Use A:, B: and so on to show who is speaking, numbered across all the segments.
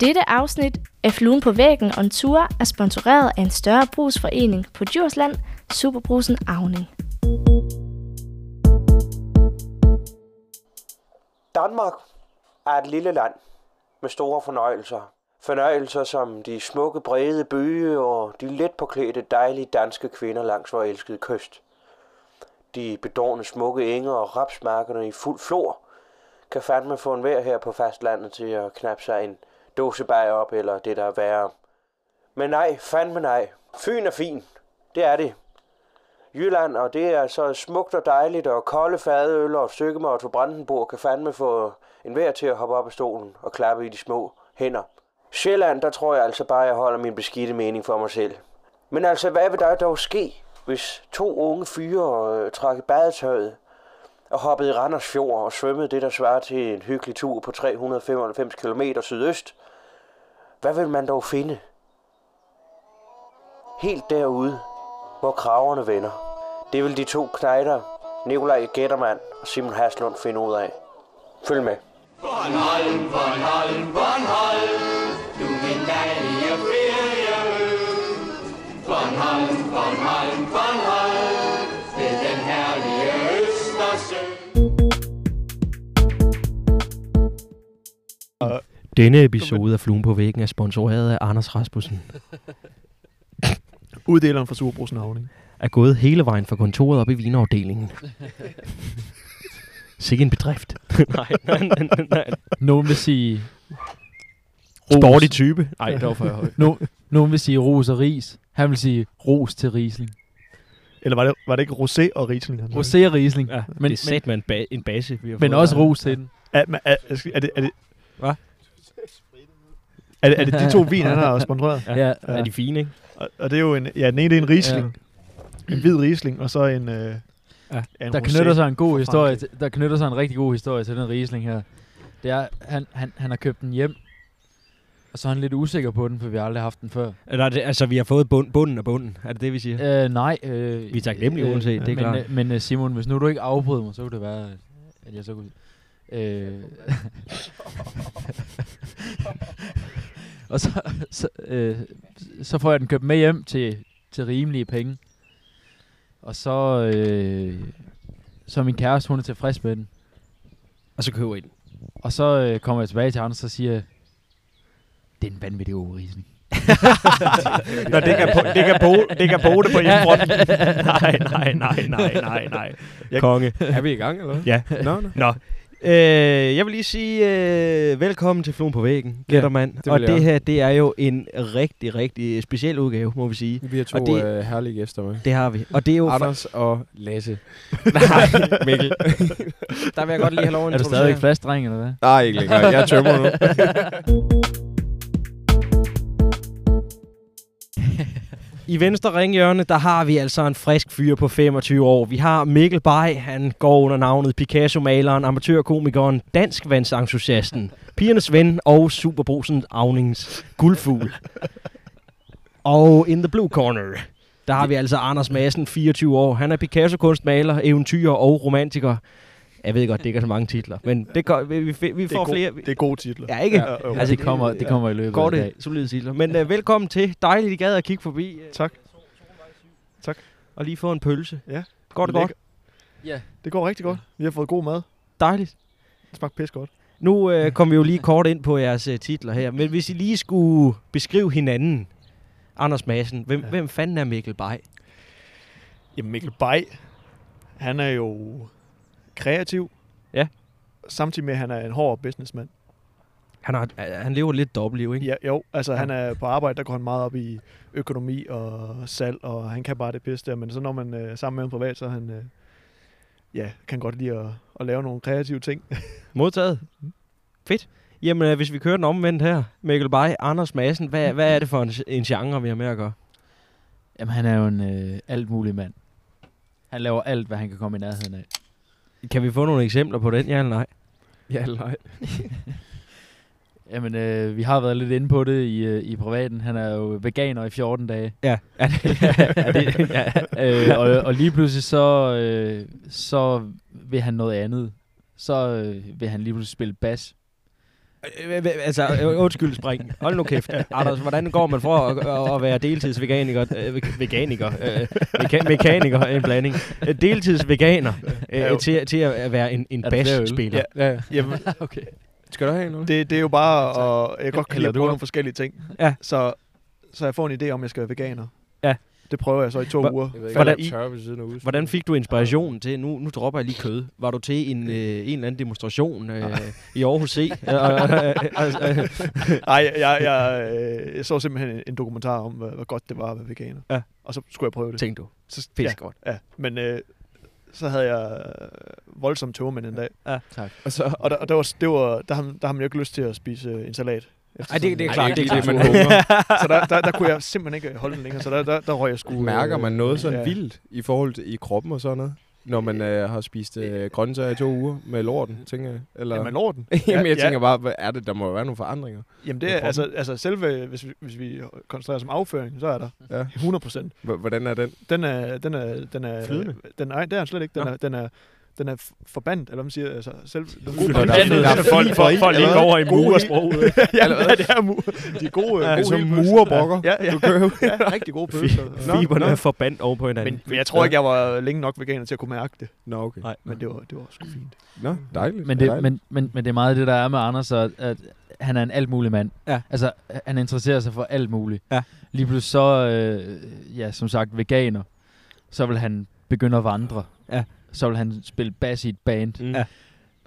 A: Dette afsnit af Fluen på væggen on tour er sponsoreret af en større brugsforening på Djursland, Superbrusen Avning.
B: Danmark er et lille land med store fornøjelser. Fornøjelser som de smukke brede bøge og de let påklædte dejlige danske kvinder langs vores elskede kyst. De bedårende smukke enge og rapsmarkerne i fuld flor kan fandme få en vejr her på fastlandet til at knappe sig en dåsebajer op eller det der er værre. Men nej, fandme nej. Fyn er fin. Det er det. Jylland, og det er så smukt og dejligt, og kolde fadøl og et stykke med Otto Brandenburg kan fandme få en vær til at hoppe op af stolen og klappe i de små hænder. Sjælland, der tror jeg altså bare, jeg holder min beskidte mening for mig selv. Men altså, hvad vil der dog ske, hvis to unge fyre øh, trak i badetøjet og hoppede i Randers Fjord og svømmede det, der svarer til en hyggelig tur på 395 km sydøst? Hvad vil man dog finde? Helt derude, hvor kraverne vender. Det vil de to knejder, Nikolaj Gættermand og Simon Haslund finde ud af. Følg med.
C: Bornholm, Bornholm, Bornholm, du min dejlige ferieø. Bornholm, Bornholm, Bornholm, ved den herlige Østersø.
D: Denne episode af Fluen på væggen er sponsoreret af Anders Rasmussen.
E: Uddeleren fra Superbrugsen Havning.
D: Er gået hele vejen fra kontoret op i vinafdelingen. Sikke en bedrift. nej, nej, nej, nej.
F: Nogen vil sige...
D: Sporty type. Nej, det var for højt.
F: No, nogen vil sige ros og ris. Han vil sige ros til Riesling.
E: Eller var det, var det ikke Rosé og Riesling? han sagde?
F: Rosé og Riesling.
D: Ja, men,
F: men,
D: det er sat med en, ba- en base, vi har
F: men, men
D: fået
F: også
D: her.
F: ros til den.
E: Er, men er, er, er, det, er, det,
D: Hva?
E: er, det, er det de to vin, han har sponsoreret?
D: Ja.
F: Ja.
D: Er de fine, ikke?
E: Og, og det er jo en, ja, den ene det er en Riesling. En hvid Riesling, og så en, øh, ja, en
F: Der
E: rosé.
F: knytter sig en god historie,
E: Frankrig.
F: til- der knytter sig en rigtig god historie til den Riesling her. Det er, han, han, han har købt den hjem, og så er han lidt usikker på den, for vi har aldrig haft den før.
D: Eller, er det, altså, vi har fået bund, bunden af bunden. Er det det, vi siger? Ja.
F: Øh, nej. Øh,
D: Vi er taknemmelige uanset, det er
F: men,
D: klart.
F: Øh, men øh, Simon, hvis nu du ikke afbryder mig, så kunne det være, at- at jeg så kunne... Øh, og så, så, øh, så får jeg den købt med hjem til, til rimelige penge. Og så, øh, så er min kæreste, hun er tilfreds med den.
D: Og så køber I den.
F: Og så øh, kommer jeg tilbage til Anders og siger, det er en vanvittig overrisning.
E: Nå, det kan, po- det kan, bo- det kan bo det på hjemmefronten.
D: nej, nej, nej, nej, nej, nej.
E: Jeg-
D: Konge. Er vi i gang, eller Ja.
G: Nå, nå.
D: Nå. Øh, jeg vil lige sige øh, velkommen til Fluen på væggen,
G: Ja,
D: Gættermand.
G: vil
D: og
G: jeg
D: det
G: også.
D: her, det er jo en rigtig, rigtig speciel udgave, må vi sige.
G: Vi har to
D: Og det-
G: det... øh, herlige gæster med.
D: Det har vi. Og det er jo...
G: Anders og Lasse.
D: Nej, Mikkel. Der vil jeg godt lige have lov at
F: Er
D: introducere.
F: du stadigvæk fast, dreng, eller hvad?
G: Nej, ikke længere. Jeg er tømmer nu.
D: I venstre ringhjørne, der har vi altså en frisk fyr på 25 år. Vi har Mikkel Bay, han går under navnet Picasso-maleren, amatørkomikeren, danskvandsentusiasten, pigernes ven og superbrusen Avningens guldfugl. Og in the blue corner, der har vi altså Anders Madsen, 24 år. Han er Picasso-kunstmaler, eventyrer og romantiker. Jeg ved godt, det ikke er så mange titler, men det går, vi, vi, vi
E: Det er,
D: får flere.
E: gode, det er gode titler.
D: Ja, ikke?
E: jo.
F: Altså, det kommer, det kommer i løbet af i dag.
D: Korte, solide titler. Men øh, velkommen til. Dejligt, I gad at kigge forbi. øh,
E: Tak. Tak.
D: Og lige få en pølse.
E: Ja.
D: Går det godt?
F: Ja.
E: Det går rigtig godt. Vi har fået god mad.
D: Dejligt.
E: Det smagte pis godt.
D: Nu øh, kom vi jo lige kort ind på jeres øh, titler her. Men hvis I lige skulle beskrive hinanden, Anders Madsen, hvem, ja.
E: Ja.
D: hvem fanden er Mikkel Bay?
E: Jamen, Mikkel Bay, han er jo kreativ.
D: Ja.
E: Samtidig med, at han er en hård businessman.
D: Han, har, øh, han lever lidt dobbeltliv, ikke?
E: Ja, jo, altså han er på arbejde, der går han meget op i økonomi og salg, og han kan bare det pisse der, men så når man øh, sammen med ham privat, så er han, øh, ja, kan godt lide at, at lave nogle kreative ting.
D: Modtaget. Fedt. Jamen, øh, hvis vi kører den omvendt her, Mikkel Bay, Anders Madsen, hvad, hvad er det for en, en genre, vi har med at gøre?
F: Jamen, han er jo en øh, alt mulig mand. Han laver alt, hvad han kan komme i nærheden af.
D: Kan vi få nogle eksempler på den, ja eller nej?
G: Ja, nej.
F: Jamen, øh, vi har været lidt inde på det i, øh, i privaten. Han er jo veganer i 14 dage.
D: Ja. Er det, er det, ja.
F: øh, og, og lige pludselig så, øh, så vil han noget andet. Så øh, vil han lige pludselig spille bas.
D: Øh, øh, Altså, øh, undskyld, spring. Hold nu kæft. Anders, hvordan går man fra at, at- at være deltidsveganiker, øh, veg- veganiker, øh, meka- mekaniker, en blanding, øh, deltidsveganer,
E: Ja, jo.
D: øh, til, til at være en, en
F: Er der flere øl?
D: basspiller?
G: Ja, ja.
E: Jamen,
F: okay.
G: Skal du have en eller
E: det, det er jo bare, og jeg kan godt kan lide
G: Hælder
E: at
G: du
E: prøve
G: op?
E: nogle forskellige ting.
D: Ja.
E: Så, så jeg får en idé om, jeg skal være veganer.
D: Ja.
E: Det prøver jeg så i to
D: Hvor-
E: uger.
G: Jeg ved ikke,
D: Hvordan-
G: hvordan, jeg tør ved siden af udstyret.
D: Hvordan fik du inspirationen til, nu, nu dropper jeg lige kød. Var du til en, øh, en eller anden demonstration øh, i Aarhus C? Øh, øh, øh, øh,
E: Nej, jeg, jeg, øh, jeg så simpelthen en- en dokumentar om, hvor, hvor godt det var at være veganer.
D: Ja.
E: Og så skulle jeg prøve det.
D: øh, Tænkte du,
E: Så, ja,
D: pisse godt.
E: ja. Men øh, så havde jeg øh, voldsomt tømmermænd en dag.
G: Og så,
E: Og, der, og der, var, det var, der, har, der har man jo ikke lyst til at spise øh, en salat. efter
D: Ej,
E: sådan
D: det er
E: en-
D: klart,
G: det er
D: det er
G: ikke det, man hungrer.
E: Så der, der, der kunne jeg simpelthen ikke holde den længere, så der, der, der røg jeg sgu... øh,
G: Mærker man noget sådan
E: ja.
G: ja. vildt i forhold til i kroppen og sådan noget? Når man øh, har spist øh, grøntsager i to uger med lorten, tænker jeg. Eller...
E: Ja, man lår den.
G: Jamen, jeg
E: Ja,
G: tænker bare, hvad er det? Der må jo være nogle forandringer.
E: Jamen det
G: med
E: er,
G: kroppen.
E: altså, altså selve, hvis vi, hvis vi koncentrerer os om afføring, så er der
G: Ja.
E: 100 procent.
G: H- Hvordan er den?
E: Den er, den er, den er...
G: Flydende?
E: Den, nej, det er den slet ikke. Den
G: Nå.
E: er, den er, den er f- forbandt, eller hvad man siger, altså selv... Den
G: Nå,
E: gode
G: der er
E: der,
G: sådan-
E: der,
G: der er folk- folk- folk lige går
D: over i murersproget.
E: ja, det er mu. De er gode,
G: Ja,
E: gode
G: som
E: hele pølser.
G: murerbrokker,
E: Ja, ja,
G: Du kører
E: ja, rigtig gode pølser.
G: Nå,
D: Fiberne
G: nå.
D: er forbandt over på hinanden.
E: Men, men jeg tror ikke, jeg var længe nok veganer til at kunne mærke det.
G: Nå, okay.
D: Nej.
E: Men det var, det var sgu fint.
G: Nå, dejligt.
F: Men det,
G: dejligt.
F: men, men, men det er meget det, der er med Anders, at, at han er en alt mulig mand.
D: Ja.
F: Altså, han interesserer sig for alt muligt.
D: Ja.
F: Lige pludselig så, øh, ja, som sagt, veganer, så vil han begynde at vandre.
D: Ja.
F: Så vil han spille bass i et band.
G: Mm.
D: Ja.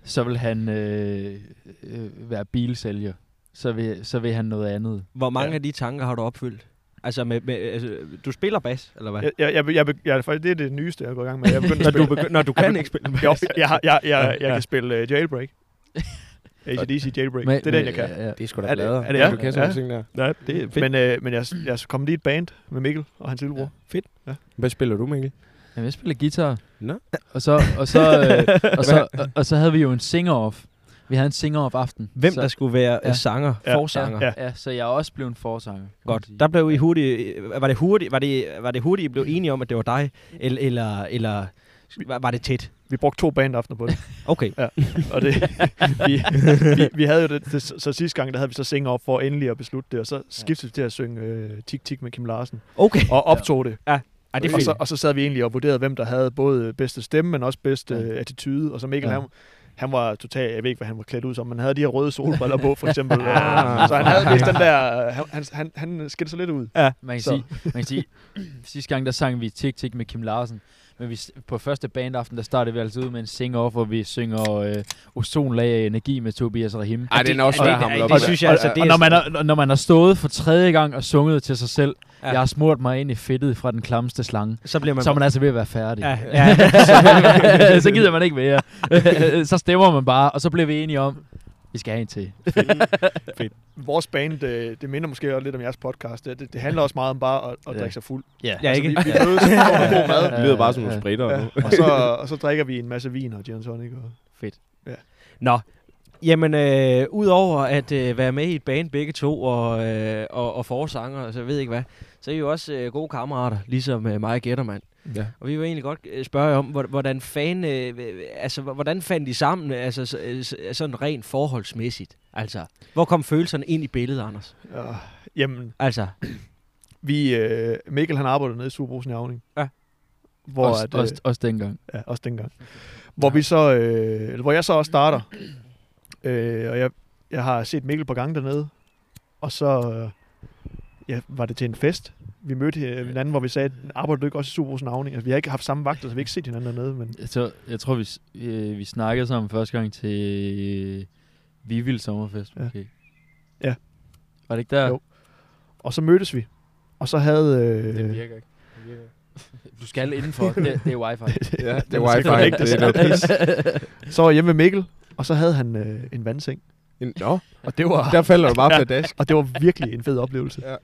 F: Så vil han øh, øh, være bilsælger. Så vil, så vil han noget andet.
D: Hvor mange
E: Ja.
D: ja. af de tanker har du opfyldt? Altså, med, med, altså, du spiller bas, eller hvad?
E: Jeg, jeg, jeg, jeg, jeg, faktisk, det er det nyeste, jeg er gået i gang med. Jeg er begyndt
D: Når
E: at
D: du,
E: spille.
D: begy- når du kan ikke spille
E: Jo,
D: bas.
E: jeg, har- jeg, jeg, jeg
D: Ja.
E: kan spille uh, Jailbreak. ACDC Jailbreak.
F: Men-
E: det er
F: men-
E: den, jeg kan.
F: Ja, ja.
G: det er sgu
E: er
G: da
E: det-
G: bladere.
E: er det- ja,
G: Du kan sådan
E: ja.
G: nogle ting der.
D: Nej, det er fedt.
E: Men, øh, men jeg, jeg kom lige i et band med Mikkel og hans lillebror.
G: Hvad spiller du, Mikkel?
F: Jamen, jeg spiller guitar.
G: Nå.
F: Og så, og så, øh, og så, og, og så havde vi jo en singer-off. Vi havde en singer-off aften.
D: Hvem
F: så,
D: der skulle være
F: Ja.
D: ja. sanger,
E: Ja.
D: forsanger.
E: Ja.
D: Ja.
F: Ja, så jeg er også blevet en forsanger. kan man
D: Godt.
F: sige.
D: Der blev I hurtigt, øh, var det hurtigt, var det, var det hurtigt, I blev enige om, at det var dig, eller, eller, eller var- var det tæt?
E: Vi brugte to bandaftener på det.
D: Okay.
E: Og det, vi, vi, vi havde jo det, det, så sidste gang, der havde vi så sing op for endelig at beslutte det, og så skiftede vi til at synge øh, Tik Tik med Kim Larsen,
D: Okay.
E: og optog det.
D: Ej, det er
E: og,
D: fedt.
E: så, og så sad vi egentlig og vurderede, hvem der havde både bedste stemme, men også bedste øh, attitude, og så Mikkel,
D: Ja.
E: ja. han, han var totalt, jeg ved ikke, hvad han var klædt ud som, men han havde de her røde solbriller på, for eksempel.
D: Ah.
E: øh, så han havde vist den der, øh, han, han, han, han skilte sig lidt ud.
F: Man kan,
E: Så.
F: sige, man kan sige, sidste gang der sang vi Tik Tik med Kim Larsen, men vi, s- på første bandaften, der startede vi altså ud med en sing-off, hvor vi synger øh, Ozonlag af energi med Tobias Rahim.
G: Ej, den er også
D: Og
G: svær
D: det-
G: at hamle
D: ej,
G: op
D: det
G: med.
D: synes jeg altså, det
F: og når man, har, når man har stået for tredje gang og sunget til sig selv,
D: Ja.
F: ja. jeg har smurt mig ind i fedtet fra den klamste slange,
D: Så bliver man...
F: så er man altså ved at være færdig.
D: ja, ja.
F: så gider man ikke mere. så stemmer man bare, og så bliver vi enige om, vi skal have en til.
E: Vores band, øh, det minder måske også lidt om jeres podcast, det, det, det handler også meget om bare at, at
F: Ja.
E: drikke sig fuld.
F: Ja,
D: Ja, ikke?
E: Vi, vi mødes og får noget god mad,
G: Det lyder bare som
F: Ja.
G: nogle spritter nu.
E: Ja, og, så, og så drikker vi en masse vin og gin and tonic. Og...
D: Nå, jamen, øh, udover at øh, være med i et band begge to og, øh, og, og forsanger, og så ved jeg ikke hvad, så er I jo også øh, gode kammerater, ligesom øh, mig og Gættermand.
G: Ja.
D: Og vi vil egentlig godt øh, spørge jer om, hvor- hvordan, fan, øh, øh, altså, hvor- hvordan fandt I sammen, øh, altså, så- øh, så- øh, sådan rent forholdsmæssigt? Altså, hvor kom følelserne ind i billedet, Anders?
E: Ja, jamen,
D: Altså,
E: vi, øh, Mikkel han arbejdede nede i Superbrugsen i Avning.
D: Ja.
E: Hvor også,
F: også,
E: at, øh,
F: også, også dengang.
E: Ja, også dengang. Hvor, vi så, øh, eller hvor jeg så også starter. Øh, og jeg, jeg har set Mikkel på gang dernede. Og så øh, ja, var det til en fest. Vi mødte øh, hinanden, hvor vi sagde, arbejder du ikke også i Superbrugsen i Avning? Altså, vi har ikke haft samme vagter, så vi har ikke set hinanden dernede. Men
F: Jeg tror, jeg tror vi, s- øh, vi snakkede sammen første gang til øh, Vivild Sommerfest.
E: Ja.
F: Okay.
E: Ja.
F: Var det ikke der?
E: Jo. Og så mødtes vi. Og så havde... Øh,
G: Det virker ikke. Det virker ikke.
F: Du skal indenfor. det, det er wifi.
G: Ja, det er
E: Den er
G: wifi.
E: sikkert ikke det
G: Det er noget pis.
E: Så var jeg hjemme med Mikkel, og så havde han øh, en vandseng.
G: Nå,
E: Og det var,
G: der falder du bare pladask.
E: og det var virkelig en fed oplevelse.
G: Det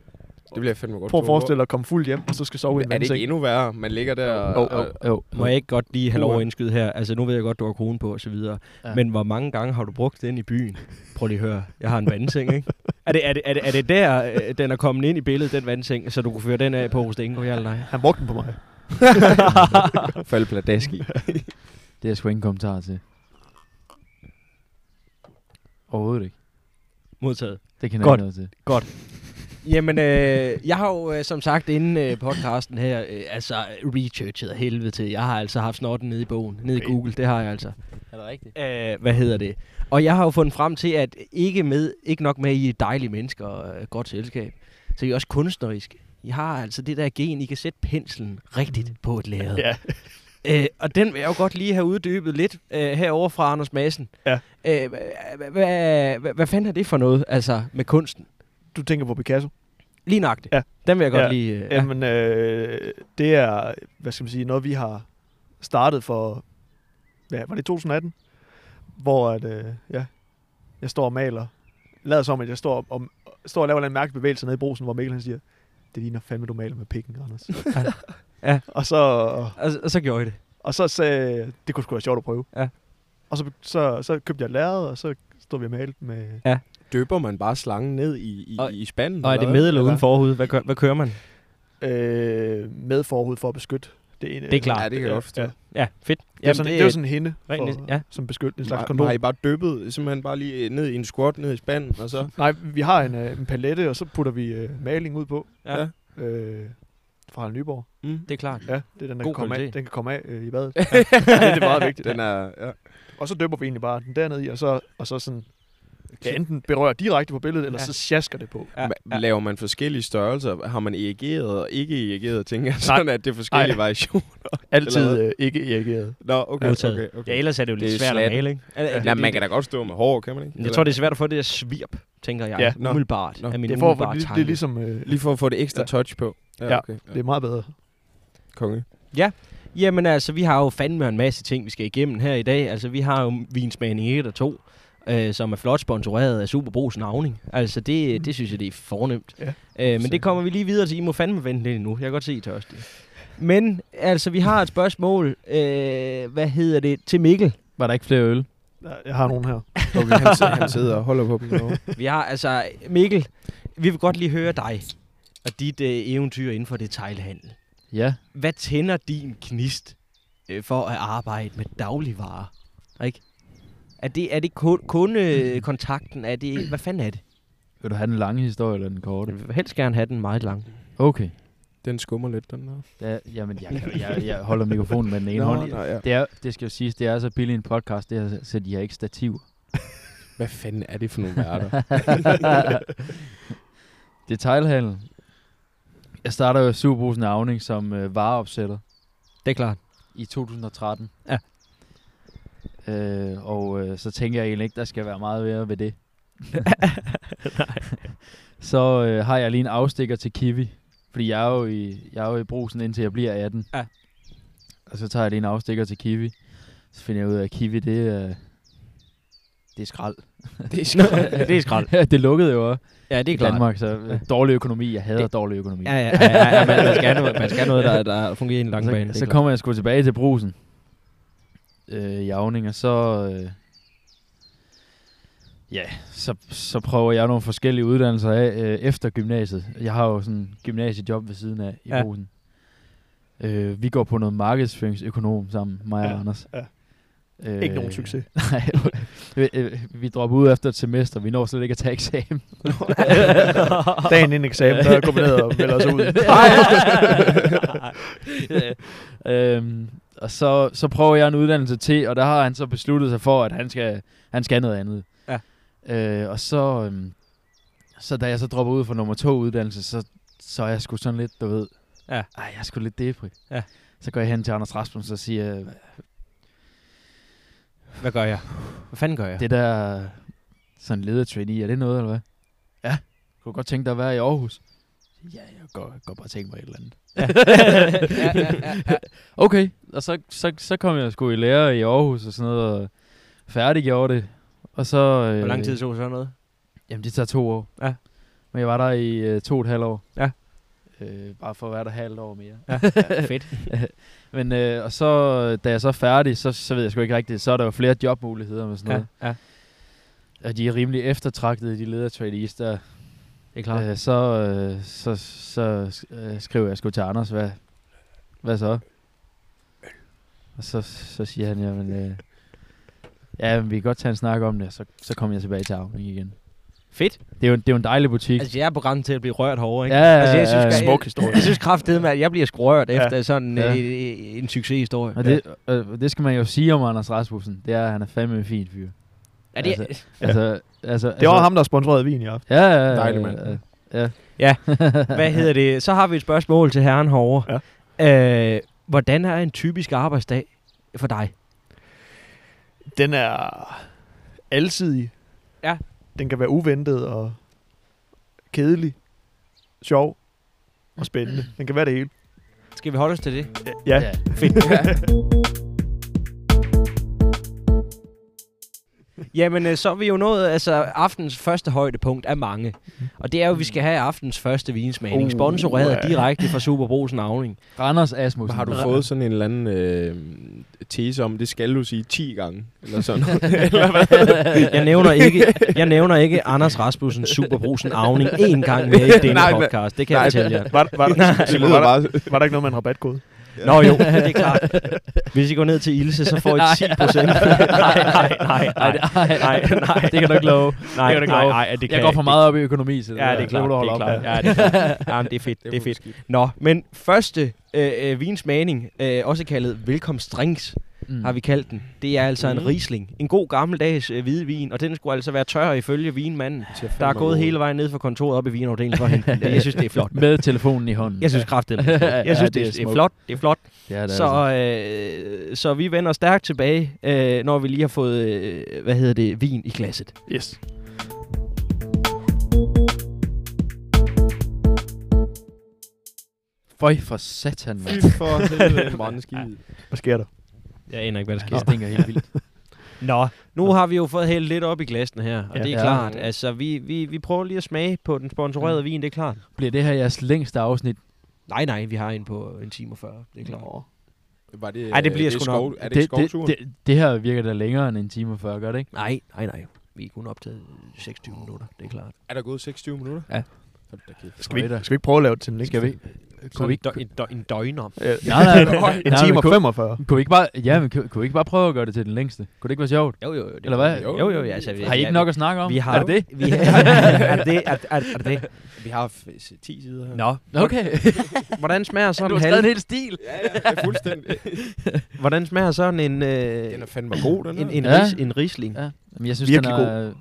G: bliver jeg fandme godt.
E: Prøv at
G: stå over.
E: forestille dig at komme fuld hjem, og så skal sove i en
G: Er det ikke
E: vandseng.
G: endnu værre? Man ligger der og...
F: Jo, jo, jo.
D: må jeg ikke godt lige have lov at
G: Uha.
D: indskyde her? Altså, nu ved jeg godt, du har kone på og så videre.
F: Ja.
D: Ja. Men hvor mange gange har du brugt den i byen? Prøv lige at høre. Jeg har en vandseng, ikke? Er det, er det, er det, er det der, øh, den er kommet ind i billedet, den vandseng, så du kunne føre den af på hos Dingo, ja eller nej?
E: Han brugte den på mig.
G: og falde pladask i.
F: Det er jeg sgu ingen kommentar til. Overhovedet ikke.
D: Modtaget.
F: Det kan
D: Godt.
F: jeg ikke noget til.
D: Jamen, øh, jeg har jo øh, som sagt inden øh, podcasten her, øh, altså researchet af helvede til. Jeg har altså haft snotten nede i bogen, nede i Google, det har jeg altså.
F: Er det rigtigt?
D: Øh, hvad hedder det? Og jeg har jo fundet frem til, at ikke, med, ikke nok med, at I er dejlige mennesker og øh, godt selskab, så I er også kunstneriske. I har altså det der gen, I kan sætte penslen rigtigt på et lærred.
E: Ja.
D: Øh, og den vil jeg jo godt lige have uddybet lidt øh, herover fra Anders Madsen.
E: Ja.
D: Øh, hvad, hvad, hvad, hvad fanden er det for noget, altså med kunsten?
E: Du tænker på Picasso?
D: Lige nøjagtigt.
E: Ja.
D: Den vil jeg godt
E: Ja.
D: lige... Øh,
E: Ja. Jamen, øh, det er, hvad skal man sige, noget vi har startet for, ja, var det i 2018? Hvor at, øh, ja, jeg står og maler. Lader som, at jeg står og, står og laver en eller anden mærkelig bevægelse nede i brosen, hvor Mikkel han siger, det ligner fandme, du maler med pikken, Anders.
D: Ja.
E: Og så,
D: Og, og så gjorde I det.
E: Og så sagde jeg, det kunne sgu være sjovt at prøve.
D: Ja.
E: Og så, så, så købte jeg et lærred, og så stod vi og malte med...
G: Døber man bare slangen ned i, i,
F: Og-
G: i spanden?
D: Og er det
G: hvad?
D: med eller uden forhud? Hvad, kø- hvad kører man?
E: Øh, med forhud for at beskytte det ene.
D: Det er klart.
G: Ja, det kan jeg godt forstå.
E: Ja. Det,
D: Ja, fedt.
E: er sådan, det, er jo sådan en hinde,
D: rent-
E: for,
D: ja.
E: ja. som beskytter en
G: En
E: slags
G: slags
E: kondom.
G: Har I bare dyppet simpelthen bare lige ned i en squat, ned i spanden, og så...
E: Nej, vi har en, øh, en palette, og så putter vi øh, maling ud på.
D: Ja.
G: Ja.
E: Øh, fra Harald Nyborg.
G: Mm.
D: det er klart.
E: Ja, det er den, der
D: God
E: kan komme af,
D: kvalitet.
E: den kan komme af øh, i badet. Ja, det er meget vigtigt.
G: Den er... Ja.
E: Og så døber vi egentlig bare den dernede i, og så, og så sådan, ja, enten berører direkte på billedet, eller
D: Ja.
E: ja. så sjasker det på.
D: Ja,
G: Ma- Laver man forskellige størrelser? Har man erigeret og ikke erigeret, tænker jeg, sådan at det er forskellige
E: Nej.
G: variationer?
E: Altid
G: Eller-
E: øh, ikke irrigeret.
G: Nå, okay,
D: Modtaget.
G: okay, okay.
D: Ja, ellers er det jo lidt
G: Det er
D: svært
G: slat.
D: at male, ikke? Ja,
G: Nej, man kan da godt stå med hår, kan man ikke?
D: Jeg tror, det er svært at få det der svirp, tænker jeg.
E: Ja,
D: Ja,
G: nå.
D: umiddelbart.
G: Nå.
D: Af min
E: Det, er for,
D: umiddelbare
E: det, det er
D: tanke.
E: ligesom... Øh,
G: Lige for at få det ekstra
E: Ja.
G: touch på.
E: Ja,
G: okay.
E: det er meget bedre.
G: Konge.
D: Jamen altså, vi har jo fandme en masse ting, vi skal igennem her i dag. Altså, vi har jo vinsmagning 1 og 2, øh, som er flot sponsoreret af Superbrugs Navning. Altså, det, det synes jeg, det er fornemt.
E: Ja.
D: Øh, men det kommer vi lige videre til. I må fandme vente lidt endnu. Jeg kan godt se, I er tørstige. Men altså, vi har et spørgsmål. Øh, hvad hedder det? Til Mikkel.
F: Var der ikke flere øl?
E: Der- Jeg har nogen her.
G: Okay, han, sidder, han sidder og holder på dem derovre.
D: Vi har altså... Mikkel, vi vil godt lige høre dig og dit øh, eventyr inden for detailhandel.
F: Ja.
D: Hvad tænder din knist øh, for at arbejde med dagligvarer? Ikke? Er det, er det kun, kundekontakten? Er det, hvad fanden er det?
F: Vil du have den lange historie eller den korte?
D: Jeg vil helst gerne have den meget lang.
F: Okay.
G: Den skummer lidt, den der.
F: Da, jamen, jeg, kan, jeg, jeg holder mikrofonen med den ene
G: Nå,
F: hånd.
G: nå, ja.
F: Det, er, det skal jo siges, det er så billig en podcast, det her, så de har ikke stativ.
G: Hvad fanden er det for nogle værter?
F: Detailhandel. Jeg starter jo i Superbrugsen Avning som øh, vareopsætter
D: Det er klart.
F: i 2013.
D: Ja.
F: Øh, og øh, så tænker jeg egentlig ikke, der skal være meget værre ved det. så øh, har jeg lige en afstikker til Kiwi. Fordi jeg er jo i, jeg er jo i brusen, indtil jeg bliver 18.
D: Ja.
F: Og så tager jeg lige en afstikker til Kiwi. Så finder jeg ud af, at Kiwi, det er... Det er skrald.
D: Det er skrald. det er skrald.
F: det lukkede jo også
D: Ja, det
F: i
D: er klart.
F: Danmark, så øh, dårlig økonomi. Jeg hader
D: Det-
F: dårlig økonomi.
D: Ja, ja, ja, ja, ja man, man, skal have noget, man skal have noget, der, der fungerer i en lang
F: så,
D: bane. det er
F: Så
D: klart.
F: kommer jeg sgu tilbage til brusen. Øh, javning, og så... Øh, ja, så, så prøver jeg nogle forskellige uddannelser af øh, efter gymnasiet. Jeg har jo sådan en gymnasiejob ved siden af i
D: Ja.
F: ja. brusen. Øh, vi går på noget markedsføringsøkonom sammen, mig og
E: Ja,
F: Anders.
E: ja.
F: Øh,
E: Ikke nogen succes.
F: Nej, vi, øh, vi dropper ud efter et semester. Vi når slet ikke at tage eksamen.
E: Dagen inden eksamen, der går vi ned og melder os ud.
F: øhm, og så, så prøver jeg en uddannelse til, og der har han så besluttet sig for, at han skal, han skal noget andet.
D: Ja.
F: Øh, og så, øhm, så da jeg så dropper ud fra nummer to uddannelse, så, så er jeg sgu sådan lidt, du ved,
D: Ja.
F: ej, jeg er sgu lidt depri.
D: Ja.
F: Så går jeg hen til Anders Rasmussen og siger, øh,
D: Hvad gør jeg? Hvad fanden gør jeg?
F: det der sådan ledertrainee, er det noget, eller hvad? Ja, kunne du godt tænke dig at være i Aarhus? Ja, jeg går, jeg går bare tænke mig et eller andet.
D: Ja. ja, ja, ja, ja.
F: Okay, og så, så, så kom jeg sgu i lære i Aarhus og sådan noget, og færdiggjorde det. Og så... Øh,
D: Hvor lang tid tog sådan noget?
F: Jamen, det tager to år.
D: Ja.
F: Men jeg var der i øh, to og et halvt år.
D: Ja.
F: Øh, bare for at være der halvt år mere.
D: Fedt.
F: Men øh, og så, øh, da jeg så er færdig, så, så ved jeg sgu ikke rigtigt, så er der jo flere jobmuligheder med sådan
D: Ja,
F: noget.
D: ja.
F: Og de er rimelig eftertragtede, de leder trainees der.
D: Det er klart.
F: Øh, så, øh, så, så øh, skriver jeg sgu til Anders, hvad, hvad så? Og så, så siger han, jamen, øh, ja, men vi kan godt tage en snak om det, og så, så kommer jeg tilbage til Avning igen.
D: Fedt.
F: Det er jo, det er jo en dejlig butik.
D: Altså, jeg er på grænsen til at blive rørt hårdere, ikke?
F: Ja, ja,
D: altså, jeg
F: ja, ja.
D: synes,
E: Smuk
D: Jeg,
E: historie.
D: jeg synes kraftedeme, at jeg bliver skrørt
E: Ja.
D: efter sådan
F: Ja.
D: ja. en, en succeshistorie.
F: Og det, øh, det skal man jo sige om Anders Rasmussen. Det er, at han er fandme en fin fyr.
D: ja, det,
F: altså, Altså, altså,
E: Det var
F: altså,
E: ham, der sponsorerede vin i aften.
F: Ja, ja, ja.
G: Dejlig
F: ja,
G: mand.
F: ja.
D: Hvad hedder det? Så har vi et spørgsmål til herren herovre. Ja. Øh, hvordan er en typisk arbejdsdag for dig?
E: Den er alsidig.
D: Ja.
E: Den kan være uventet og kedelig, sjov og spændende. Den kan være det hele.
D: Skal vi holde os til det?
E: Ja.
F: Ja.
D: Jamen, øh, så er vi jo nået altså, aftens første højdepunkt af mange.
F: Mhm.
D: Og det er jo, at vi skal have aftens første vinsmagning,
E: Uh,
D: sponsoreret
E: ja.
D: direkte fra Superbrugsen Avning.
F: Randers Asmussen.
G: Har du fået sådan en eller anden øh, tese om, det skal du sige 10 gange? Eller sådan noget.
D: Jeg nævner ikke, jeg nævner ikke Anders Rasmussen, Superbrugsen Avning, én gang mere i denne
G: Nej, men-
D: podcast. Det kan jeg fortælle jer.
E: Var, var,
G: det
E: Simon,
G: lyder
E: var,
G: bare...
E: der, var der ikke noget med en rabatkode?
D: Nå jo, det er klart. Hvis I går ned til Ilse, så får I 10 procent. nej, nej, nej, nej,
F: nej,
D: nej, nej.
F: Det kan du ikke love.
D: nej,
F: kan du ikke
D: nej,
F: love.
D: nej, det kan
F: Jeg går for
D: ikke.
F: meget op i økonomi, så det
D: Ja,
F: der.
D: det er klart,
E: Det må
D: det er
E: du holde op
D: klart. Ja, det er klart. Jamen, det er fedt, det er fedt. Nå, men første øh, øh, vinsmagning, øh, også kaldet velkomstdrinks,
F: Mm.
D: har vi kaldt den. Det er altså en
G: Mm.
D: risling. En god gammeldags øh, hvidvin, og den skulle altså være tør ifølge vinmanden, der er gået hele vejen ned fra kontoret op i vinafdelingen for at hente den. Jeg synes, det er flot.
F: Med telefonen i hånden.
D: Jeg synes kraftigt. Jeg synes,
F: det er
D: det, det er
F: smukt.
D: flot. Det er flot.
F: Ja, det er altså.
D: Så, øh, så vi vender stærkt tilbage, øh, når vi lige har fået, øh, hvad hedder det, vin i glasset.
E: Yes.
F: Føj for satan, mand.
G: Fy for helvede, brandskid.
E: Hvad sker der?
D: Jeg aner ikke, hvad der
F: Det stinker helt vildt.
D: Nå, nu har vi jo fået hældt lidt op i glassene her, og
E: Ja.
D: det er
F: Ja.
D: klart. Altså, vi, vi, vi prøver lige at smage på den sponsorerede vin, det er klart.
F: Bliver det her jeres længste afsnit?
D: Nej, nej, vi har en på en time og 40, det er klart.
G: Var det,
D: Ej, det bliver
G: er
D: sgu
G: skov-
D: nok.
G: Er det,
F: det,
G: skovturen?
F: det, det her virker da længere end en time og 40, gør det ikke?
D: Nej, nej, nej. Vi er kun optaget 26 minutter, det er klart.
G: Er der gået 26 minutter?
F: Ja.
G: Hold da kæft.
E: Skal vi,
F: Føj da.
E: ikke, skal vi ikke prøve at lave det til en link?
F: Skal vi?
G: Øh,
F: Kunne vi ikke?
D: en, dø- en døgn om.
E: Ja.
F: Nej, nej, nej, nej,
E: en
F: nej,
E: time
F: men
E: og
F: kunne-
E: 45.
F: Kunne vi ikke bare, ja, men kunne, kunne vi ikke bare prøve at gøre det til den længste? Kunne det ikke være sjovt?
D: Jo, jo, jo. Det
F: Eller hvad?
D: Jo, jo, jo altså, vi,
F: Har I ikke nok at snakke om?
D: Vi har,
F: Er det det?
D: Vi har, er det, er, er, er det?
G: Vi har f- 10 sider her.
D: Nå,
F: Okay.
D: hvordan smager sådan
F: du
D: en
F: har
D: halv?
F: skrevet en hel stil.
G: Ja, ja, det er fuldstændig.
D: Hvordan smager sådan en, øh,
G: Den er fandme god, den
D: en,
G: der.
D: en,
F: Ja.
D: ris, en risling?
F: Ja, men jeg synes,
E: Virkelig
F: den er...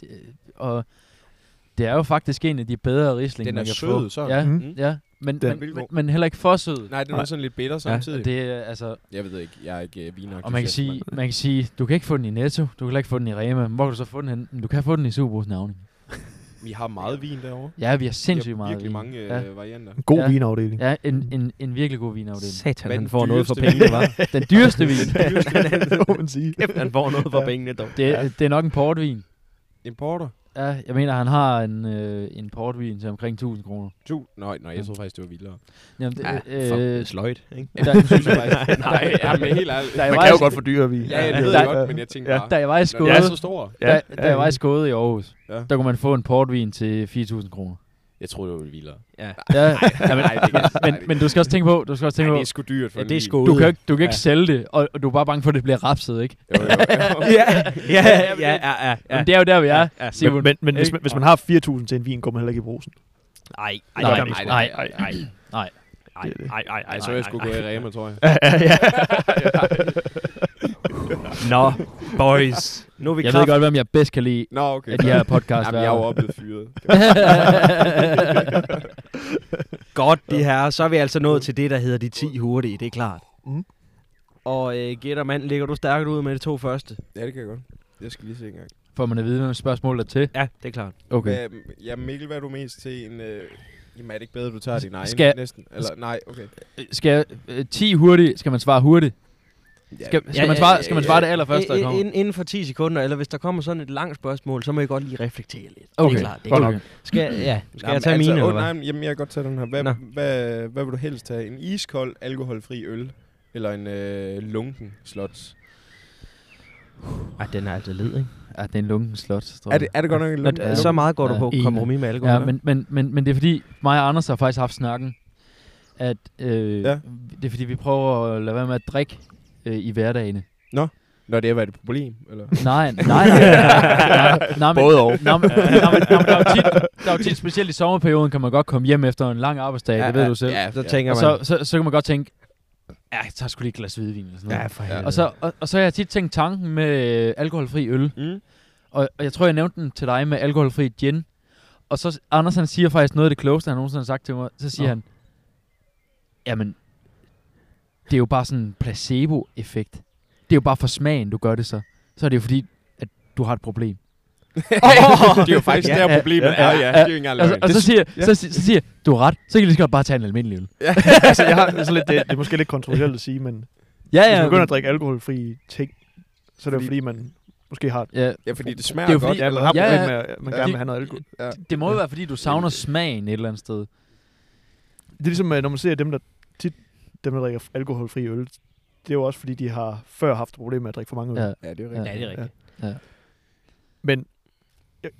F: Det, og det er jo faktisk en af de bedre rislinger,
G: Den er
F: man kan
G: sød,
F: få.
G: så.
F: Ja,
E: Mhm.
F: mm. ja. Men,
E: Den er
F: men,
G: vildt
F: men,
G: god.
F: men, heller ikke for sød.
G: Nej, den er
E: Nej.
G: sådan lidt bitter
F: ja,
G: samtidig.
F: det er altså...
G: Jeg ved ikke, jeg er ikke øh, vinentusiast.
F: Og man kan, sige, man kan sige, du kan ikke få den i Netto, du kan heller ikke få den i Rema, men hvor kan du så få den hen? Men Du kan få den i Superbrugs navn.
G: men- Vi har meget vin derovre.
F: Ja, vi har
G: Vi har
F: sindssygt meget
G: virkelig
F: vin.
G: mange øh,
F: Ja.
G: varianter.
E: God
F: Ja.
E: ja. vinafdeling.
F: Ja, en, en, en virkelig god vinafdeling.
D: Satan,
G: Hvad er
D: han
G: den
D: får noget for
G: dyreste
D: pengene, var.
F: Den dyreste vin,
E: det må man sige.
D: Kæft, han får noget for pengene, dog.
F: det, er- det er nok en portvin.
G: Importer?
F: Ja, jeg mener, han har en, øh, en portvin til omkring 1000 kroner.
G: Du? Nej, nej, jeg troede faktisk, det var vildere.
F: Jamen, øh, det,
D: for sløjt, ikke?
F: der,
G: Synes jeg faktisk. nej, jamen, helt ærligt.
F: der,
E: Man
F: jeg
E: kan
F: var,
E: jo godt fordyre vin.
G: Ja, jeg ved
F: Ja.
G: det godt, men jeg tænkte
E: Ja.
G: bare,
F: da jeg var i
G: når
F: Skåde,
G: det er så stor.
F: da, da jeg var i Skåde i Aarhus,
G: Ja.
F: der kunne man få en portvin til 4.000 kroner.
G: Jeg troede, det var vildere.
D: Ja.
F: Ja, ja, men,
G: nej, det kan- nej,
F: men,
G: det-
F: men du skal også tænke på, du skal også tænke
G: Nej,
F: på,
G: det er sgu dyrt for
D: Ja,
G: en
D: det er
G: vin.
D: sgu
F: du kan, jo ikke- du kan ikke sælge det, og, og du er bare bange for, at det bliver rapset, ikke?
G: Jo, jo, jo.
D: ja, ja, ja, ja,
F: Ja. Men det er jo der, vi er.
D: ja.
F: Simon.
E: Men, men, men hvis,
F: Ikke?
E: man, hvis man har 4.000 til en vin, går man heller ikke i brusen.
D: Ej, ej,
F: Nej,
D: nej,
F: nej,
D: nej,
F: nej,
D: nej, nej,
F: nej.
D: nej, nej, nej,
G: Ej, så er jeg sgu gået i Rema, tror jeg.
D: Nå, boys. Nu er vi
F: Jeg ved godt, hvem jeg bedst kan lide
G: Nå, okay.
F: af de her podcast.
G: Jamen, jeg er jo også blevet fyret.
D: Godt, de her. Så er vi altså nået til det, der hedder de 10 hurtige, det er klart.
E: Mm.
D: Og øh, gætter mand, ligger du stærkt ud med de to første?
G: Ja, det kan jeg godt. Jeg skal lige se en gang.
F: Får man at vide, hvem spørgsmålet er til.
D: Ja, det er klart.
F: Okay.
G: Hvad, ja, Mikkel, hvad er du mest til? En, øh, jamen, er det ikke bedre, at du tager din egen
F: Skal-
G: næsten? Eller, nej, okay.
F: Øh, Skal jeg, øh, 10 hurtigt, skal man svare hurtigt?
G: Ja,
F: Skal, skal, man, svare, skal man svare det allerførste, der kommer?
D: Inden, inden for 10 sekunder, eller hvis der kommer sådan et langt spørgsmål, så må jeg godt lige reflektere lidt.
F: Okay,
D: Det er klart, altså, det er
E: godt
D: klart.
E: nok.
D: Skal, ja, skal
G: Jamen, altså,
D: jeg tage mine,
G: åh,
D: eller hvad?
G: Nej, men, jamen, jeg kan godt tage den her. Hvad,
D: Nå.
G: hvad, hvad vil du helst tage? En iskold, alkoholfri øl? Eller en øh, lunken slots?
D: Ej, den er altså led, ikke?
F: Ja, det er en lunken slot, tror
G: Er
F: jeg.
G: det, er det godt nok en
D: Nå,
G: lunken?
D: d- så meget går du
F: Ja,
D: på
F: enig.
D: kompromis med alkohol.
F: Ja, men, men, men, men det er fordi, mig og Anders har faktisk haft snakken, at øh, ja.
G: Ja.
F: det er fordi, vi prøver at lade være med at drikke øh, i hverdagene.
G: Nå. Når det har været et problem, eller?
F: Nej, nej, nej. nej, nej men,
G: Både og.
F: Nå, men, nå, men, nå, men, der, er jo tit, der er jo tit, specielt i sommerperioden, kan man godt komme hjem efter en lang arbejdsdag, ja, det ved du selv.
G: Ja,
D: Så
G: ja.
D: tænker
F: og
D: man,
F: så, så, så kan man godt tænke, ja, jeg tager sgu lige et glas hvidvin eller sådan noget.
D: ja, for
G: Ja.
D: helvede.
F: Og så, og, og så har jeg tit tænkt tanken med øh, alkoholfri øl.
G: Mm.
F: Og, og jeg tror, jeg nævnte den til dig med alkoholfri gin. Og så Anders han siger faktisk noget af det klogeste, han nogensinde har sagt til mig. Så siger
D: Nå.
F: Nå. han, jamen, det er jo bare sådan en placebo-effekt. Det er jo bare for smagen, du gør det så. Så er det jo fordi, at du har et problem.
G: det er jo faktisk
D: Ja,
G: ja, der
D: ja,
G: problemet
D: ja,
G: ja, er, ja. Det er jo ikke engang
F: Og, så-
G: løgn.
F: Altså, og så,
G: Det-
F: siger,
G: ja.
F: ja. så, si- så siger jeg, du har ret, så kan I lige så godt bare tage en almindelig øl.
E: altså, jeg har sådan lidt, det, det er måske lidt kontroversielt at sige, men
F: Ja,
E: hvis man begynder
F: men-
E: at drikke alkoholfri ting, så er det jo
G: Fordi-
E: fordi, man måske har
F: ja,
G: Ja, fordi det smager
F: Det er jo
G: godt.
F: fordi-
E: Ja,
G: eller?
E: man har
F: Ja,
E: ja,
F: ja.
E: problem med, at man
G: Ja.
E: gerne vil have noget alkohol.
G: Ja.
F: det må jo være, fordi du savner smagen et eller andet sted.
E: Det er ligesom, øh, når man ser dem, der tit dem, der drikker alkoholfri øl, det er jo også fordi, de har før haft problemer med at drikke for mange øl.
F: Ja.
E: Ja.
G: Ja, det er jo
F: Ja,
G: rigtigt.
F: det er rigtigt. Ja.
E: Men jeg,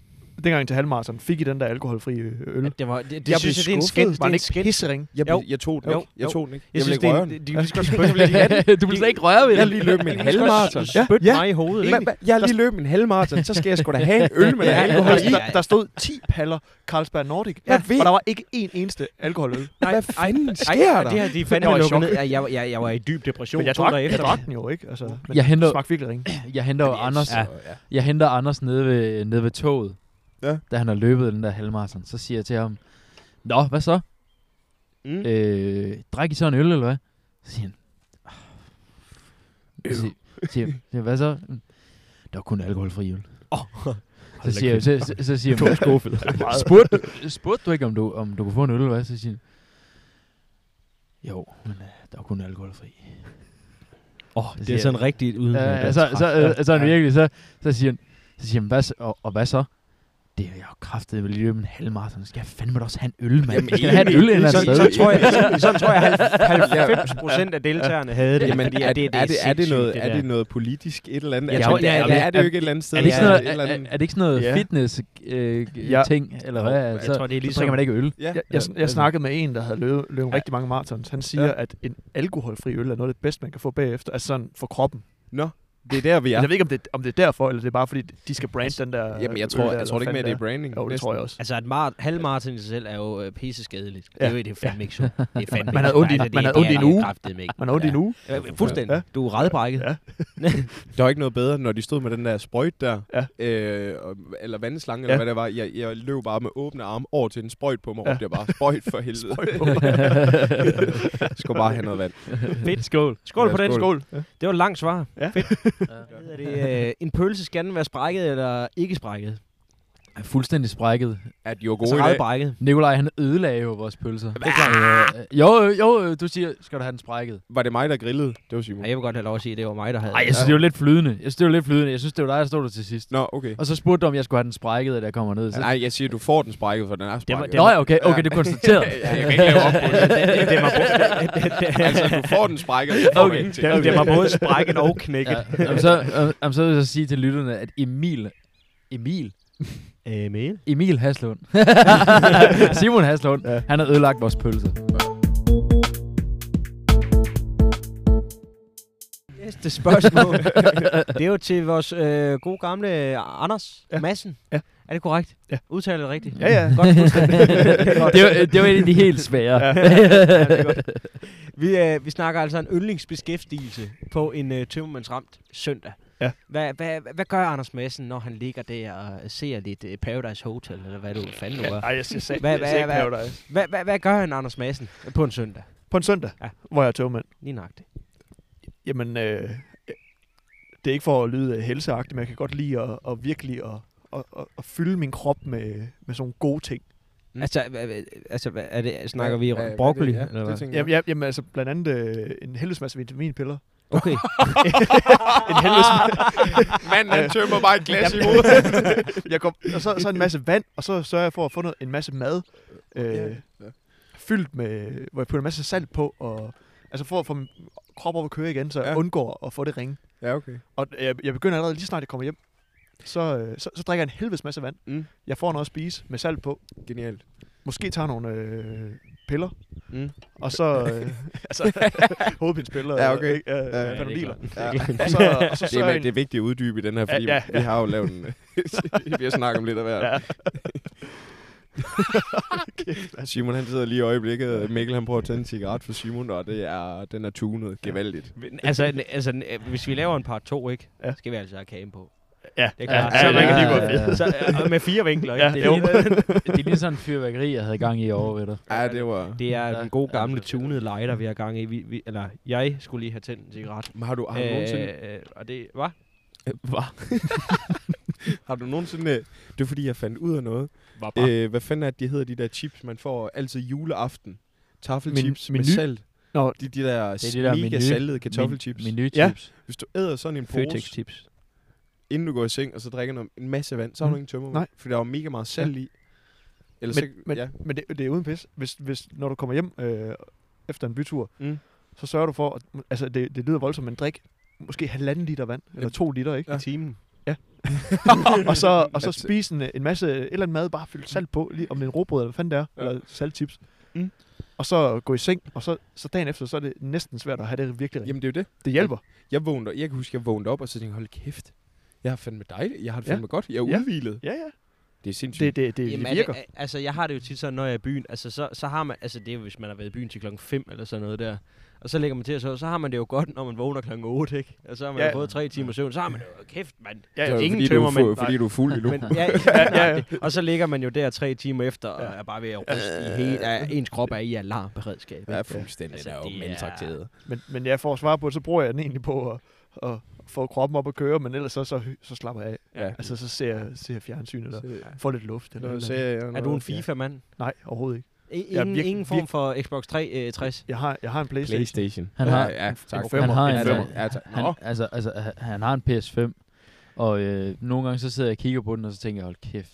E: dengang til halvmarathon fik I den der alkoholfri øh, øl.
D: Ja,
E: Det
D: det, var, det, det
G: Jeg
D: synes
G: blev
D: jeg, det er en
G: skuffet.
D: skænd.
E: var den
D: Det er en
E: ikke
D: skænd.
E: hissering?
G: Jeg,
D: Jo.
G: blev- jeg tog den
D: Jo.
G: ikke. Jeg tog den ikke.
D: Jeg synes,
G: ville
D: det
G: ikke
D: er
G: røre
D: en,
G: den.
D: det, de, vi skal spytte lidt i hatten.
F: du vil slet ikke røre ved
G: Jeg har
F: det.
G: lige løbet min
D: Vi skal
G: halvmarathon.
D: også Spytte
G: Ja.
D: mig i hovedet,
G: Men-
D: ikke?
G: men Jeg har lige løbet en halvmarathon, så skal jeg sgu da have en øl med
E: Ja,
G: alkohol i.
E: der, der, der stod 10 paller Carlsberg Nordic,
G: Ja.
E: ja. og der var ikke én eneste alkoholøl.
G: Hvad fanden sker
D: Ej,
G: der?
D: Det har de fandme
E: Jeg var i
D: lukket
E: chok.
D: ned. Jeg, jeg, jeg, jeg var i dyb depression
E: Men jeg
D: to
E: drak,
D: dage
E: jeg
D: efter.
E: drak den jo ikke. Altså, men
F: Jeg henter-
E: det smagte virkelig ringe.
F: Jeg henter jo Anders,
G: Ja.
F: jeg henter Anders nede ved, nede ved toget,
G: Ja.
F: da han har løbet den der halvmarathon. Så siger jeg til ham, Nå, hvad så?
G: Mm.
F: Øh, drik I så en øl, eller hvad? Så siger han, "Ah." Så siger, siger, jeg, "Ja, hvad så? Der var kun alkoholfri øl. Så siger, jeg, så, så, så siger jeg, skuffet. spurgte, spurgte du ikke, om du, om du kunne få en øl, eller hvad? Så siger han, jo, men øh, der var kun alkoholfri.
D: Åh,
F: Det
D: det er
F: siger-
D: sådan rigtig uden.
F: Ja, ja, så, så, øh, så er det virkelig, så, så siger han, så siger han hvad så, og, og hvad så? Det er jeg jo kraftet, vil lige løbe en halvmarathon. Så skal jeg fandme da også have en øl, mand.
G: Jamen,
F: Jeg skal da have en øl
G: egentlig-
F: et eller
D: så,
F: andet
D: så,
F: sted.
D: tror jeg, så, så tror jeg, at 90 procent af deltagerne havde det.
G: Jamen,
D: fordi
G: er,
D: at
G: det, er, det, er, det
D: sindssygt,
G: noget, er
D: der.
G: det noget politisk et eller andet?
D: Jeg
G: Altså,
D: tror,
G: det,
D: ja,
G: er,
D: ja.
G: er det jo ikke et eller andet sted?
F: Er det ikke sådan
G: et
F: noget,
G: eller
F: er,
G: andet-
F: er, er det ikke sådan noget
G: Ja.
F: fitness øh,
E: Ja.
F: ja. ting, eller hvad?
D: Jeg
F: så,
D: tror, det er
F: så
D: ligesom...
F: drikker man ikke øl.
G: Ja.
E: Jeg, jeg, jeg snakkede med en, der havde løbet, løbet ja. rigtig mange marathons. Han siger,
G: Ja.
E: ja. at en alkoholfri øl er noget af det bedste, man kan få bagefter. Altså sådan for kroppen.
G: Nå, det er der, vi
E: Ja.
G: er.
E: Jeg ved ikke, om det, om det er derfor, eller det er bare fordi, de skal brande den der...
G: Altså, Jamen, jeg
E: øl
G: tror,
E: der,
G: jeg
E: eller
G: tror det
E: hvad
G: ikke mere, det er
E: fanden
G: branding.
E: er. Jo, det tror jeg også.
D: Altså, at mar- halvmarathon i sig selv er jo øh, pisse skadeligt. Det
E: Ja.
D: er jo det fandme ikke sjovt. Det er fandme
E: Man havde ondt i- man havde ondt i en uge. Man er ondt i en uge.
D: uge. Fuldstændig.
E: Ja.
D: Du er redbrækket.
E: Ja.
G: Der var ikke noget bedre, når de stod med den der sprøjt der,
E: Ja.
G: øh, og- eller vandslange, eller
E: Ja.
G: hvad det var. Jeg, jeg løb bare med åbne arme over til en sprøjt på mig, og
E: Ja.
G: råbte jeg bare, sprøjt for helvede.
E: Sprøjt på
G: Jeg skulle bare have noget vand.
D: Fedt. Skål. Skål på
G: Ja,
D: den.
G: skål.
E: Skål. Ja.
D: Det var et langt svar.
E: Ja.
D: Fedt. Hvad hedder det, øh, en pølse skal den være sprækket eller ikke sprækket?
F: Ja. Fuldstændig sprækket.
G: At øh, de var
D: Altså
G: gode i dag.
D: redbrækket.
F: Nikolaj, han ødelagde jo vores pølser. Ah. Jo, øh, jo, øh, du siger, skal du have den sprækket?
G: Var det mig, der grillede? Det var Simon.
D: Ja, jeg vil godt have lov at sige, at det var mig, der havde
F: Nej, jeg synes, det var lidt flydende. Jeg synes, det var lidt flydende. Jeg synes, det var dig, der stod der til sidst.
G: Nå, okay.
F: Og så spurgte du, om jeg skulle have den sprækket, da jeg kommer ned. Så...
G: Nej, jeg siger, du får den sprækket, for den er
D: var-
G: sprækket.
D: det
F: Nå ja, okay, okay, det er konstateret.
G: Ja, jeg kan ikke lave op på det.
D: det, det, var både,
G: Altså, du får den sprækket, og så får
F: Okay.
G: okay. ingenting.
D: det, det var både sprækket og knækket.
F: ja. Jamen, så, øh, jamen, så vil jeg så sige til lytterne, at Emil... Emil?
D: Ja. Emil?
F: Emil Haslund. Simon Haslund, ja. han har ødelagt vores pølser.
D: Næste spørgsmål. det er jo til vores øh, gode gamle Anders ja. Madsen.
E: Ja.
D: Er det korrekt?
E: Ja.
D: Udtaler jeg det rigtigt?
E: Ja, ja.
D: Godt fuldstændig.
F: det, var, det var en af de helt svære.
D: ja, det er godt. Vi, øh, vi snakker altså en yndlingsbeskæftigelse på en øh, tømmermandsramt søndag.
E: Ja.
D: Hvad, hvad, hvad gør Anders Madsen, når han ligger der og ser lidt øh, Paradise Hotel, eller hvad du fanden nu gør?
E: Ej, jeg siger sag,
D: Hvad-
E: jeg
D: hvad-
E: siger ikke
D: hvad-
E: Paradise.
D: Hvad, hvad, hvad gør han, Anders Madsen, på en søndag?
E: På en søndag,
D: Ja.
E: ja. hvor jeg er togmand.
D: Lige nøjagtigt.
E: Jamen, øh, det er ikke for at lyde øh, helseagtigt, men jeg kan godt lide at, at virkelig at, at, at, at fylde min krop med, med sådan nogle gode ting.
D: Mm. Altså, hvad- hvad- altså hvad, er det, snakker vi
G: Ja, ja,
D: om broccoli?
G: det- ja,
D: eller
G: det
D: hvad?
G: tænker jeg.
E: Jamen, ja, jamen altså blandt andet øh, en helvedes masse vitaminpiller.
D: Okay.
E: en helvedes
G: Manden, han tømmer bare et glas i hovedet.
E: jeg kom, og så, så en masse vand, og så sørger jeg for at få noget, en masse mad øh,
G: Ja.
E: fyldt med, hvor jeg putter en masse salt på, og altså for at få min krop op at køre igen, så jeg
G: Ja.
E: undgår at få det ringe.
G: Ja, okay.
E: Og jeg, jeg begynder allerede lige snart, jeg kommer hjem, så, øh, så, så drikker jeg en helvedes masse vand.
G: Mm.
E: Jeg får noget at spise med salt på.
G: Genialt.
E: Måske tager nogle øh, piller,
G: Mm.
E: og så... Øh, altså, hovedpindspiller.
G: Ja, okay.
E: Øh,
G: Ja,
E: øh, ja,
G: ja,
F: det
E: ja,
F: er
E: panodiler.
G: Ja.
E: Og så, og så
G: Det, er,
E: sørger
G: det er vigtigt at uddybe i den her, fordi
E: Ja, ja,
G: vi har jo lavet en... vi har snakket om lidt af hver.
E: Ja.
G: Simon han sidder lige i øjeblikket, og Mikkel han prøver at tænde en cigaret for Simon, og det er, den er tunet gevaldigt.
D: Men Altså, n- altså, n- hvis vi laver en par to, ikke?
E: Ja.
D: Skal vi altså have kagen på.
E: Ja,
D: Det
E: ja,
D: klart.
E: ja, så man kan lige gå
F: ja, ja.
D: Så, øh, og med fire vinkler, ikke?
E: Ja,
D: det,
E: jo.
D: er, lige-
F: Det er lige sådan en fyrværkeri, jeg havde gang i over ved dig.
G: Ja, det var...
D: det er
F: Ja.
D: den gode
F: Ja,
D: gamle
F: det er fedt.
D: tunede lighter, vi har gang i. Vi, vi, eller, jeg skulle lige have tændt en cigaret.
G: Men Har du, har du nogensinde...
D: Øh, øh, og det var
G: Hva? har du nogensinde... øh, Det er fordi, jeg fandt ud af noget.
D: var bare.
G: Øh, hvad fanden er det, de hedder, de der chips, man får altid juleaften? Taffelchips
E: Men-
G: med
E: menu?
G: salt.
E: Nå.
G: De, de der,
F: Det er
G: det
F: de
G: de
F: der
G: mega
F: menu-
G: saltede kartoffelchips.
F: Menu
E: Ja.
F: chips.
G: Hvis du æder sådan en pose,
D: Føtex tips.
G: inden du går i seng, og så drikker noget, en masse vand, så har du
E: Mm.
G: ingen tømmer,
E: Nej.
G: fordi der var mega meget salt i. Eller
E: Men,
G: så,
E: men,
G: ja.
E: ja. men det, det er uden pis. Hvis, hvis, når du kommer hjem øh, efter en bytur,
G: Mm.
E: så sørger du for, at, altså det, det lyder voldsomt, men drik måske halvanden liter vand, eller to liter, ikke?
G: Ja.
E: timen. Ja. og så, og så
G: Altså-
E: spise en, en masse, et eller andet mad, bare fyldt salt på, lige om det er en råbrød, eller hvad fanden det er,
G: Ja.
E: ja. eller saltchips.
G: Mm.
E: Og så gå i seng, og så, så dagen efter, så er det næsten svært at have det virkelig rigtigt.
G: Jamen det er jo det.
E: Det hjælper.
G: Jeg, vågnede, jeg kan huske, jeg vågnede op, og så tænkte jeg, hold kæft, jeg har fandme dejligt, jeg har det
E: Ja.
G: fandme godt, jeg er
E: Ja.
G: udhvilet.
E: Ja, ja.
G: Det er sindssygt.
E: Det, det, det, det
D: er
E: virker.
D: det, altså, jeg har det jo tit sådan, når jeg er i byen. Altså, så, så har man... Altså, det er jo, hvis man har været i byen til klokken 5 eller sådan noget der. Og så lægger man til at sove, så har man det jo godt, når man vågner klokken 8, ikke? Og så har man
E: Ja.
D: ja. fået tre timer søvn, så har man det jo kæft, mand.
E: Ja,
G: det er jo
D: ingen
G: fordi,
D: tømmer,
G: du er fu-
D: men-
G: fordi du er fuld endnu.
D: Men, ja, ja,
E: ja, ja.
D: ja, ja. Og så ligger man jo der tre timer efter, og
E: Ja.
D: er bare ved at ryste i hele, er, ens krop er i alarmberedskab.
G: Ja, fuldstændig.
D: Altså,
G: Altså, det er jo
D: det er-
G: maltrakteret.
E: Men, men ja, for at svare på det, så bruger jeg den egentlig på at, at få kroppen op at køre, men ellers så, så, så slapper jeg af.
G: Ja.
E: Altså, så ser jeg, ser jeg fjernsyn, eller får lidt luft. Eller,
G: Nå,
E: eller,
G: så jeg
D: Er
G: noget.
D: du en FIFA-mand?
E: Nej, overhovedet ikke.
D: Ingen,
E: Jeg er virkelig-
D: ingen form for Xbox øh, 360?
E: Jeg har, jeg har en
G: Ja.
E: Playstation.
G: Playstation.
F: Han har-
G: ja, ja, tak.
E: en
F: Han
E: femmer.
F: har
G: Ja,
F: en,
G: tak.
F: øh,
G: Ja, tak. Nå.
F: han, altså, altså, han- han har en PS5, og øh, nogle gange så sidder jeg og kigger på den, og så tænker jeg, hold kæft,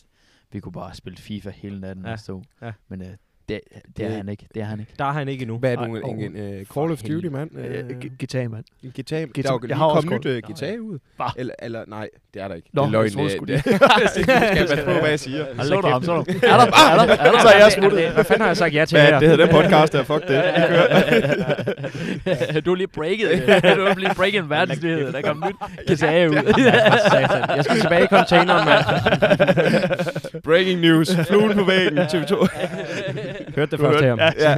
F: vi kunne bare spille FIFA hele natten
D: Ja,
F: og stå.
D: ja.
F: Men øh, det, det er
G: Det-
F: han ikke, det er han ikke.
D: Der er han ikke endnu.
G: Hvad er
E: Nej,
G: du, en, en, en uh, Call of
D: for helvede.
G: Duty, mand? Uh,
E: Øh, g- guitar, mand.
G: en guitar.
E: guitar-
G: Der er jo
E: Jeg
G: lige
E: har også
G: kommet
E: Call-
G: nyt uh, guitar ud.
E: Hva?
G: Eller, eller, nej, det er der ikke.
E: Nå,
G: det er løgn.
E: jeg troede
G: øh,
E: sgu
G: det- Jeg skal jeg passe på, hvad jeg siger.
F: Så du ham, så du
E: Er der, er der, er der, så er jeg smuttet.
D: Hvad fanden har jeg sagt ja til
G: Hvad
D: her?
G: er det hedder den podcast der, fuck det. Vi kører.
F: du er lige breaket. det. Du er lige breaket en verdensnyhed. Der kom nyt kasage ud.
D: Satan. Jeg skal tilbage i containeren, mand.
G: Breaking news. Fluen på væggen, TV2.
D: Hørte det først her.
G: Ja.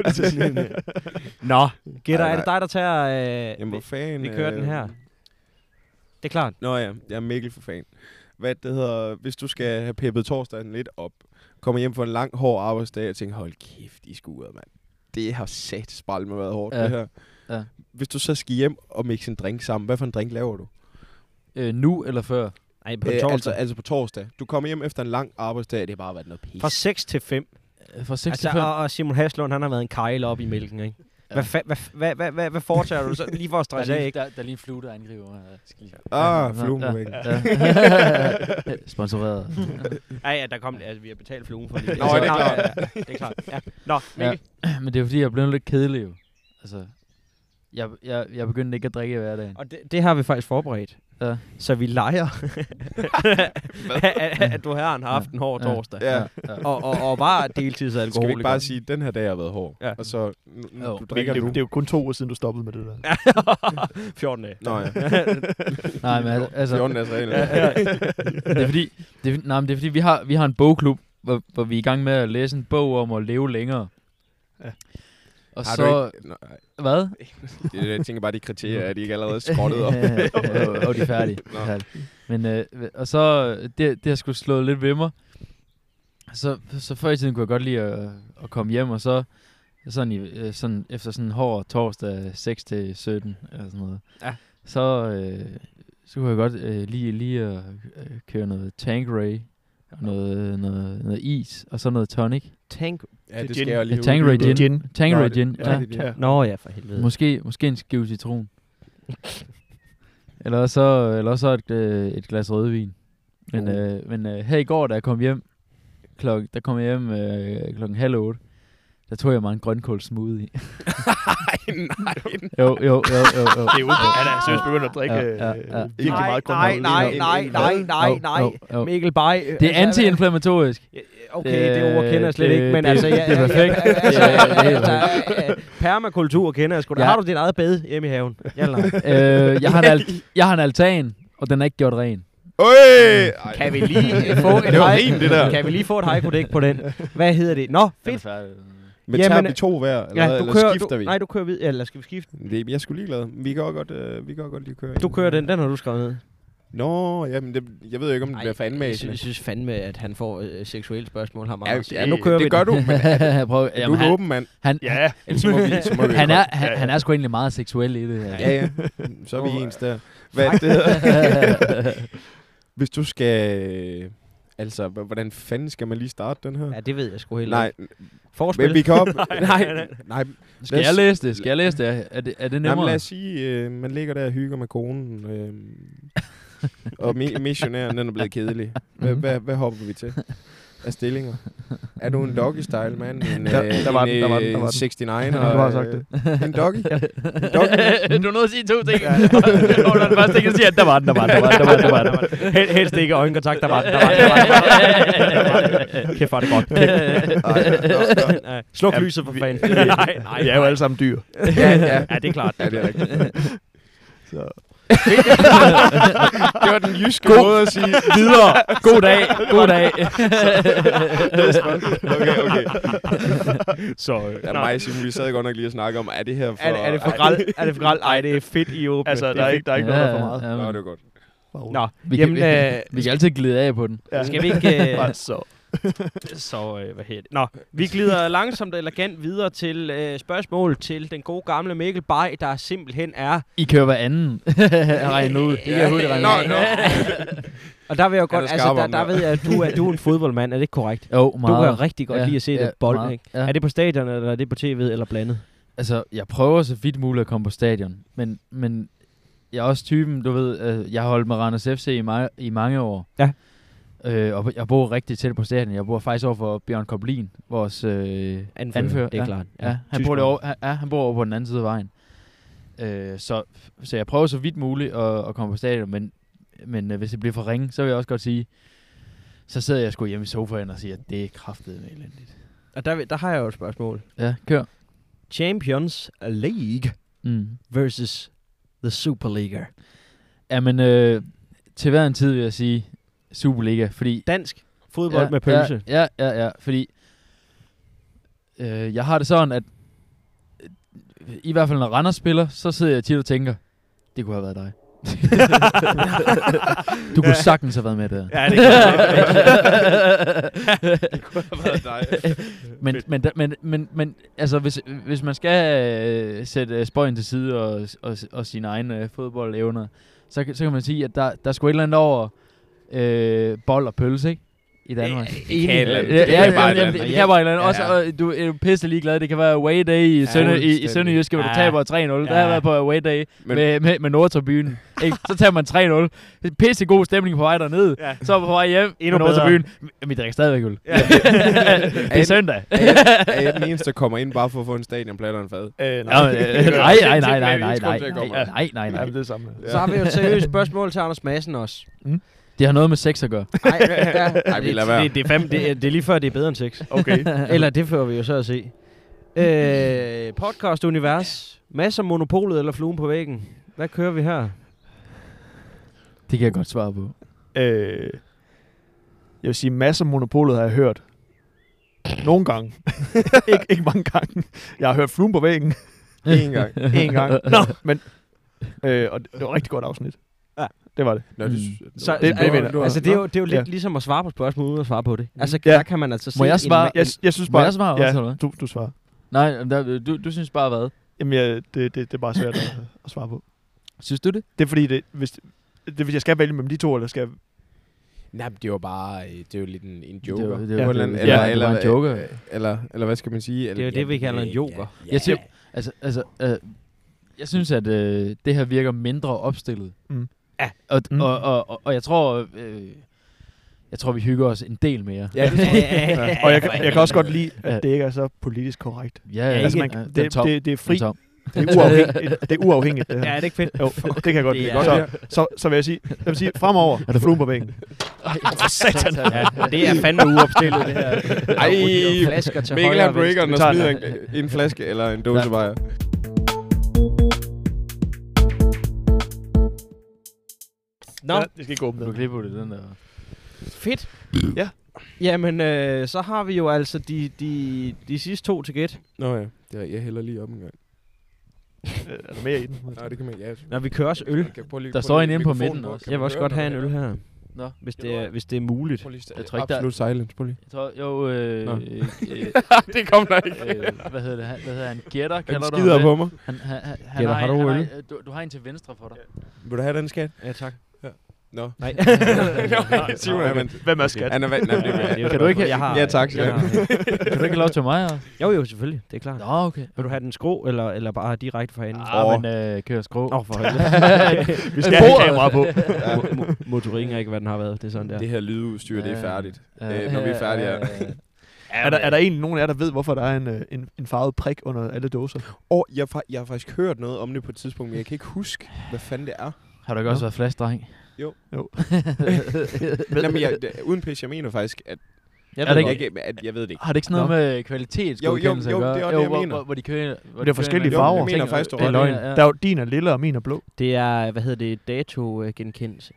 D: Nå, gætter,
G: Nej,
D: er det dig, der tager... Øh,
G: Jamen, hvor
D: vi,
G: fanden.
D: vi kører
G: øh,
D: den her. Det er klart.
G: Nå ja, jeg er Mikkel for fan. Hvad det hedder, hvis du skal have peppet torsdagen lidt op, kommer hjem for en lang, hård arbejdsdag og tænker, hold kæft i skuret, mand. Det har sat spejl med været hårdt,
F: Ja.
G: det her.
F: Ja.
G: Hvis du så skal hjem og mixe en drink sammen, hvad for en drink laver du?
F: øh, nu eller før?
D: Ej, på
G: Øh,
D: torsdag.
G: altså, altså på torsdag. Du kommer hjem efter en lang arbejdsdag, det har bare været noget
E: altså,
G: pis.
D: Fra 6 til 5.
F: Øh, Fra 6
D: Altså,
F: til 5?
D: og, og Simon Haslund, han har været en kejle op i mælken, ikke? Hvad, fa- hvad, hvad, hvad, hvad, hvad foretager du så lige for at
F: Der er,
D: stresse af,
F: lige,
D: ikke?
F: der, der er lige en flue, der angriber. mig. Jeg skal lige-
G: Ah,
F: Nå,
G: fluen på
F: ja,
G: væggen.
F: ja. Sponsoreret.
D: Ja, ja, der kom det. Altså, vi har betalt fluen for lige.
G: Nå, er det klart?
D: Ja, ja, det er klart. Ja. Nå,
F: Ja.
D: Mikkel.
F: Men det er jo fordi, jeg er blevet lidt kedelig jo. Altså, jeg, jeg, jeg begyndte ikke at drikke i hverdagen.
D: Og det, det har vi faktisk forberedt.
F: Ja.
D: Så vi leger, at, at du herren har haft en hård
F: Ja.
D: torsdag.
G: Ja.
F: ja.
D: Og, og, og bare deltidsalkoholiker.
G: Skal vi ikke bare sige, at den her dag har været hård?
D: Ja.
G: Og så, nu, nu,
F: Jo.
G: du
E: Det,
G: drikker
E: er jo-
G: nu.
E: det er jo kun to uger siden, du stoppede med det der.
D: 14 dage.
G: Nå
F: Altså-
G: ja.
F: Nej, men al- altså,
G: 14 dages regel.
F: det er fordi, det er, fordi- nej, men det er fordi, vi har, vi har en bogklub, hvor, hvor vi er i gang med at læse en bog om at leve længere.
E: Ja.
F: Og
G: Har du
F: så,
G: ikke... Nej,
F: hvad?
G: det- jeg tænker bare, de kriterier, at de ikke allerede skrottet op.
F: og, og de er færdige. De er færdige. Men, øh, og så, øh, det, det har sgu slået lidt ved mig. Så, så før i tiden kunne jeg godt lide at, øh, at komme hjem, og så sådan, i, øh, sådan efter sådan en hård torsdag 6 til 17, eller sådan noget,
D: Ja.
F: så, øh, så kunne jeg godt øh, lige, lige at øh, køre noget Tanqueray, og noget, noget, noget is, og så noget tonic.
D: Tank.
G: Ja,
E: Det er
G: det
E: gin.
G: skal jeg jo
F: Ja,
G: lige
F: Tanqueray
G: uddybe.
F: gin.
E: Gin.
F: Tanqueray
G: Nå, det-
F: gin,
G: ja,
F: ja.
G: det er det.
D: Nå ja, for helvede.
F: Måske, måske en skive citron. eller så, eller så et, øh, et glas rødvin. Men,
G: Uh.
F: øh, men øh, her i går, da jeg kom hjem, klok, der kom jeg hjem øh, klokken halv otte, der tog jeg mig en grønkål smoothie.
G: nej, nej.
F: jo, jo, jo, jo, jo.
E: Det er jo Han er seriøst begyndt at drikke
F: Ja, ja,
E: øh,
F: ja.
E: virkelig
D: nej,
E: meget grøn
D: nej,
E: mad.
D: nej, Altså, nej, nej, nej,
F: Jo, jo, jo.
D: Mikkel Bay.
F: Det er anti-inflammatorisk.
D: Ja, ja, okay, det ord kender jeg slet
F: Det-
D: ikke, men
F: det-
D: altså...
F: det
D: jeg-
F: er
D: jeg-
F: perfekt.
D: jeg- altså,
F: Det er- det er
D: jeg- der er, øh, Permakultur kender jeg sgu da.
F: Ja.
D: Har du dit eget bed hjemme i haven? Ja, eller nej.
F: øh, jeg, har en al- jeg har en altan, og den er ikke gjort ren.
G: Øj! Ej.
D: Kan vi lige øh, få et
G: Det var
D: hej-
G: rim, det der.
D: Kan vi lige få et hejkodæk på den? Hvad hedder det? Nå, fedt.
G: Men tager
D: Jamen,
G: vi to hver, eller, ja, eller skifter
D: du,
G: vi?
D: Nej, du kører videre. Eller skal vi skifte?
G: Det, jeg skulle lige lade. Vi kan også godt, øh, vi kan også godt lige køre.
D: Du
G: en.
D: kører den, den har du skrevet ned.
G: Nå, jamen, det, jeg ved jo ikke, om det bliver for
H: jeg, sy-
G: anmæsende.
H: jeg synes fandme, at han får øh, seksuelle spørgsmål, ham
G: Ja,
H: Anders.
G: ja, nu
D: det-
G: kører
D: det
G: vi
D: gør
G: det. du, men
F: Prøv,
G: du
F: jamen,
G: er en
F: han,
G: åben mand.
F: han,
E: Ja,
G: Ellers må vi, så må vi
F: han,
G: jo
F: er,
G: godt.
F: han, han er sgu egentlig meget seksuel i det her.
G: Ja, ja. Så er vi ens der. Hvad det hedder? Hvis du skal... Altså, h- hvordan fanden skal man lige starte den her?
D: Ja, det ved jeg sgu helt
G: Nej,
D: ikke. Forspil.
G: men vi kan op... nej,
D: nej, nej.
G: nej,
F: Skal
G: Lad os-
F: jeg læse det? Skal jeg læse det? Er det, er det
G: nej, men
F: nemmere?
G: lad os sige, øh, man ligger der og hygger med konen, øh, og mi- missionæren, den er blevet kedelig. Hvad, hvad, hvad hopper vi til af stillinger? Er du en doggy-style, mand? En,
E: Der- der var den, der var den, der var den.
G: 69 den.
E: du har sagt det.
G: En doggy? En doggy?
F: du er nødt til at sige to ting. Og når den første ting, jeg siger, der var den, der var den, der var den, der var den, der var den.
D: Hel, helst ikke øjenkontakt, der var den, der var den, der var den, der var den, der var den. Kæft, var det godt. Kæft. Nej. Sluk
E: Ja,
D: lyset for
E: vi-
D: fanden.
E: vi-
D: Nej, nej.
E: Vi er jo alle sammen dyr.
G: Ja, ja.
D: Ja, det er klart.
G: Ja, det er rigtigt.
E: Så.
G: det var den jyske God. måde at sige videre.
F: God dag, god dag.
G: okay, okay.
D: Så, øh,
G: Ja,
D: nå.
G: mig og Simon, vi sad godt nok lige og snakke om, er det her for...
D: er, det, er det for græl? Er det for græl? Ej, det er fedt i åbne.
E: Altså,
D: Det
E: der er
D: fedt.
E: ikke, der er ikke noget, der er for meget.
G: Nå,
F: Ja,
G: det var godt.
E: Bare rolig.
D: Nå,
F: vi,
D: jamen,
F: kan, vi,
D: øh,
F: vi kan altid glide af på den.
E: Ja.
D: skal vi ikke... Øh,
E: Bare så.
D: så, øh, hvad hedder det? Nå, vi glider langsomt og elegant videre til øh, spørgsmål til den gode gamle Mikkel Bay, der simpelthen er...
F: I kører hver anden. Regn ud. Det kan jeg hurtigt regne
G: Nå,
F: ud.
G: nå.
D: Og der vil jeg jo
G: Han
D: godt...
G: er
D: Altså,
G: skarp
D: der,
G: om
D: der
G: det.
D: ved jeg, at du er, du er en fodboldmand, er det ikke korrekt?
F: Jo, meget.
D: Du kan rigtig godt
F: Ja,
D: lide at se
F: ja,
D: det bold,
F: meget.
D: ikke?
F: Ja.
D: Er det på stadion, eller er det på tv, eller blandet?
F: Altså, jeg prøver så vidt muligt at komme på stadion, men, men jeg er også typen, du ved, øh, jeg har holdt med Randers FC i, ma- i mange år.
D: Ja.
F: Øh, og jeg bor rigtig tæt på stadion. Jeg bor faktisk over for Bjørn Koblin, vores øh, anfører.
D: det er
F: ja.
D: klart.
F: Ja, han bor,
D: Tyskland.
F: derovre, han- ja, han bor over på den anden side af vejen. Øh, så, så jeg prøver så vidt muligt at, at komme på stadion, men, men øh, hvis det bliver for ringe, så vil jeg også godt sige, så sidder jeg sgu hjemme i sofaen og siger, at det er kraftedet med elendigt.
D: Og der, vil- der har jeg jo et spørgsmål.
F: Ja, kør.
D: Champions League
F: Mm.
D: versus The Super League.
F: Jamen, øh, til hver en tid vil jeg sige Superliga, fordi...
D: Dansk fodbold med pølse.
F: Ja, ja, ja, ja fordi øh, jeg har det sådan, at øh, i hvert fald når Randers spiller, så sidder jeg tit og tænker, det kunne have været dig. du kunne sagtens have været med der.
D: Ja, det kan
F: men, men, da- men, men, men altså, hvis, hvis man skal øh, sætte øh, spøjen til side og, og, og sine egne øh, fodboldevner, så, kan- så kan man sige, at der, der er sgu et eller andet over øh, bold og pølse, ikke? I Danmark.
G: Det kan et eller
F: Ja,
G: andet. Det kan
F: ja,
G: bare et
F: ja,
G: eller
F: ja,
G: andet.
F: det kan bare et eller andet.
G: Ja,
F: Også,
G: ja.
F: og øh, du er jo pisse ligeglad. Det kan være away day i, Sønder, i, i
G: fuldstændig.
F: Sønderjyske, hvor du
D: Ja.
F: taber 3-0. Der har
D: Ja.
F: jeg været på away day
G: Men-
F: med, med, med Nordtribunen. ikke? Så tager man 3-0. Det er Pisse god stemning på vej derned.
D: Ja.
F: Så er vi på vej hjem
D: Endnu
F: Endnu med Nordtribunen. Men vi drikker stadigvæk øl.
D: Ja.
F: det er søndag.
G: Er jeg, er jeg den eneste, der kommer ind bare for at få en stadionplatte og en fad?
E: Øh,
F: Nå,
E: nej.
F: men, øh, Nej, nej, nej, nej, nej, nej,
G: Det
F: nej,
G: kommer.
F: nej, nej,
E: Ja, men
F: nej.
E: det er det samme.
D: Så har vi jo et seriøst spørgsmål til Anders Madsen også.
F: Det har noget med sex at gøre.
D: Nej,
G: Ej, vi lader være.
D: det, det, er fem, det, er- det er lige før, det er bedre end sex.
E: Okay.
D: Eller det får vi jo så at se. Øh, podcast Univers. Masser monopolet eller fluen på væggen. Hvad kører vi her?
F: Det kan jeg godt svare på.
E: Øh, jeg vil sige, masser af monopolet har jeg hørt. Nogle gange. ikke, ikke mange gange. Jeg har hørt fluen på væggen
G: En gang.
E: en gang. Nå. Men, øh, og det, det var et rigtig godt afsnit.
D: Ja.
E: Det var det.
G: Nå, det, mm.
D: Så,
E: det vinder.
D: altså, det er jo, det er jo lidt
E: Ja.
D: ligesom at svare på et spørgsmål uden at svare på det. Altså,
E: Ja.
D: der kan man altså se
F: Må jeg
D: en
F: svare?
D: ma-
E: Jeg, jeg synes
F: Må
E: bare...
F: jeg svare også,
E: ja,
F: eller hvad?
E: du, du svarer.
F: Nej, der, du, du synes bare hvad?
E: Jamen, ja, det, det, det er bare svært at, at svare på.
F: Synes du det?
E: Det er fordi, det, hvis, det, er, hvis jeg skal vælge mellem de to, eller skal jeg...
G: Nej, men det var bare... øh, Det var lidt en, en
F: Det
G: joker.
F: var- det
G: På
F: var-
G: en eller anden-
F: det
G: eller-
F: var- det
G: eller-
F: var en joker.
G: Eller, eller hvad skal man sige?
D: Det er jo det, vi kalder en joker.
F: Jeg synes, altså, altså, øh, jeg synes at øh, det her virker mindre opstillet.
E: Mm.
F: Ja. Og,
E: Mm.
F: og, og, og, og jeg tror, øh, jeg tror, vi hygger os en del mere.
G: Ja, det tror jeg.
E: Ja. Og jeg, kan- jeg kan også godt lide,
F: Ja.
E: at det ikke er så politisk korrekt.
F: ja,
E: altså,
F: ja,
E: man,
F: ja,
E: det,
F: den top,
E: det, det er fri
F: den top.
E: Det er uafhængigt. det er uafhængigt det her.
D: Ja, er det ikke fedt?
E: Jo, det kan jeg godt
D: Det
E: lide.
D: er-
E: Så, så, så vil jeg sige, jeg vil sige fremover er der fluen på væggen.
D: For satan. Ja, det er fandme uopstillet, det her.
G: Ej,
H: flasker til
G: Mikkel
H: højre
G: han
H: og venstre.
G: breaker den og
E: Vi tager
G: smider en, en flaske eller en dose bajer.
D: Nå,
E: Ja, det skal ikke gå
F: Du
E: åbent.
F: klipper det, den der.
D: fedt.
E: Ja.
D: Jamen, øh, så har vi jo altså de, de, de sidste to til gæt.
G: Nå ja, det er, jeg hælder lige op en gang.
E: Øh, Er der mere i den?
G: Nej, det kan man ja.
D: Når vi kører også øl.
G: Kan- prøv lige-
F: Der
G: prøv
F: står
G: lige
F: en inde på
G: mikrofonen
F: midten også.
G: Kan
D: Jeg vil
G: man
D: også
G: høre
D: godt have en
G: noget?
D: øl her,
F: Nå,
D: hvis det er, hvis det er muligt.
G: Prøv lige-
F: Jeg tror ikke, der-
G: Absolut silence, prøv lige.
F: jeg tror, jo, øh,
G: Nå.
F: øh, øh,
G: det kom der ikke.
F: øh, hvad hedder det, han- hvad hedder han, Gætter,
G: Han
F: kalder du ham
G: skider
F: det?
G: på mig.
F: Han, han, han, han
D: Gætter,
F: har,
D: har
F: en,
D: du
F: han
D: øl?
F: har en, øh, du, du har en til venstre for dig.
G: Vil du have den skat?
D: Ja, tak.
G: Nå.
D: Nej.
G: Nej, Simon, han,
E: Hvem er skat?
G: han er vant. Nej, det er-
D: Det er jo-
F: Kan du ikke-
D: jeg har,
G: Ja, tak,
D: jeg
G: ja.
D: har-
F: Kan du ikke have lov til mig? Også?
D: Jo, jo, selvfølgelig. Det er klart.
F: Nå, okay.
D: Vil du have den skrå, eller, eller bare direkte fra hende?
F: Ah, men øh, kører skrå.
D: Åh, for helvede.
E: Vi skal have et
F: Bordet.
E: kamera på.
D: Mo- mo- Motorikken er ikke, hvad den har været. Det er sådan der.
G: Det her lydudstyr, det er
F: Ja.
G: færdigt. Øh, når vi er færdige her.
E: Er der, er der en, nogen af jer, der ved, hvorfor der er en, øh, en, en farvet prik under alle dåser?
G: Og jeg, har fa- jeg har faktisk hørt noget om det på et tidspunkt, men jeg kan ikke huske, hvad fanden det er.
F: Har du ikke også været flashdreng?
G: Jo.
E: Jo.
G: Men, jamen, jeg, det, uden pis, jeg mener faktisk, at
H: Jeg
F: Er
H: ved
F: det
G: jeg,
H: godt.
F: ikke-
G: ikke, at jeg ved det ikke.
F: Har det ikke sådan noget med kvalitetsgodkendelse
G: Jo, jo, jo,
F: at gøre?
G: det er også det, jeg
F: hvor,
G: mener.
F: Hvor, hvor de kører... Hvor
E: Det er forskellige farver.
G: Jo, jeg mener faktisk, du
E: Det er løgn. Der er jo, din er lilla, og min er blå.
D: Det er, hvad hedder det, datogenkendelse.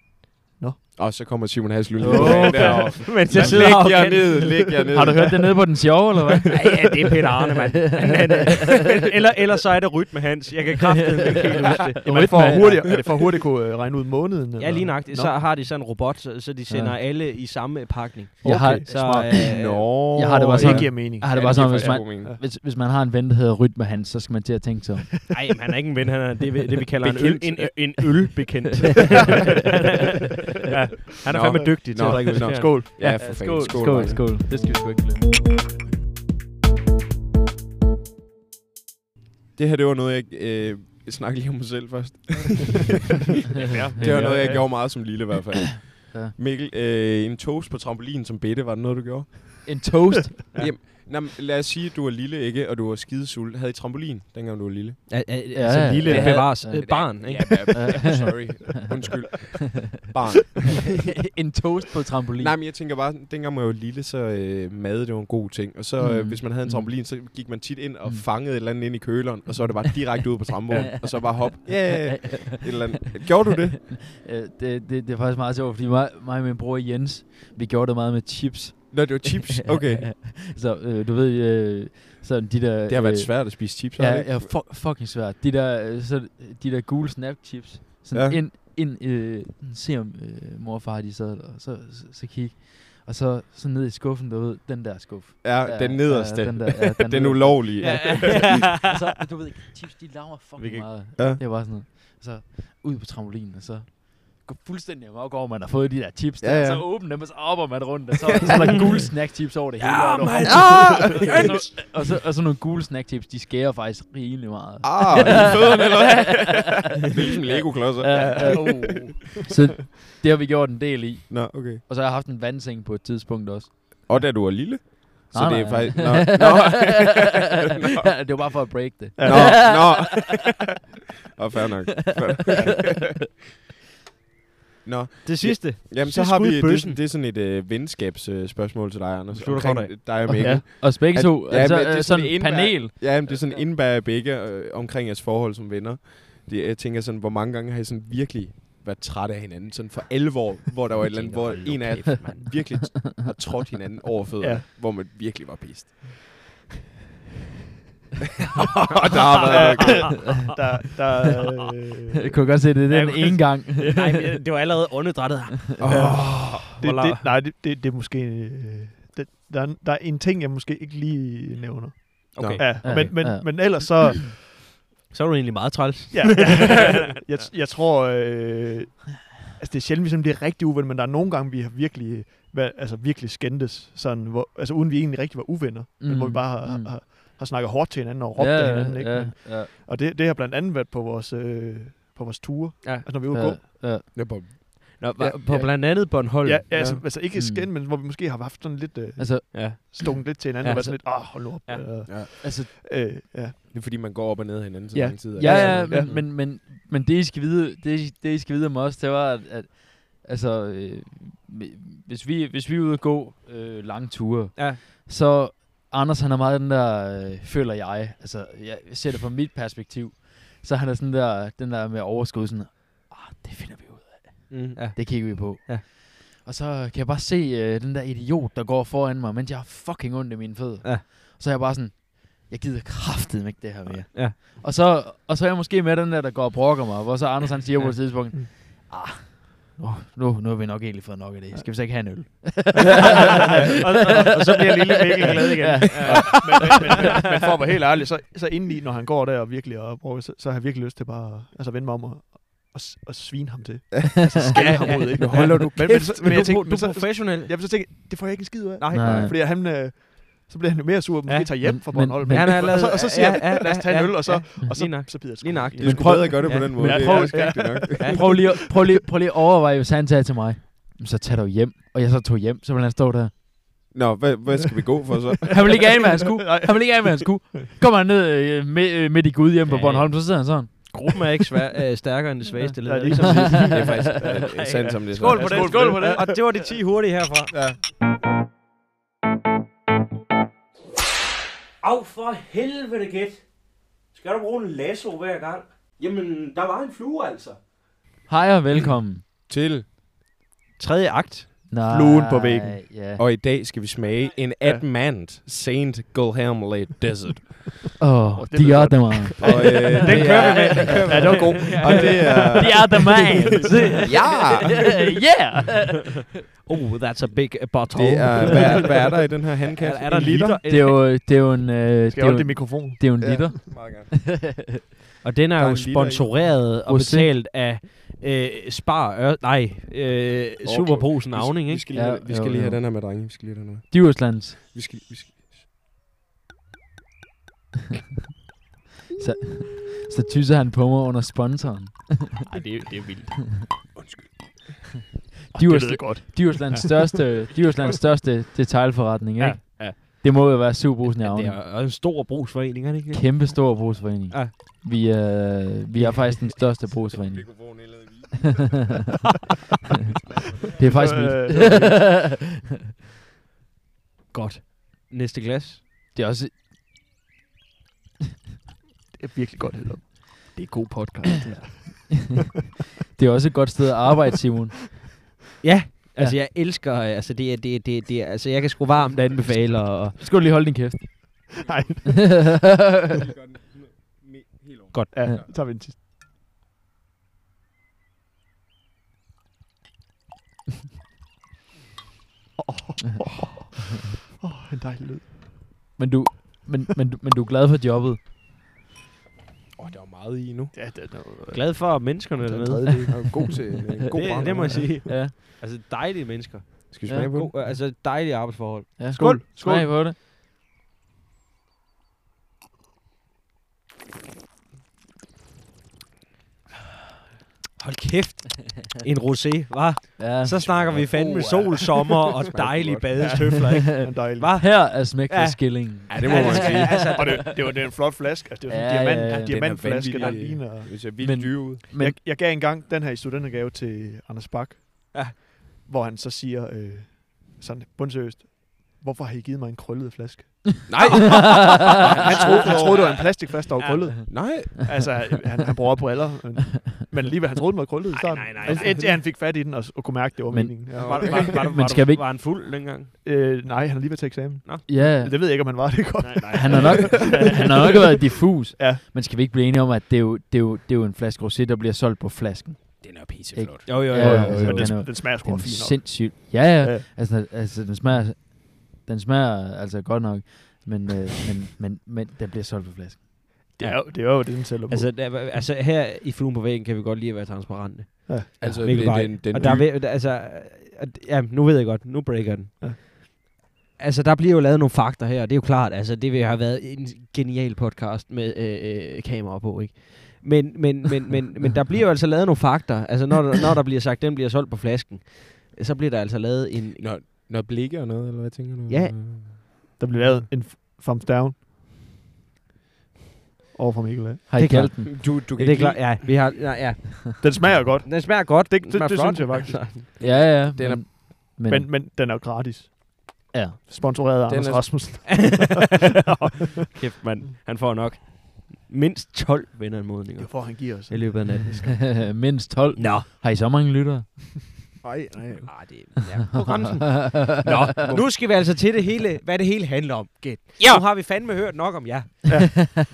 G: Og så kommer Simon Haslund.
F: Åh,
D: Men
G: Jeg sidder læg jer ned, læg jer ned.
F: Har du hørt det nede på den sjove, eller hvad?
D: Ja, ja, det er Peter Arne, mand. Han er det. eller, eller så er det rytme hans. Jeg kan kraftedeme ikke helt huske det.
E: Jamen, er, det for hurtigt, er det for hurtigt at kunne øh, regne ud måneden?
D: Ja, lige nøjagtigt. Så
E: Nå.
D: har de sådan en robot, så, så de sender
F: Ja.
D: alle i samme pakning.
F: Jeg har-
D: så,
E: smart.
D: øh,
G: Nå.
F: Jeg har det bare
E: Det
F: sådan-
E: giver mening.
F: Jeg har det bare sådan, hvis man, hvis, hvis man har en ven, der hedder Rytme Hans, så skal man til at tænke sig om.
D: Nej, men han er ikke en ven, han er det, vi- det vi kalder en, øl,
G: Bekendt.
D: en, en ølbekendt. ja, han er
G: Nå.
D: fandme dygtig til
G: Nå,
D: at drikke
G: nå.
D: øl.
G: Skål. Ja, for
F: skål,
G: fanden.
F: skål, skål,
G: drenge.
F: skål. Det skal vi sgu ikke glemme.
G: Det her, det var noget, jeg... Øh, jeg snakker lige om mig selv først. Det var noget, jeg gjorde meget som lille i hvert fald.
F: Ja.
G: Mikkel, øh, en toast på trampolin som bitte, var det noget, du gjorde?
F: En toast.
G: Nå, men lad os sige, at du var lille, ikke? Og du var skidesulten. Havde I trampolin, dengang du var lille?
D: Ja, ja,
F: Ja,
D: altså,
F: ja,
D: lille
F: ja.
D: bevares
F: Ja.
D: øh, barn, ikke?
G: Ja, sorry. Undskyld. Barn.
F: en toast på trampolin.
G: Nej, men jeg tænker bare, sådan, dengang man var lille, så øh, mad, det var en god ting. Og så, øh,
F: Mm.
G: hvis man havde en
F: Mm.
G: trampolin, så gik man tit ind og
F: Mm.
G: fangede et eller andet ind i køleren, og så var det bare direkte ud på trampolinen, og så bare hop. Yeah, et eller andet. Gjorde du det?
F: Øh, det, det, det er faktisk meget sjovt, fordi mig, mig og min bror Jens, vi gjorde det meget med chips.
G: Nå, det var chips. Okay.
F: så øh, du ved, øh, sådan de der...
G: Det har været
F: øh,
G: svært at spise chips, har
F: Ja,
G: det ikke?
F: ja fu- fucking svært. De der, øh, så, de der gule snapchips. Sådan
G: Ja.
F: ja. ind, ind øh, se om øh, mor og far de sad, og så, så, så kig. Og så, så ned i skuffen, du ved, den der skuff.
G: Ja, den nederste.
F: Ja, den, der, ja, den,
G: Den
F: nederste.
G: ulovlige.
F: Ja, ja. og så, du ved, chips, de laver
D: Vi
F: fucking
D: kan-
F: meget.
G: Ja.
F: Det var sådan noget. Og så ud på trampolinen, og så gå fuldstændig amok over, at man har fået de der chips der,
G: Ja,
F: ja,
G: ja.
F: ja. og så åbne dem, og så opper man rundt, og så, så er der gule snackchips over det hele. og det var
G: Ah,
F: og, så, og, så, og så nogle gule snacktips, de skærer faktisk rimelig meget.
G: Ah, i fødderne eller hvad? Det er ligesom Lego-klodser.
F: Ja, uh, så det har vi gjort en del i.
G: Nå, okay.
F: Og så har jeg haft en vandseng på et tidspunkt også.
G: Og da du var lille? Så
F: Nej,
G: det er
F: nej.
G: faktisk... Nå, nå. nå.
F: det var bare for at break det.
G: Nå, nå. Og fair nok. Fair nok. nå,
D: Det sidste.
G: jamen så
D: Sidst
G: har
D: skud
G: vi...
D: i
G: Det, er
D: bøssen.
G: sådan- det er sådan et øh, venskabsspørgsmål til dig, Anders.
D: Du slutter godt
G: omkring dig og Mikkel.
F: Ja. Og begge
G: At-
F: to,
G: ja,
F: altså,
G: men det er
F: øh,
G: sådan
F: sådan
G: en
F: et
G: indbær-
F: panel.
G: Ja, jamen, det er sådan indbærer begge øh, omkring jeres forhold som venner. Det, jeg tænker sådan, hvor mange gange har I sådan virkelig været trætte af hinanden? Sådan for alvor, hvor der var et eller andet, hvor en af jer virkelig t- har trådt hinanden over fødderne, ja.
E: Ja.
G: hvor man virkelig var pist. der har været noget.
E: Der, der, øh,
F: Jeg kunne godt se, det er den
D: Ja,
F: ene gang.
D: Nej, men øh, det var allerede åndedrættet.
E: det, det, nej, det, det, det er måske... Øh, det, der, er, der er en ting, jeg måske ikke lige nævner.
G: Okay.
E: Ja,
F: Ja,
E: men, men,
F: ja.
E: men ellers så...
D: Så er du egentlig meget træls.
E: Ja, jeg, jeg tror... Øh, altså, det er sjældent, vi sådan bliver rigtig uvenner, men der er nogle gange, vi har virkelig, hvad, altså, virkelig skændtes, sådan, hvor, altså uden vi egentlig rigtig var uvenner, mm. men hvor vi bare har,
F: Mm.
E: mm. har, har snakket hårdt til hinanden og råbt ja, af hinanden. Ikke?
F: Ja,
E: Men,
F: ja,
E: og det, det har blandt andet været på vores, øh, på vores ture,
D: Ja.
E: altså, når vi er ude at gå.
F: ja, ja.
G: Jeg bare,
D: Nå,
E: Ja,
D: ja, på
E: ja.
D: blandt andet Bornholm.
E: Ja, ja, altså, altså ikke
F: Mm.
E: skænd, men hvor vi måske har haft sådan lidt øh,
F: Altså,
G: Ja.
E: stunket lidt til hinanden,
F: Ja,
E: ja, og
F: altså-
E: været sådan lidt, ah, hold nu op.
D: Ja.
E: Ja. Øh,
F: altså
E: øh, ja.
G: Det er fordi, man går op og ned af hinanden så
E: Ja.
G: lang tid.
F: Ja,
E: Ja,
F: ja,
E: ja,
F: ja, men, men, men, men det, I skal vide, det, I- det, I skal vide om os, det var, at, at altså, øh, hvi- hvis, vi, hvis vi er ude og gå øh, lange ture,
D: Ja.
F: så Anders, han er meget den der, øh, føler jeg, altså, jeg ser det fra mit perspektiv, så han er sådan der, den der med overskud, sådan, ah, det finder vi ud af,
D: Mm, ja.
F: det kigger vi på.
D: Ja.
F: Og så kan jeg bare se øh, den der idiot, der går foran mig, mens jeg har fucking ondt i mine fødder.
D: Ja.
F: Så er jeg bare sådan, jeg gider kraftedeme ikke det her mere.
D: Ja.
F: Og så, og så er jeg måske med den der, der går og brokker mig, hvor så Anders han siger på et tidspunkt,
E: Mm.
F: ah, nu, nu, nu har vi nok egentlig fået nok af det. Skal vi så ikke have en øl?
E: og, og, og, så bliver lille Mikkel glad igen. Ja. Ja. Men, men, men, men, men for at være helt ærlig, så, så indeni, når han går der og virkelig og bruger, så, så har jeg virkelig lyst til bare at- altså, at vende mig om og, og, s- og svine ham til. Altså skælde ham ud, ikke?
G: Nu holder du
E: Men, men,
D: Kæft,
E: så, men, jeg tænkte,
D: du,
E: men
D: du er
E: så,
D: professionel.
E: jeg vil så tænke, det får jeg ikke en skid ud af.
D: Nej.
F: Nej.
E: Fordi han, øh, så bliver han jo mere sur, og måske
D: Ja,
E: ja, tager hjem
F: men-
E: fra
F: men-
E: Bornholm.
F: men
D: han har
E: og, så,
D: lavet-
E: og så siger
D: ja,
E: han,
D: ja,
E: lad os tage en
D: ja,
E: øl, og så,
D: ja,
E: og
D: lige
E: så,
D: nok.
E: så bider det sgu
D: Lige
E: ikke
D: nok.
E: i.
G: Du skulle prøve at gøre det på den måde.
E: jeg
G: Det er
E: prøver-
G: også rigtigt nok.
F: Prøv lige, at- prøv, lige, prøv lige at overveje, hvis han sagde til mig, "Jamen, så tag dog hjem. Og jeg så tog hjem, så ville han stå der.
G: Nå, hvad, hvad skal vi gå for så?
F: Han ville ikke af med hans skue.
E: Nej.
F: Han ville ikke af med hans skue. Kommer han ned øh, med, øh, midt i Gud hjemme på
D: Ja, ja.
F: Bornholm, så sidder han sådan.
D: Gruppen er ikke svær, øh, stærkere end det svageste led.
E: Ja,
D: er det
E: lige
D: ikke sådan,
G: Det er faktisk øh, sandt som det er.
D: Skål på
E: Ja,
D: det. Skål på det. Og det var de 10 hurtige herfra.
G: Ja.
B: Af for helvede, gæt. Skal du bruge en lasso hver gang? Jamen, der var en flue altså.
F: Hej og velkommen.
G: Til.
D: Tredje akt.
F: Nej,
G: Fluen på væggen.
F: Ja.
G: Og i dag skal vi smage en Admant Saint Guilherme Desert.
F: Åh, oh,
E: det lyder
F: de er
E: godt.
F: der, man.
G: Og, øh,
D: Den
G: det
D: kører vi med.
G: er-
D: Den kører vi
G: Ja, det var god. Og det er...
F: De er der, man.
G: Ja!
F: Yeah!
D: Oh, that's a big uh, bottle.
G: Det er, øh, hvad, er- hvad er der i den her handkasse?
D: er der
G: En
D: liter?
F: Det er jo, det er jo en, øh, det
E: Skal
F: er jo,
E: jeg holde det
F: en-
E: mikrofon?
F: det er jo en
G: Ja.
F: liter.
G: Meget gerne.
D: Og den
G: Der
D: er
G: er
D: jo
G: en liter i.
D: sponsoreret og
F: Rosé.
D: betalt af øh, Spar Ør... Nej, øh, Superposen Avning,
G: Vi
D: ikke?
G: skal lige,
F: Ja,
G: have- vi skal
F: jo,
G: lige have
F: jo.
G: den her med, drenge. Vi skal lige have den her.
F: Djurslands.
G: Vi skal, vi skal.
F: Så tyser han på mig under sponsoren.
D: Nej, det, det er vildt.
F: Djursl-
E: godt.
F: Djurslands største, Djurslands største detailforretning, ikke?
D: Ja, ja.
F: Det må jo være Superbrugsen i
D: Det
F: Avning.
D: er også en stor brugsforening, er det ikke?
F: Kæmpe stor brugsforening.
D: Ja.
F: Vi, øh, vi er faktisk den største brugsforening. det er faktisk vildt.
E: Øh,
D: Godt. Næste glas.
F: Det er også...
E: Det er virkelig godt, Hedder. Det er god podcast, det her.
F: Det er også et godt sted at arbejde, Simon.
D: Ja, altså jeg elsker... øh, Altså, det er, det, er- det, er- det er, altså jeg kan sgu varmt anbefale og... og-
F: Skal du lige holde din kæft?
E: Nej,
D: Godt.
E: ja,
F: Ja.
E: så tager vi den sidste. Åh, oh, oh, oh, en dejlig lyd.
F: men, du, men, men, du- men du er glad for jobbet.
G: Åh, der er jo meget i nu.
E: Ja, det er noget. øh,
D: Glad for menneskerne
G: Den
D: dernede.
G: tredje del er jo god til en god
D: Det,
G: brand.
D: det må jeg sige.
F: Ja.
D: Altså dejlige mennesker.
G: Skal vi
F: Ja,
G: smage på den?
D: God, altså dejlige arbejdsforhold.
F: ja.
E: Skål. Skål.
F: Smag på det.
D: Hold kæft. En rosé, var.
F: Ja.
D: Så snakker vi fandme sol, sommer og dejlige badestøfler, ikke?
E: En dejlig
D: Hva?
F: Her er smæk for
D: Ja.
F: skillingen.
G: Ja, det må man sige.
E: altså, og det, det, var, det er en flot flaske. Altså, det er sådan en
F: Ja,
E: diamant,
F: ja, ja. Den er øh.
E: diamantflaske, der
G: vanvittig.
E: ligner...
G: Det ser
F: Men-
G: vildt dyre ud.
F: Men,
E: jeg, jeg gav engang den her i studentergave til Anders Bak,
D: Ja.
E: hvor han så siger, øh, sådan bundseriøst, hvorfor har I givet mig en krøllet flaske?
G: Nej!
E: Han troede, han troede det var en plastikflaske, der var krøllet.
G: Nej!
E: Altså, han, han bruger briller, men, men alligevel, han troede, den var krøllet i starten.
D: nej, nej,
E: Altså,
D: nej.
E: Indtil han fik fat i den og, og kunne mærke, det var
F: Men-
E: meningen. Ja.
D: Var, var, var, var,
F: Men skal vi ikke-
D: var han fuld dengang?
E: Øh, nej, han er lige ved til eksamen.
F: ja,
E: Det ved jeg ikke, om han var det er godt. Nej,
F: han har nok, han har nok været diffus.
E: Ja.
F: Men skal vi ikke blive enige om, at det er jo, det er jo, det er jo en flaske rosé, der bliver solgt på flasken?
G: Den er pisseflot.
D: Jo, jo,
F: Ja,
D: jo.
F: ja,
D: jo.
F: ja.
E: men
F: den er-
E: den, den smager sgu
F: Den er
E: også fint nok.
F: sindssygt. Ja, ja.
E: Ja.
F: Altså, altså den smager, den smager altså godt nok, men, øh, men, men, men den bliver solgt på flaske.
E: Det er, jo, det er jo det, den sælger på.
D: Altså, der, altså, her i Fluen på væggen kan vi godt lide at være transparente.
G: Altså,
D: Ja,
G: ja,
D: Mikkel
G: den,
D: Bay.
G: den, den,
D: Og der er, ved- der- altså, øh, ja, nu ved jeg godt, nu breaker den.
E: Ja.
D: Altså, der bliver jo lavet nogle fakter her, og det er jo klart, altså, det vil have været en genial podcast med øh, øh, kamera på, ikke? Men, men, men, men, men der bliver jo altså lavet nogle fakta. Altså, når, der- når der bliver sagt, den bliver solgt på flasken, så bliver der altså lavet en...
G: Når, når blikke og noget, eller hvad tænker du?
D: Ja.
G: Øh,
E: Der blev lavet
F: mm.
E: en f- thumbs down. Over for Mikkel. af.
F: Har I
D: Det er klart.
F: kaldt den?
G: Du, du
D: Ja,
G: kan
D: det er
G: ikke
D: klart. Ja, vi har... Ja, ja.
E: Den smager godt,
D: Den smager godt.
E: Det-
D: den
E: det-
D: smager
E: det
D: flot.
E: synes jeg faktisk.
D: Altså,
F: Ja, ja.
G: Den er-
F: men, men,
E: men, men den er jo gratis.
D: Ja.
E: Sponsoreret af
G: Den
E: Anders
G: er-
E: Rasmussen.
D: Kæft, mand. Han får nok mindst 12 venneranmodninger
E: for, han giver os.
D: i løbet af natten.
F: mindst 12.
D: Nå.
F: Har I så mange lyttere?
G: Nej, nej.
D: Ah, det er ja, på grænsen. Nå, nu skal vi altså til det hele, hvad det hele handler om, Gæt.
A: Ja.
D: Nu har vi fandme hørt nok om jer.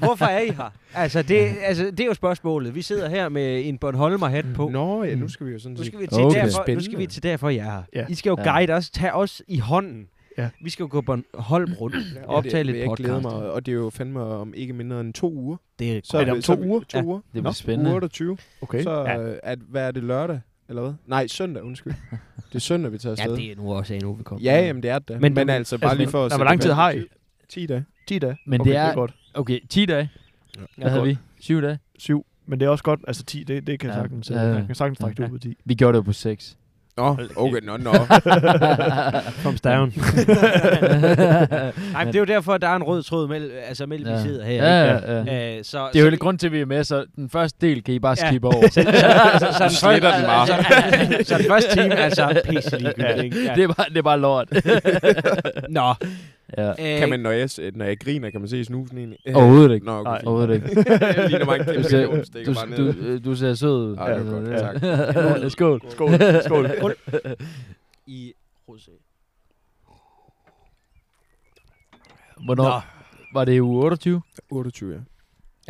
D: Hvorfor er I her? Altså det, altså, det er jo spørgsmålet. Vi sidder her med en Bornholmer-hat på.
G: Nå, ja, nu skal vi jo sådan
D: Nu
G: set...
D: skal vi til, okay.
F: Okay.
D: derfor, nu skal vi
G: Spændende.
D: til derfor, jeg er her.
E: Ja.
D: I skal jo
F: Ja.
D: guide os, tage os i hånden.
E: Ja.
D: Vi skal jo gå Bornholm rundt og optage
G: det,
D: lidt
G: vil jeg
D: podcast.
G: glæde mig, og det er jo fandme om ikke mindre end to uger.
D: Det er
G: Så altså
E: Er det
G: vi-
E: om
G: så
E: to
G: vi-
E: uger?
G: To
D: Ja.
G: uger.
F: Det
G: Nå,
F: bliver spændende.
G: Uge 28.
E: Okay.
G: Så
D: Ja.
G: øh, at, hvad er det lørdag, eller hvad? Nej, søndag, undskyld. Det er søndag, vi tager
D: Ja,
G: afsted.
D: det er nu også en uge, vi kommer.
G: Ja, jamen det er det. da.
D: Men-
G: Men, men altså, bare
E: altså,
G: lige for at...
E: nej, hvor
G: sætte
E: lang
G: det
E: tid har I?
G: perspektiv. 10 dage.
E: 10 dage.
F: Men
E: okay,
F: det
E: det
F: er-
E: er godt.
F: Okay, 10 dage. Hvad havde vi? 7 dage?
E: 7. Men det er også godt, altså 10, det, det kan jeg
F: Ja,
E: sagtens,
F: ja, ja.
E: ja, kan sagtens trække det ud på 10.
F: Vi gjorde det jo på 6.
G: Nå, okay, nå, nå.
D: Kom down. Nej, men det er jo derfor, at der er en rød tråd mellem, altså, mellem ja. vi sidder her.
F: Ja,
D: ikke?
F: ja, ja.
D: Øh, så,
F: Det er jo
D: så-
F: hele grund til, at vi er med, så den første del kan I bare
D: Ja.
F: skippe over.
D: Så, så, så, så,
G: Du sletter den bare.
D: så, så, så den første time er så pisse ligegyldigt. ikke? Ja.
F: Det er bare, det er bare lort.
D: Nå.
F: ja.
D: Øh,
G: Kan man, når jeg, s- når jeg griner, kan man se snuden egentlig? Øh,
F: Overhovedet ikke.
G: Nå, okay.
E: Nej.
G: Nej.
F: Overhovedet ikke.
G: Ligner mig en
F: Du
G: kæmpe
F: ser,
G: million, stikker
F: du,
G: bare ned.
F: du, øh, du ser sød ud.
G: Ej, det er godt, tak.
F: tak. Skål.
E: Skål. Skål.
D: I rosé.
F: Hvornår?
D: Nå.
F: Var det i uge 28?
G: 28, ja.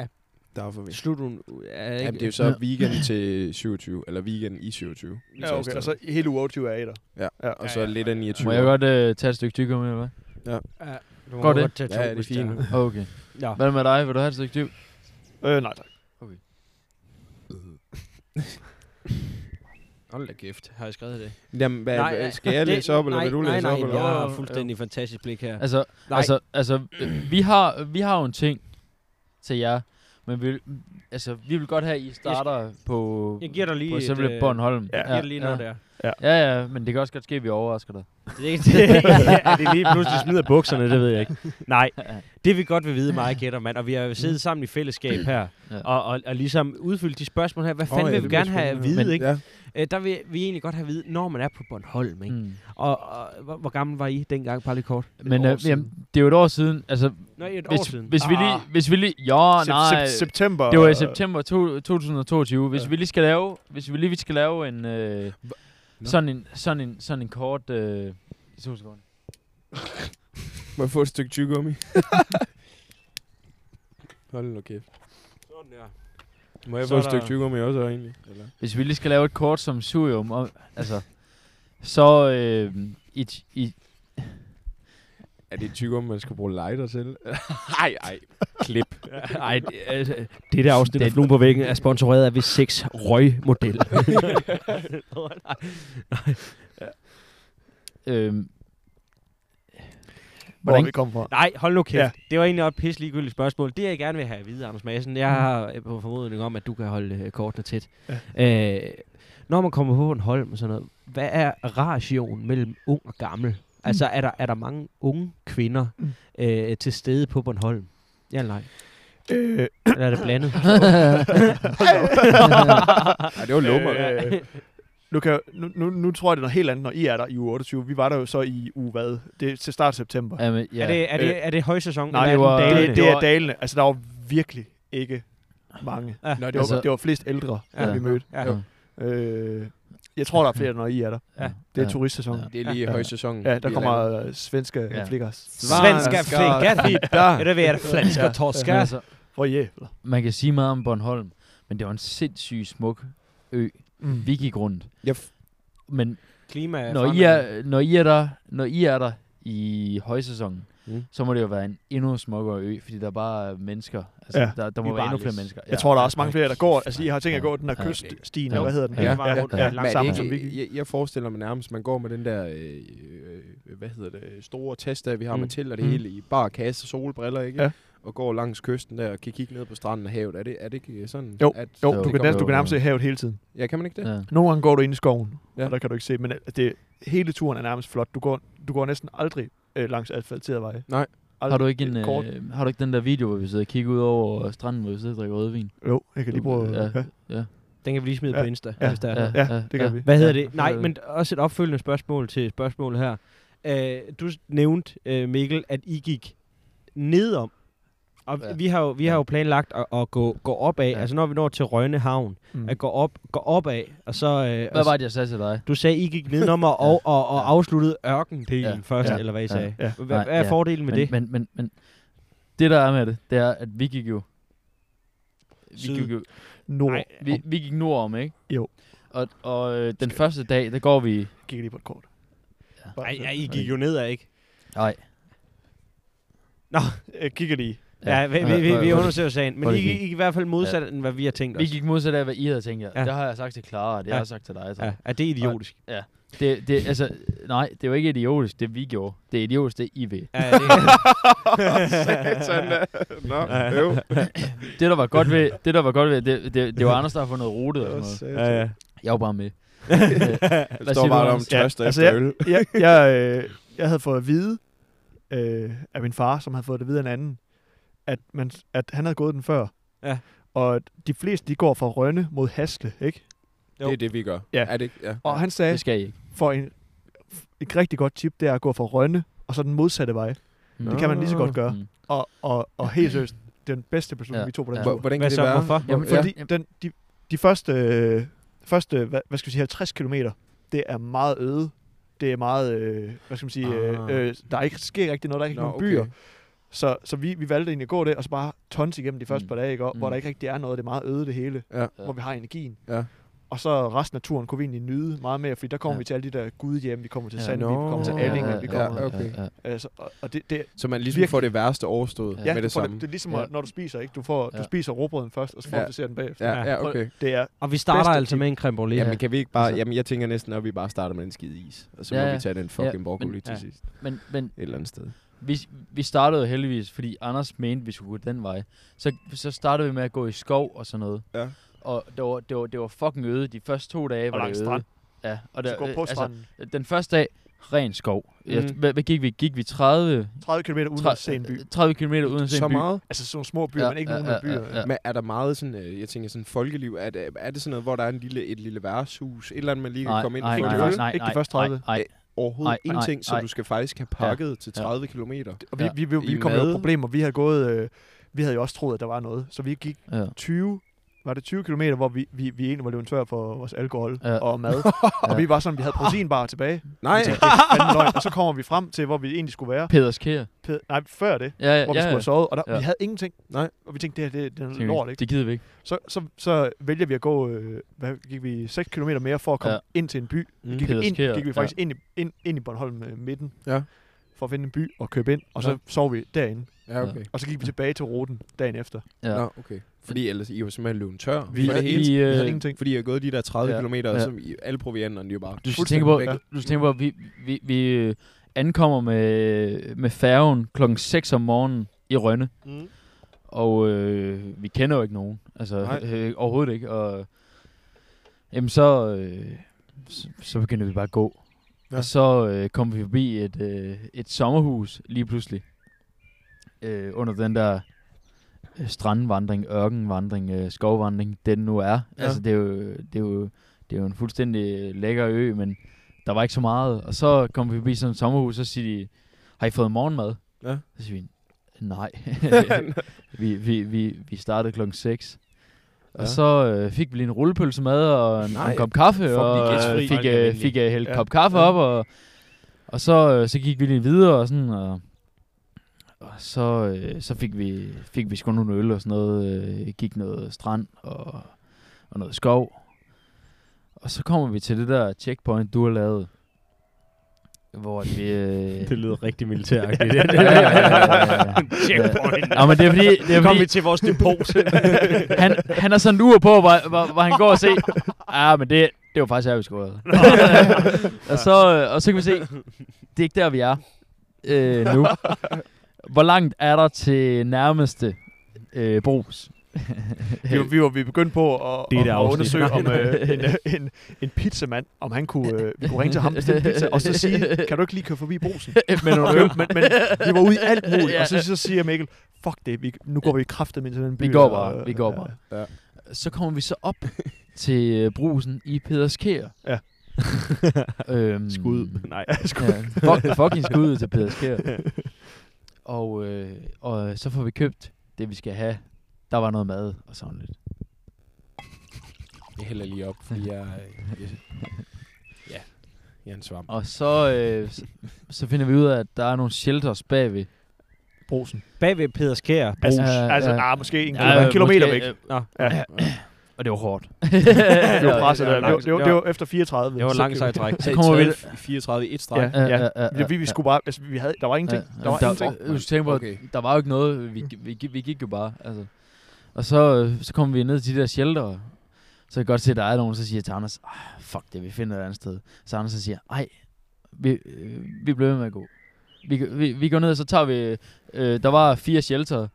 D: Ja.
G: Der er for vi.
D: Slut hun. Ja,
G: Jamen, det er jo
F: Ja.
G: så weekend til 27, eller weekend i 27. vi tager
E: Ja,
G: afsted.
E: okay. Og så hele uge 28 er I der.
G: ja, og så
E: Ja, ja.
G: lidt af 29.
F: Må jeg godt øh, tage et stykke tykker med, eller hvad?
D: Går
F: Går det?
D: Godt tage to,
G: Ja, det er
D: hvis
G: fint.
D: er.
F: Okay.
D: Nå.
F: Hvad med dig? Vil du have et stykke tyv?
E: Øh, nej tak.
D: Hold da kæft. Har jeg skrevet det?
G: Jamen, hvad,
D: Nej,
G: nej,
D: ja,
G: skal jeg
D: det-
G: læse op, eller
D: nej,
G: vil du
D: nej,
G: læse
D: nej,
G: op? eller
D: Jeg
G: hvad?
D: har fuldstændig fantastisk blik her.
F: Altså,
D: Nej.
F: altså, altså øh, vi, har, vi har jo en ting til jer, men vi, vil- altså, vi vil godt have, at I starter på,
D: Jeg giver dig lige
F: på
D: et,
F: selve
D: øh,
F: Bornholm.
E: jeg
D: Jeg giver det lige noget der.
F: Ja, ja, men det kan også godt ske, at vi overrasker dig.
D: Det er ikke- at de lige pludselig smider bukserne, det ved jeg ikke. Nej, det vi godt vil vide, mig og Kættermand, og vi har jo siddet sammen i fællesskab her,
F: Ja.
D: og, og, og ligesom udfyldt de spørgsmål her. Hvad fanden
G: Åh, ja,
D: vil vi
G: det bliver
D: gerne have at
G: spændende.
D: vide,
F: Men-
D: ikke?
G: Ja.
D: Øh, der vil vi egentlig godt have at vide, når man er på Bornholm, ikke? Mm.
F: Mm.
D: Og, og hvor, hvor gammel var I dengang, bare lidt kort?
F: Men
G: år
F: øh,
G: siden.
F: jamen, det er jo et år siden. Altså,
D: Nå, et år
F: hvis,
D: siden.
F: hvis, vi lige,
E: Ah.
F: hvis vi lige... Jo,
E: Sep-
F: nej.
E: sep- september.
F: Det var i
E: øh,
F: september to, 2022. Hvis
E: Ja.
F: vi lige skal lave, hvis vi lige skal lave en øh, sådan en sådan en sådan en kort øh, to sekunder.
G: Må jeg få et stykke tyggegummi? Hold nu kæft.
D: Sådan der.
G: Må jeg
D: Så
G: få et
D: er
G: stykke
D: der-
G: tyggegummi også, egentlig? Eller?
F: Hvis vi lige skal lave et kort som surium, om, altså så øh, i, t- i
G: Er det et tyggegummi, man skal bruge lighter til? Ej, ej. Klip.
D: Ej, det, altså, det der afsnit af Fluen på væggen er sponsoreret af V6 Røgmodel.
F: øh,
E: Hvor
F: hvordan-
E: vi kom fra.
D: Nej, hold nu kæft. Ja.
E: Ja.
D: Det var egentlig også et pisse ligegyldigt spørgsmål. Det, jeg gerne vil have at vide, Anders Madsen, jeg har øh, på formodning om, at du kan holde øh, kortene tæt. Ja. Øh, når man kommer på en Holm og sådan noget, hvad er ratioen mellem ung og gammel? Altså, er der, er der mange unge kvinder øh, til stede på Bornholm? Ja, eller nej.
E: Øh,
D: Eller er det blandet?
F: Øh,
G: Ej, det var lummer.
E: øh, nu, kan, jeg- nu, nu, nu tror jeg, det er noget helt andet, når I er der i uge 28. Vi var der jo så i uge hvad? Det er til start september.
F: ja, men,
D: ja.
F: ja.
D: er, det, er, det, er det højsæson?
E: Nej,
D: eller er den
F: det var-
D: dalende?
E: det, det er
F: var-
E: dalende. Altså, der var virkelig ikke mange.
D: Ja.
E: Nå, det, var,
F: Altså-
E: det var flest ældre,
D: Ja.
E: ja. vi mødte.
D: Ja.
F: Jo.
E: Øh, jeg tror, der er flere, når I er der.
D: Ja.
E: Det er
F: Ja.
E: turistsæson.
F: Ja.
G: Det er lige
E: Ja.
G: højsæsonen.
E: Ja, der
G: Vi
E: kommer
G: er
E: øh, svenske
F: Ja.
E: ja. flickers.
D: Svenska flickan.
G: der.
D: Är det vera svenska
F: Men
D: torskar?
F: altså,
E: Hvor jævler.
F: man kan sige meget om Bornholm, men det var en sindssygt smuk ø.
E: Mm.
F: Vi gik rundt.
G: Jeg f-
F: Men
D: Klima
F: når I, er, når, I er der, når I er der i højsæsonen,
G: Mm.
F: mm. så må det jo være en endnu smukkere ø, fordi der bare er mennesker. Altså,
E: Ja.
F: ja. der, der
D: Vi
F: må
D: er
F: være endnu
D: barnløse.
F: flere mennesker.
E: Jeg tror, der er også mange
G: Ej,
E: flere, der
G: kæft,
E: går. Altså, I har tænkt at
F: mand.
E: gå den der
F: Ja.
E: kyststien,
F: Ja.
E: hvad hedder den?
F: Ja.
E: Ja, ja,
F: Ja.
E: ja.
G: Men er
D: Langsomt.
G: det
E: Sammen.
G: ikke, jeg, jeg forestiller mig nærmest, at man går med den der, øh, øh, hvad hedder det, store test, der vi har
D: Mm.
G: med til og det
D: Mm.
G: hele i bar kasse og solbriller, ikke?
E: Ja.
G: og går langs kysten der og kan kigge ned på stranden og havet. Er det, er det ikke øh, sådan?
E: Jo,
G: at,
E: Jo,
F: Jo,
G: det
E: du kan,
G: kommer
E: nærmest, du
F: jo,
E: kan nærmest
F: ja.
E: se havet hele tiden.
G: Ja, kan man ikke det?
F: Ja.
E: Nogle gange går du ind i skoven, ja.
G: Ja.
E: og der kan du ikke se, men al- det, hele turen er nærmest flot. Du går, du går næsten aldrig øh, langs asfalterede veje.
G: Nej.
E: Aldrig.
F: Har du, ikke en,
E: Et kort-
F: øh, har du ikke den der video, hvor vi sidder og kigger ud over stranden, hvor vi sidder og drikker rødvin?
E: Jo, jeg kan lige bruge...
F: Ja.
E: Ja,
D: Den kan vi lige smide
E: Ja,
D: på Insta,
E: ja,
D: ja, hvis der er noget.
E: ja, det kan vi.
D: Hvad hedder
F: Ja,
D: det? Nej, men også et opfølgende spørgsmål til spørgsmålet her. Øh, du s- nævnte, øh, Mikkel, at I gik nedom. Og
F: Ja.
D: ja. vi, har jo, vi har jo planlagt at, at gå, gå opad.
F: Ja.
D: Ja. Altså når vi når til Rønne Havn,
E: Mm.
D: at gå, op, gå opad, og så... Øh,
F: Hvad
D: og,
F: var
D: s-
F: det, jeg sagde til dig?
D: du sagde, I gik nedenom og, og, og, og afsluttede ørkendelen
F: Ja.
D: ja. først,
E: Ja.
D: ja. eller hvad I
F: Ja.
D: sagde.
E: Ja.
D: Hva-
F: Nej,
D: Hvad er
F: ja.
D: fordelen med
F: men,
D: det?
F: Men, men, men det, der er med det, det er, at vi gik jo... Vi
D: Syd.
F: gik jo
E: Nord.
D: Nej.
F: vi, vi gik nordom, ikke?
E: Jo.
F: Og, og øh, den første dag, der går vi...
E: Jeg kigger lige på et kort.
F: Ja.
E: Bare-
D: Nej, ja, I gik jo nedad, ikke?
F: Nej.
E: Jeg kigger lige.
D: øh, Ja, vi, vi, vi, vi undersøger sagen.
F: hvor
D: Men
F: er
D: I,
F: det
D: I,
F: fint.
D: I gik i hvert fald modsat, end hvad vi har tænkt os.
F: Vi gik modsat af, hvad I havde tænkt jer. Ja.
D: Ja.
F: Det har jeg sagt til Clara, og det ja.
D: Ja.
F: har jeg sagt til dig. Så. Ja.
D: Ja, er det idiotisk?
F: Det, det, altså, nej, det er jo ikke idiotisk, det vi gjorde. Det er idiotisk, det I vil.
D: Ja, det,
G: Satan da. Nå, øv.
F: Det, der var godt ved, det, der var, godt ved, det, det, det var Anders, der har fundet rute og sådan noget.
D: ja, ja.
F: Jeg var bare med.
G: Jeg
F: siger
G: står
F: du,
G: bare om
F: Anders?
G: tørst
E: Ja,
G: ja,
E: altså,
G: efter øl.
E: jeg, jeg, øh, jeg havde fået at vide øh, af min far, som havde fået det videre en anden, at, man, at han havde gået den før.
D: Ja.
E: Og at de fleste, de går fra Rønne mod Hasle, ikke?
D: Jo.
G: Det er det, vi gør.
E: Ja.
G: Er det ikke? Ja.
E: Og han sagde,
F: Det skal I ikke.
E: for en, et rigtig godt tip, det er at gå fra Rønne og så den modsatte vej.
F: Mm.
E: Det kan man lige så godt
G: Ah.
E: gøre.
F: Mm.
E: Og, og, og helt seriøst, den bedste beslutning,
F: Ja.
E: ja. vi tog på den
F: Ja.
E: ja.
G: Hvor-
E: tur.
G: Hvordan
D: Hvad
G: kan det
D: så?
G: være?
D: Hvorfor?
F: Jamen,
G: Ja.
E: Fordi den, de, de første, øh, første hvad, hvad skal vi sige, 50 km, det er meget øde. Det er meget, øh, hvad skal man sige,
G: Ah.
E: øh, øh, der er ikke, sker rigtig noget, der er ikke
G: Nå,
E: Nå, nogen byer.
G: okay.
E: Så, så vi, vi valgte egentlig at gå det, og så bare tons igennem de første
F: Mm.
E: mm. par dage, ikke? Og, hvor
F: Mm.
E: der ikke rigtig er noget, det er meget øde det hele,
G: Ja.
F: Ja.
E: hvor vi har energien.
G: Ja.
E: Og så resten af turen kunne vi egentlig nyde meget mere, fordi der kommer
F: Ja.
E: ja. vi til alle de der gudhjem, vi kommer til
F: Ja.
E: ja. Sandvig, vi kommer til
G: Nå.
E: Allinge,
G: Ja,
E: vi
G: ja,
E: kommer...
G: ja. okay.
F: ja.
E: Altså, og, og det, det,
G: Så man ligesom
E: Virkelig.
G: får det værste overstået
F: Ja.
E: ja,
G: med
E: du
G: det
E: får
G: samme.
E: det, det er ligesom,
F: Ja.
E: ja. når du spiser, ikke? Du, får,
F: Ja.
E: du spiser råbrøden først, og så får
G: Ja.
E: du desserten bagefter.
G: Ja, ja,
E: Prøv-
G: okay.
E: Det er
D: og vi starter
E: Bedste
D: altså
E: tip.
D: med en creme brûlée.
G: Jamen, kan vi ikke bare...
F: Altså-
G: Jamen, jeg tænker næsten, at vi bare starter med en skide is, og så
F: Ja,
G: må
F: ja.
G: vi tage den fucking broccoli
F: men-
G: til
D: ja.
G: sidst.
F: Men, men
G: Et eller andet sted.
F: vi, vi startede jo heldigvis, fordi Anders mente, vi skulle gå den vej. Så, så startede vi med at gå i skov og sådan noget.
G: Ja.
F: Og det var, det var, det var fucking øde. De første to dage
E: og
F: var det
E: langs
F: øde.
E: strand.
F: Ja, og
E: Så
F: der,
E: går
F: øh,
E: på stranden.
F: den første dag, ren skov. Mm.
E: Mhm.
D: Mm.
F: Hvad, hvad gik vi? Gik vi 30,
E: 30 km uden
F: tre-
E: at se en by.
F: 30 km uden at se
G: Så
F: en by?
G: meget?
E: Altså sådan nogle små byer,
F: Ja,
E: men ikke
F: ja,
E: nogen af
F: ja,
E: byer.
F: ja, ja.
G: Men er der meget sådan, øh, jeg tænker sådan folkeliv, er det, er det sådan noget, hvor der er en lille, et lille værtshus, et eller andet, man lige kan
F: Nej,
G: komme ind
F: nej,
G: og få
F: nej,
G: en
F: nej,
G: øl?
F: nej,
E: Ikke de
F: nej,
E: første 30.
F: Nej, nej.
G: Overhovedet
F: Nej,
G: nej, ingenting, nej, så
F: nej.
G: du skal faktisk have pakket ja, til
F: ja.
G: 30 kilometer.
E: Og vi,
F: Ja.
E: vi, vi, vi
G: I
E: kom jo i
G: mad.
E: problemer. Vi havde gået... Øh, vi havde jo også troet, at der var noget. Så vi gik
F: Ja.
E: 20... Var det 20 km, hvor vi, vi, vi egentlig var løbet tør for vores alkohol
F: Ja.
E: ja. og mad.
F: Ja.
E: Og vi var sådan, vi havde proteinbar tilbage.
G: Nej,
E: Vi tænkte, det er fandme løgn. Og så kommer vi frem til, hvor vi egentlig skulle være.
F: Peders Kær.
E: Ped- Nej, før det.
F: Ja, ja,
E: Hvor vi
F: ja.
E: skulle have sovet. Og der,
F: Ja.
E: ja. vi havde ingenting.
G: Nej.
E: Og vi tænkte, det her det, det er
F: Tænker vi,
E: noget lort, ikke?
F: Det gider vi ikke.
E: Så, så, så vælger vi at gå... Øh, hvad gik vi? 6 km mere for at komme
F: Ja.
E: ja. ind til en by.
G: Mm.
E: Gik
F: Peders
E: vi, ind,
F: Kær,
E: gik vi faktisk ja. ind, i, ind, ind i Bornholm øh, midten.
G: Ja.
E: For at finde en by og købe ind. Og så
G: Ja.
E: sov vi derinde.
G: ja, okay.
E: Og så gik vi tilbage til ruten dagen efter.
F: Ja.
G: Nå, okay. Fordi ellers, I var simpelthen løbet tør.
E: Vi-
G: for det
E: vi-
G: hele,
E: Vi
F: øh,
E: havde ingenting.
G: fordi I har gået de der 30
F: Ja.
G: ja, kilometer,
F: Ja.
G: ja. som I, alle provianterne de er bare...
F: Du skal tænke
G: fuldstændig
F: på,
G: væk.
E: ja.
F: du skal tænke på, at vi, vi, vi øh, ankommer med, med færgen klokken 6 om morgenen i Rønne.
D: Mm.
F: Og øh, vi kender jo ikke nogen. Altså
G: Nej.
F: øh, overhovedet ikke. Og, jamen så, øh, så, så begynder vi bare at gå. Ja.
G: Ja.
F: Og så øh, kom vi forbi et, øh, et sommerhus lige pludselig. Øh, under den der øh, strandvandring, ørkenvandring, øh, skovvandring, den nu er. Ja.
G: Ja.
F: Altså det er, jo, det, er jo, det er jo en fuldstændig lækker ø, men der var ikke så meget. Og så kom vi forbi sådan et sommerhus, og så siger de, har I fået morgenmad?
G: Ja.
F: Så siger vi, nej. vi, vi, vi, vi startede klokken 6. Og
G: Ja.
F: så øh, fik vi lige en rullepølse med og en, og
G: Nej.
F: en kop kaffe,
G: Fuck, vi
F: og
G: er
F: øh,
G: gæstfri.
F: fik,
D: Folk er
F: øh,
D: venlige.
F: fik øh, hældt en
E: Ja.
F: kop kaffe
E: Ja.
F: op, og, og så, øh, så gik vi lige videre og sådan, og, og så, øh, så fik, vi, fik vi sgu nogle øl og sådan noget, øh, gik noget strand og, og noget skov. Og så kommer vi til det der checkpoint, du har lavet, hvor at vi... Øh,
D: Det lyder rigtig militæragtigt.
F: Ja, ja, ja, ja, ja.
D: Checkpoint.
F: Ja, men det er fordi, det
D: Nu
F: er
D: kommer
F: fordi
D: vi til vores depot.
F: han, han har sådan en ur på, hvor, hvor, hvor han går og ser. Ah, men det, det var faktisk her, vi skulle have været." og, så, øh, og så kan vi se, det er ikke der, vi er øh, nu. Hvor langt er der til nærmeste øh, brus?
E: Vi, var- vi, var, vi begyndte på at,
D: Det er
E: om,
D: det
E: at
D: afsnit.
E: undersøge, om
F: Nej,
E: øh, en, øh, en, en pizzamand, om han kunne, øh, vi kunne ringe til ham og bestille en pizza, og så sige, kan du ikke lige køre forbi brusen?
F: med nogle øl.
E: men, men vi var ude i alt muligt,
F: Ja.
E: og så, så siger Mikkel, fuck det, vi, nu går vi kraftet ind til den by.
F: Vi går
E: og-
F: bare, vi går bare.
G: Ja.
F: Så kommer vi så op til øh, brusen i Peders Kær.
E: Ja.
F: øhm,
G: Skud. Nej.
F: Ja, fuck, fucking skud til Peders Kær. Og, øh, og så får vi købt det, vi skal have. Der var noget mad og sådan lidt.
G: Jeg hælder lige op, fordi jeg... øh, jeg ja, jeg er en svamp.
F: Og så, øh, så, så finder vi ud af, at der er nogle shelters bagvig.
E: Brosen.
D: Bagved Peders Kær, brus.
E: Altså,
D: Altså,
F: Ja,
E: altså
F: ja.
E: ah, måske en,
F: Ja,
E: ja, en
F: øh,
E: kilometer
F: måske,
E: væk.
F: øh,
D: Nå,
E: Ja.
D: og det var hårdt.
E: Det var presset.
D: det var
E: Det var,
D: langt.
E: det var, det var efter 34.
D: Det var
E: Så-
D: langt sejt træk.
F: Så kommer vi-
G: 34 i et streg.
E: Ja, ja.
F: ja,
E: ja. Vi, vi skulle bare, altså, vi havde, der var ingenting.
F: Ja,
E: Der var
F: der,
E: ingenting.
F: Du skal tænke på, okay.
G: Okay.
F: der var jo ikke noget. Vi, vi, vi, vi gik jo bare. Altså. Og så, øh, så kom vi ned til de der shelter. Så jeg kan godt se, at der er nogen, så siger jeg til Anders, "Ah, fuck det, vi finder et andet sted. Så Anders så siger, ej, vi, øh, vi bliver ved med at gå. Vi, vi, vi går ned, og så tager vi... Øh, der var fire shelter,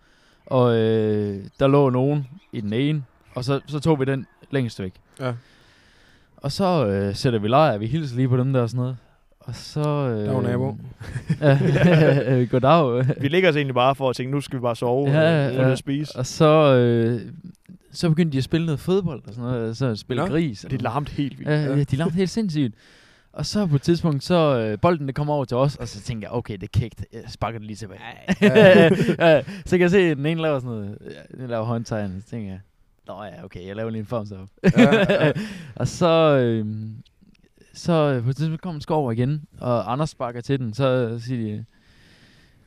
F: og øh, der lå nogen i den ene, og så, så tog vi den længst væk.
G: Ja.
F: Og så øh, sætter vi lejr, vi hilser lige på dem der og sådan noget. Og så... Øh,
G: Dag, nabo.
F: Ja, øh, goddag.
E: Vi ligger os egentlig bare for at tænke, nu skal vi bare sove
F: Ja,
E: ja,
F: ja,
E: og få noget
F: ja.
E: at spise.
F: Og så, øh, så begyndte de at spille noget fodbold og sådan noget. Så spille
G: Nå,
F: gris. og
E: Det
F: sådan
E: larmte helt vildt.
F: noget. Ja, ja, de lavede helt sindssygt. Og så på et tidspunkt, så øh, bolden det kommer over til os, og så tænker jeg, okay, det er kægt, jeg sparker det lige tilbage. ja, så kan jeg se, at den ene laver sådan noget, ja, den laver håndtegn, så tænker jeg, nå ja, okay, jeg laver lige en form så.
G: Ja, ja.
F: og så, øh, så øh, på et tidspunkt kommer skov over igen, og Anders sparker til den, så øh, siger de,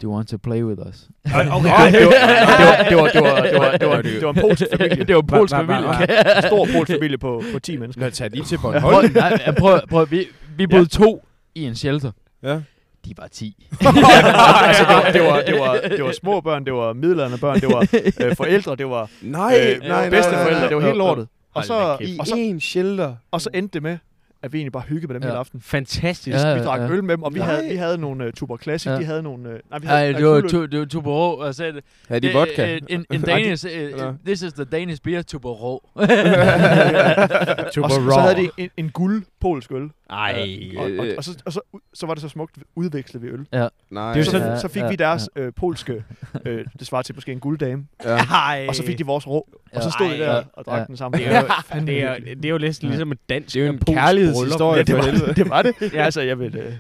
F: do you want to play with us?
E: Ej, Okay. Ej, det var- det var- det var- det var- det var- det var- det var en polsk familie.
F: det var en polsk
G: Hva- hva-
F: familie.
G: hva-
E: En stor polsk familie på, på 10 mennesker.
G: Nå, tag lige til
F: Prøv,
G: Bornholm.
F: nej, ja, prøv, prøv, vi, vi boede to i en shelter.
G: Ja.
F: De var ti.
E: altså, det, var, det, var, det, var, det var små børn, det var middelalderne børn, det var øh, forældre, det var
G: Nej,
E: øh, bedsteforældre, det var helt lortet. Og så,
G: I
E: og, så,
G: én shelter.
E: og så endte det med, at vi egentlig bare hyggede med dem
F: Ja.
E: ja. hele aften.
D: Fantastisk.
F: Ja,
D: Ja.
E: Vi drak øl med dem, og vi
G: Nej.
E: havde, vi havde nogle uh, Tuber Classic,
F: Ja.
E: de havde nogle... Uh, nej, vi havde
F: Ej,
E: nej,
F: det var,
E: Kuløl.
F: tu, det var Tuborg, og så er det...
G: Havde de
F: det-
G: vodka?
F: øh, En, en
G: Ej, de-
F: Danish, øh,
G: eller?
F: this is the Danish beer, Tuborg.
E: og så, så havde de en, en guld polsk øl.
D: Ej.
E: Og, og,
G: Øh,
E: og, så, og så, så var det så smukt, udvekslede vi øl.
G: Nej.
D: Det er jo
E: Så,
D: sådan-
E: så fik
F: Ja,
E: vi deres øh, polske, øh, det svarer til måske en gulddame,
G: Ja.
D: Ej.
E: og så fik de vores rå, og så
F: Ja.
E: stod vi
F: Øh. Ej,
E: der
F: ja,
E: og drak
F: ja.
E: den sammen.
D: Det er jo-
E: fandme
D: det er,
E: hyggeligt.
D: det er jo næsten
F: Ja.
D: ligesom et dansk
G: Det er jo en
D: polsk bryllup.
G: kærlighedshistorie
E: det
G: for
E: var,
G: helvede.
E: det var det.
D: Ja.
E: ja. Altså, jeg vil, øh, jeg
D: Ej,
E: ønske,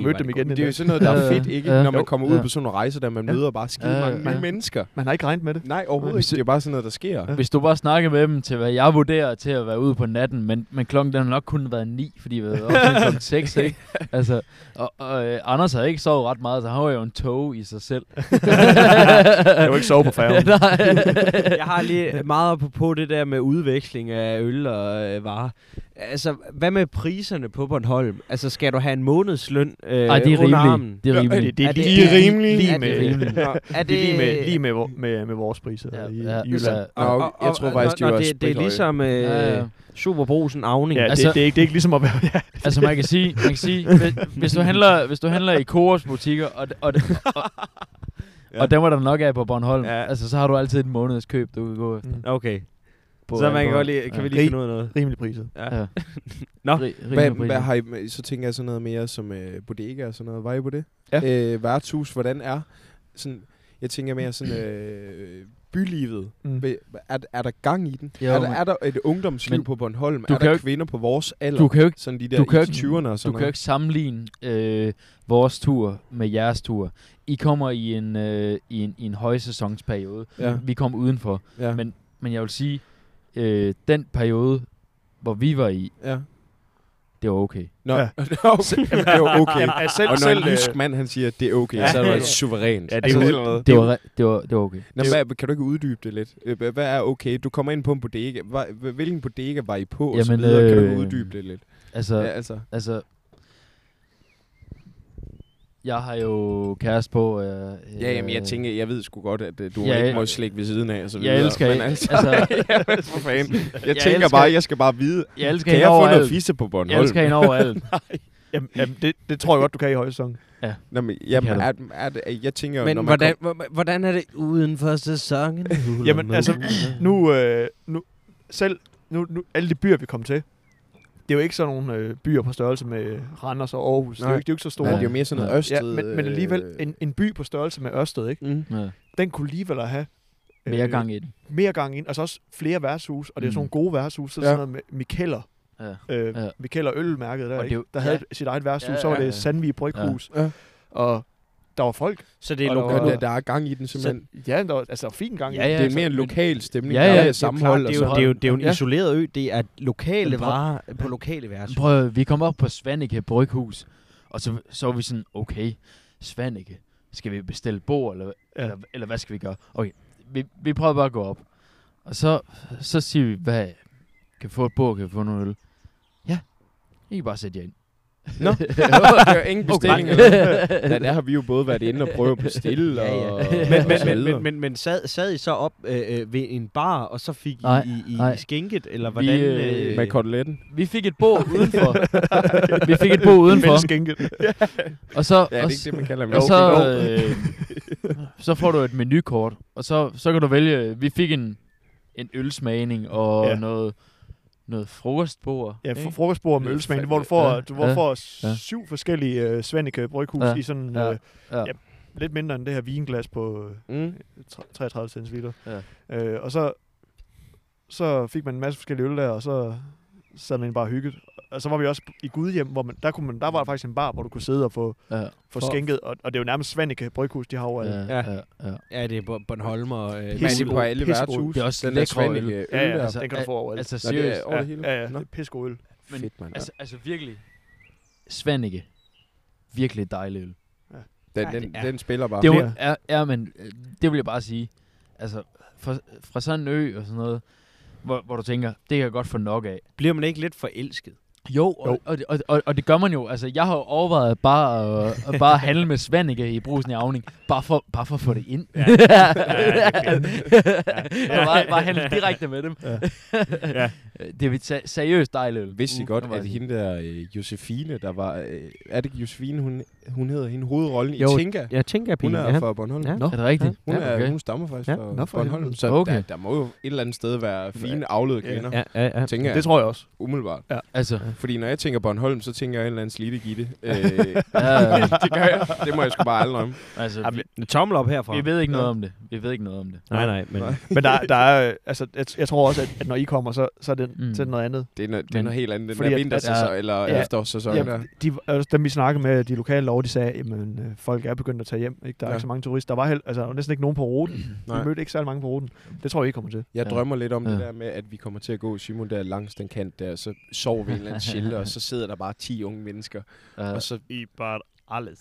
D: hvor er
E: mødte dem
D: det
E: igen.
G: Det er jo
E: Det
G: sådan noget, der er
F: Ja,
G: fedt, ikke?
F: ja.
G: Når man kommer
F: Jo,
G: ud
F: ja.
G: på sådan nogle rejser, der man
E: Ja.
G: møder bare skide
F: Ja,
G: mange
F: ja.
G: nye mennesker.
E: Man har ikke regnet med det.
G: Nej, overhovedet ikke. Det er bare sådan noget, der sker.
F: Hvis du bare snakkede med dem til, hvad jeg vurderer til at være ude på natten, men, men klokken den har nok kun været 9, fordi vi havde været klokken 6, ikke? Altså, og, og øh, Anders havde ikke sovet ret meget, så han var jo en tog i sig selv.
E: Jeg var ikke sove på færgen.
F: Nej.
D: Jeg har lige meget op på det der med udveksling af øl og øh, varer. Altså, hvad med priserne på Bornholm? Altså, skal du have en månedsløn øh,
F: Ej, det er
D: under
F: rimeligt.
D: armen?
F: Det er
E: Ja,
F: rimeligt.
E: Det
D: Er
E: er
D: det-
E: lige,
D: er det
E: rimeligt. Lige
D: er det
E: med,
D: rimeligt?
E: er det, lige med, lige med, vo- med, med vores priser
F: Ja,
E: ja, i,
F: ja,
E: ja, i Jylland.
F: altså-
G: Nå, jeg tror faktisk, de
D: når
G: var
D: det, det er
G: sprithøje.
D: ligesom øh,
F: Ja,
D: ja,
F: ja.
D: ja. Superbrugsen Avning.
E: Ja,
D: Ja.
E: det,
F: Altså-
E: det, er ikke, det er ikke ligesom at være... Ja,
F: Altså man kan sige, man kan sige hvis, hvis, du handler, hvis du handler i Coors butikker, og, og, og, ja. og den var der nok af på Bornholm, ja.
D: Ja.
F: altså så har du altid et månedskøb, du kan gå
E: Mm.
F: efter.
D: Okay,
F: På,
D: så man
F: på-
D: kan, godt lige, kan vi lige
E: Rig-
D: finde ud af noget.
E: rimelig priser.
D: Ja.
F: Ja.
D: Nå.
F: Ri- rimelig
G: Hvad,
F: pris.
G: hvad har I, så tænker jeg sådan noget mere som øh, bodega og sådan noget. Var I på det?
E: Ja.
G: Øh, værtshus, hvordan er? Sådan, jeg tænker mere sådan øh, bylivet.
E: Mm.
G: Ved- Er, er der gang i den?
F: Jo,
G: er, der,
F: men-
G: er der et ungdomsliv
F: Men
G: på Bornholm?
F: du
G: Er
F: kan jo
G: der
F: ikke-
G: kvinder på vores alder?
F: Du kan jo ikke,
G: sådan de der
F: du kan jo
G: i
F: ikke-
G: 20'erne og sådan
F: du kan jo ikke sammenligne øh, vores tur med jeres tur. I kommer i en, øh, i en, i en højsæsonsperiode.
G: Ja.
F: Vi kom udenfor.
G: noget. Ja.
F: Men, men jeg vil sige, øh, den periode, hvor vi var i,
G: ja.
F: det var okay.
G: Nå,
E: Ja.
G: ja. okay. Jamen, det var okay.
E: Jamen, altså, selv,
G: Og når
E: selv,
G: en jysk mand han siger, at det er okay,
E: Ja.
G: så er det altså suverænt.
E: Ja, det er
G: altså,
E: jo-
G: eller noget.
F: Det var, re- det var, det var okay.
G: Nå, hvad, kan du ikke uddybe det lidt? Øh, hva- Hvad er okay? Du kommer ind på en bodega. Hva- hva- Hvilken bodega var I på? og så
F: Jamen,
G: videre. Kan du
F: øh,
G: ikke uddybe det lidt?
F: Altså,
G: Ja, altså.
F: Altså, jeg har jo kæreste på. Øh,
G: Ja, jamen, jeg tænker, jeg ved sgu godt, at øh, du
F: Ja,
G: ja, ikke
F: jeg-
G: må slikke ved siden af. Og så
F: Jeg
G: videre.
F: elsker
G: Men
F: ikke-
G: altså,
F: altså-
G: altså jamen, for fanden. Jeg,
F: Jeg
G: jeg tænker
F: elsker-
G: bare, jeg skal bare vide,
F: Jeg elsker
G: kan
F: hende
G: jeg få noget
F: overalt.
G: fisse på
F: Jeg
G: Bornholm?
F: elsker hende overalt.
E: Jamen, jamen det, det tror jeg godt, du kan i højsæsonen.
G: Nå, men, jamen,
F: kan
G: er, er, er, jeg tænker,
D: Men
G: når man
D: hvordan,
G: kom-
D: hvor- hvordan er det uden for sæsonen?
E: Jamen, altså, Nu, øh, nu, selv nu, nu, alle de byer, vi kom til, det er jo ikke sådan nogle øh, byer på størrelse med Randers og Aarhus. Det er jo
G: Nej.
E: ikke, de er jo ikke så
G: Nej,
E: store.
G: det er jo mere sådan noget
F: Ja,
G: Ørsted.
E: ja, men, men alligevel,
G: øh,
E: en, en by på størrelse med Ørsted, ikke?
G: mm.
F: Ja.
E: den kunne alligevel at have øh,
F: Mere gang i den.
E: mere gang ind, og så også flere værtshus, og det er
F: Mm.
E: sådan nogle gode værtshus, så er det
G: Ja.
E: sådan noget med Mikeller,
F: Ja.
E: øh,
F: Ja.
E: Mikeller ølmærket der,
F: Og det er
E: ikke?
F: jo-
E: der havde
F: ja.
E: sit eget værtshus,
F: Ja,
E: så var
F: ja, ja.
E: det Sandvig Bryghus,
G: Ja. Ja.
E: og der var folk,
H: Så det er
E: Og
G: Og
H: lokalt.
G: der, der er gang i den simpelthen.
E: så, ja, der var, altså der var fin gang i
F: Ja,
E: den.
G: Ja, det er mere en lokal stemning.
F: Ja,
G: Ja,
F: ja,
G: ja,
F: det er
G: der er
F: jo
G: sammenhold.
F: klart,
G: og
H: Det er,
G: så
H: jo, det, er jo, det er jo en
E: Ja.
H: isoleret ø. Det er lokale
F: Men prøv-
H: varer på lokale
G: Altså-
H: værelser.
F: Prøv at- vi kom op på Svanike Bryghus, og så, så var vi sådan, okay, Svanike, skal vi bestille bord, eller,
E: Ja.
F: ja. eller, eller hvad skal vi gøre? Okay, vi, vi prøver bare at gå op. Og så, så siger vi, hvad, kan vi få et bord, kan vi få noget øl? Ja, I kan bare sætte jer ind.
G: Nå. der er ingen bestilling.
F: Okay.
G: Okay. Der, der har vi jo både været inde og prøve at bestille.
H: Ja, ja.
G: Og,
H: Men,
G: og
H: men,
G: så
H: men,
G: videre.
H: men, men, men sad, sad I så op øh, øh, ved en bar, og så fik I,
F: Nej,
H: I, I,
F: nej.
H: I skænket, eller
F: Vi,
H: hvordan?
F: øh,
H: øh,
G: Med koteletten.
F: Vi fik et bord udenfor. vi fik et bord udenfor.
E: Menneskeskænket.
F: Og så,
G: Ja, det
F: og
G: er
F: s-
G: ikke det, man kalder
F: Og
G: det.
F: så, øh, så får du et menukort, og så, så kan du vælge, øh, vi fik en, en ølsmagning og
E: Ja.
F: ja. noget, noget frokostbord.
E: Ja, for
F: ikke?
E: frokostbord med
G: Det er
E: ølsmagning,
G: fandme-
E: hvor du får,
F: Ja,
E: du hvor
F: ja,
E: du får
F: ja.
E: syv forskellige øh, Svanike Bryghus
F: Ja,
E: i sådan
F: ja,
E: øh,
F: ja.
E: lidt mindre end det her vinglas på øh,
G: Mm.
E: tre- 33 centiliter.
F: Ja.
E: Øh, og så, så fik man en masse forskellige øl der, og så sad man bare hygget. Og så var vi også i Gudhjem, hvor man, der, kunne man, der var der faktisk en bar, hvor du kunne sidde og få,
F: ja,
E: få skænket. Og, og, det er jo nærmest Svanike Bryghus, de har over. Ja.
F: ja, ja, ja.
H: ja, det er Bo- Bornholm og... Øh,
G: Men er det på
E: Pissegod.
G: alle
E: Pissegod.
G: værtshus?
F: Det er også
G: den der
F: lækre øl.
G: Svanike øl.
E: Ja, ja,
G: der.
E: altså, den kan du få over.
F: Altså
G: Nå, det
F: seriøst.
G: er over det hele.
E: Ja, ja, ja.
G: Nå.
E: Det er pissegod øl.
F: Men-
G: Fedt, mand.
F: Altså, altså virkelig, Svanike, virkelig dejlig øl.
G: Den,
H: Ej,
G: den,
H: det er-
G: den spiller bare.
F: Det
E: var-
F: var, ja, ja, men øh, det vil jeg bare sige. Altså, fra, fra sådan en ø og sådan noget, hvor, hvor du tænker, det kan jeg godt få nok af.
H: Bliver man ikke lidt forelsket?
F: Jo, og,
E: Jo.
F: jo. Og, det- og, og, og det gør man jo. Altså, jeg har jo overvejet bare at, at bare handle med Svanike i brusen i Avning, bare for, bare for at få det ind. Ja.
E: Ja,
F: ja. bare, bare handle direkte med dem.
E: Ja.
F: Ja. ja. Det er se- seriøst dejligt øl.
G: Vidste I
F: Mm,
G: godt,
F: det må jeg
G: at
F: sige.
G: hende der øh, Josefine, der var... Øh, er det ikke Josefine, hun, hun hedder hende hovedrollen
H: Jo,
G: i Tinka?
H: Jeg tænker på
G: Hun er fra Bornholm.
H: Ja.
F: Nå, er det rigtigt?
G: Hun, er,
F: okay.
G: hun stammer faktisk
H: Ja,
G: fra
E: nå for
G: Bornholm,
E: helvede.
G: så
F: Okay.
G: der, der må jo et eller andet sted være fine afledte kvinder,
H: Ja, ja, ja.
G: tænker jeg,
E: Det tror jeg også.
G: umiddelbart.
F: Altså,
G: Fordi når jeg tænker Bornholm, så tænker jeg en eller anden slidte gitte. Øh,
F: ja, ja.
G: det gør jeg. Det må jeg sgu bare aldrig om.
F: altså
E: Jamen,
F: vi,
H: En tommel op herfra.
F: vi ved ikke noget om det. Vi ved ikke noget om det.
H: Nej, nej, men...
G: Nej.
E: Men der, der er, øh, altså, jeg, jeg tror også, at, at når I kommer, så, så er det, mm.
F: Mm.
E: så er det noget andet.
G: Det er, noget, det er
F: Men-
G: noget helt andet, den
E: Fordi
G: der
E: at-
G: vintersæson,
F: at-
G: eller
E: ja.
G: efterårssæson.
E: Ja,
G: der.
E: de, altså, dem vi snakkede med, de lokale lov, de sagde, at øh, folk er begyndt at tage hjem. Ikke? Der er
G: Ja.
E: ikke så mange turister. Der var, hel, altså, der var næsten ikke nogen på ruten. Vi
G: Nej.
E: mødte ikke særlig mange på ruten. Det tror jeg, I kommer til.
G: Jeg
F: Ja.
G: drømmer lidt om det
F: Ja.
G: der med, at vi kommer til at gå Simon der langs den kant der, så sover vi i en eller anden shelter, og så sidder der bare 10 unge mennesker.
F: Ja.
G: Og så,
H: I bare alles.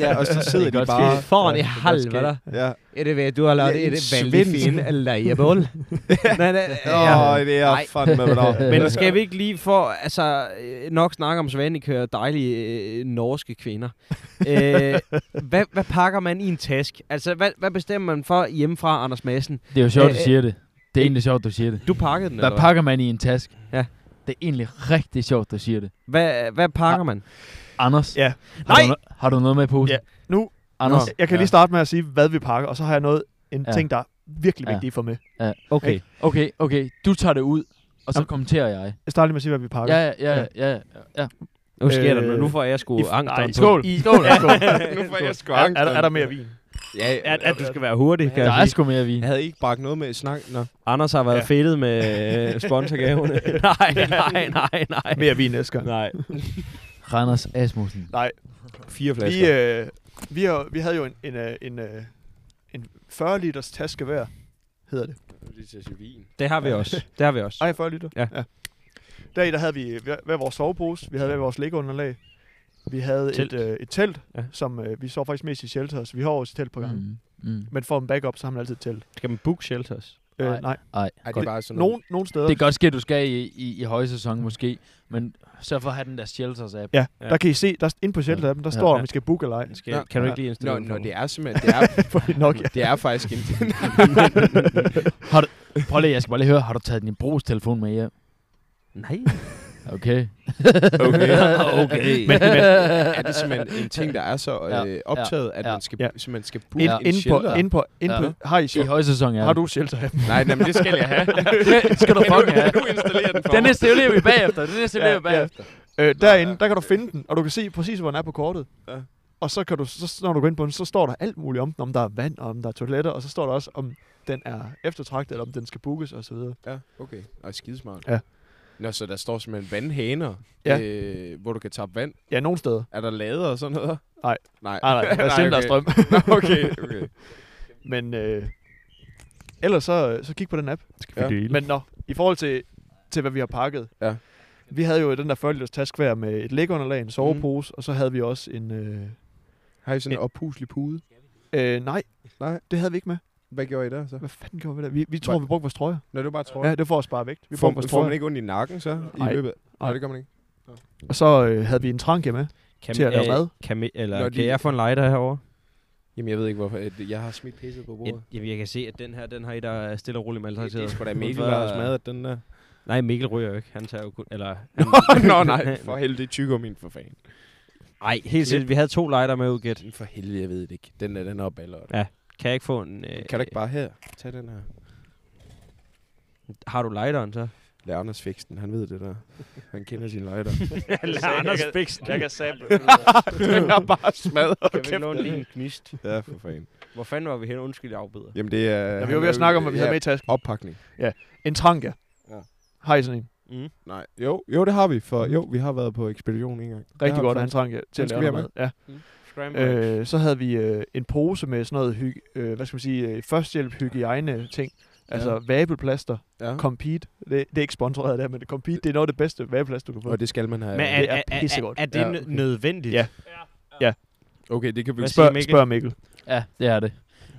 G: ja, og så sidder
F: Det er
G: de
F: godt
G: bare...
H: Foran i halvvede.
G: Ja.
H: Er det ved, du har lavet
G: Det er
H: et
G: en
H: vældig
G: svensk.
H: fint lejebål? nej, nej,
G: Åh, oh, det er
H: Nej.
G: fandme, hvad der
H: Men skal vi ikke lige få, altså øh, nok snakke om Svanikør og dejlige øh, norske kvinder. øh, hvad, hvad pakker man i en task? Altså, hvad, hvad bestemmer man for hjemmefra, Anders Madsen?
F: Det er jo sjovt,
H: Øh,
F: du siger det. Det er egentlig sjovt, du siger det.
H: Du pakkede den,
F: Hvad
H: eller
F: pakker man i en task?
H: Ja.
F: Det er egentlig rigtig sjovt, du siger det.
H: hvad? Hvad, hvad pakker man?
F: Anders,
E: Ja.
F: har,
E: Nej!
F: Du, no- har du noget med i posen?
E: Ja. Nu-
F: Anders,
E: Nå, Altså, jeg kan lige starte med at sige, hvad vi pakker, og så har jeg noget, en
F: Ja.
E: ting, der er virkelig
F: Ja.
E: vigtig for mig.
H: Okay.
E: Ikke?
F: Okay, okay. Du tager det ud, og så
E: Jamen.
F: kommenterer jeg.
E: Jeg starter lige med at sige, hvad vi pakker.
F: Ja, ja, ja, ja, ja. ja.
H: Nu sker der
E: Øh,
H: noget. Nu får jeg
D: Uh,
H: sgu
E: I-
H: angst.
E: nej,
H: om på-
E: skål.
H: I-
E: Skål, skål.
G: nu får jeg sgu
E: er,
G: angst.
E: er, der, er der mere vin?
G: Ja, ja,
H: At, at du skal være hurtig, kan
F: Der
H: jeg
F: er
H: sige.
F: sgu mere vin.
G: Jeg havde ikke bragt noget med i snak. Nå.
H: Anders har været
E: Ja.
H: ja. fedtet med øh, sponsorgaverne. nej, nej, nej, nej.
E: Mere vin næste gang.
H: Nej.
F: Randers Asmussen.
G: Fire flasker.
E: Vi, øh, vi, har, vi havde jo en, en, øh, en, øh, en 40 liters taske hver, hedder det.
H: Det har vi også. Det har vi også.
E: Ej, 40 liter?
H: Ja.
E: ja. Deri der havde vi øh, hver- hver vores sovepose, vi havde hver vores liggeunderlag, vi havde
H: Telt.
E: et, øh, et telt,
H: Ja.
E: som øh, vi så faktisk mest i shelters. Vi har også et telt på gangen. Mm.
F: Mm. Mm.
E: Men for en backup, så har man altid et telt.
H: Skal man book shelters?
E: Øh,
F: Nej.
E: nej.
F: Ej.
G: Ej, det er bare sådan
E: Nogen, nogen steder,
F: Det kan godt ske, at du skal i, i, i højsæson måske, men så for at have den der shelters app.
E: Ja,
H: Ja.
E: der kan I se, der inde på shelter appen, der
F: Ja.
E: står, om
H: Ja.
E: vi skal booke eller ej.
H: Skal,
G: Nå,
H: kan du
E: ja.
H: ikke lige
G: Nå,
H: installere
G: nå,
H: den for
G: det er simpelthen... Det er,
E: Fordi nok,
G: det er faktisk en...
F: Prøv lige, jeg skal bare lige høre, har du taget din brugs telefon med hjem?
H: mig? Nej.
F: Okay.
G: Okay.
D: okay.
G: Men, men er det simpelthen en ting, der er så
F: Ja,
G: øh,
F: ja,
G: optaget, at
F: ja.
G: man skal,
E: Ja.
G: simpelthen skal booke
E: Ind,
G: en,
E: ind, på,
G: shelter?
E: ind på, ind
F: Ja.
E: på, har I
F: I
E: shelter?
F: højsæson, ja.
E: Har du shelter? Ja.
G: Nej, nej, men det skal jeg have.
F: det skal du fucking have.
G: Nu installerer den for
F: Den
G: mig.
F: næste elev vi bagefter. Den næste elev vi
E: Ja, ja.
F: bagefter.
E: Øh, derinde, der kan du finde den, og du kan se præcis, hvor den er på kortet.
G: Ja.
E: Og så, kan du, så når du går ind på den, så står der alt muligt om den, om der er vand, og om der er toiletter, og så står der også, om den er eftertragtet, eller om den skal bookes, og så videre.
G: Ja, okay. Og skidesmart.
E: Ja.
G: Nå, så der står simpelthen vandhaner,
E: Ja.
G: øh, hvor du kan tappe vand.
E: Ja, nogle steder.
G: Er der lader og sådan noget?
E: Nej.
G: Nej,
E: Nej, nej, der er selv, der er strøm.
G: Nå, okay, okay.
E: Men øh, ellers så, så kig på den app.
G: vi Ja.
E: Men nå, i forhold til, til hvad vi har pakket.
G: Ja.
E: Vi havde jo den der 40 liters task hver med et lægunderlag, en sovepose, mm. og så havde vi også en... Øh,
G: Har I sådan en
E: Ja.
G: oppuslig pude?
E: øh, nej,
G: Nej.
E: det havde vi ikke med.
G: Hvad gjorde I der så?
E: Hvad fanden gjorde vi der? Vi, vi tror,
G: Hvad?
E: vi brugte vores trøjer.
G: Nå, det var bare trøje.
E: Ja, det får at spare vægt. Vi
G: får,
E: brugte vores
G: får
E: trøjer.
G: man ikke ondt i nakken så?
E: Nej.
G: I løbet? Nej,
E: Nej.
G: det gør man ikke.
E: Og så øh, havde vi en tranke med.
D: Kan,
E: til at lave
D: øh,
E: mad.
D: Kan, mi- eller,
G: Når
D: kan
G: de-
D: jeg få en lighter herovre?
G: Jamen, jeg ved ikke, hvorfor. at Jeg har smidt pisset på bordet.
D: Jeg, jeg kan se, at den her, den har I, der er stille og roligt
G: Det, det er
D: maltrakteret.
G: sgu da Mikkel, der har smadret den der.
D: Nej, Mikkel ryger jo ikke. Han tager jo kun... Eller,
G: Nå, nej. For helvede, det er tyggegummi for fanden.
D: Nej, helt sikkert. Vi havde to lighter med ud, Gæt.
G: Den for helvede, jeg ved det ikke. Den er den her baller.
D: Kan jeg ikke få en... Øh,
G: Kan du ikke bare her? Tag den her.
D: Har du lighteren så?
G: Lad Anders fikse den. Han ved det der. Han kender sin lighter.
D: Anders Biksen. Jeg kan sample.
G: den er bare smadret.
D: Kan vi ikke låne lige en gnist?
G: Ja, for fanden.
D: Hvor fanden var vi henne? Undskyld, jeg afbeder.
G: Jamen, det er...
E: Ja, vi
G: han
E: var ved
G: er
E: at snakke om, hvad vi
G: ja,
E: havde med i tasken.
G: Oppakning.
E: En tranke.
G: Ja.
E: Har I sådan en?
G: Nej, jo, jo, det har vi. For jo, vi har været på ekspedition en gang.
E: Rigtig
G: har
E: godt
G: vi
E: at have en tranke til
G: Den
E: at
G: skal
E: lave
G: vi
E: noget mad. Ja.
D: Scramble.
E: Øh, så havde vi øh, en pose med sådan noget hyg, øh, hvad skal man sige, øh, førstehjælp, hygiejne ting. Altså
G: Ja.
E: ja. vabelplaster,
G: Ja.
E: compete. Det, det, er ikke sponsoreret der, men det compete, det er noget af det bedste vabelplaster, du kan få.
G: Og det skal man have.
D: Men
E: det
H: øh,
E: er pissegodt.
D: Er, er det
G: Ja,
D: nø-
G: okay.
D: nødvendigt?
E: Ja.
G: Okay, det kan vi...
D: Hvad siger
E: spørg,
D: Mikkel?
E: Mikkel. spørg Mikkel.
F: Ja, det er det.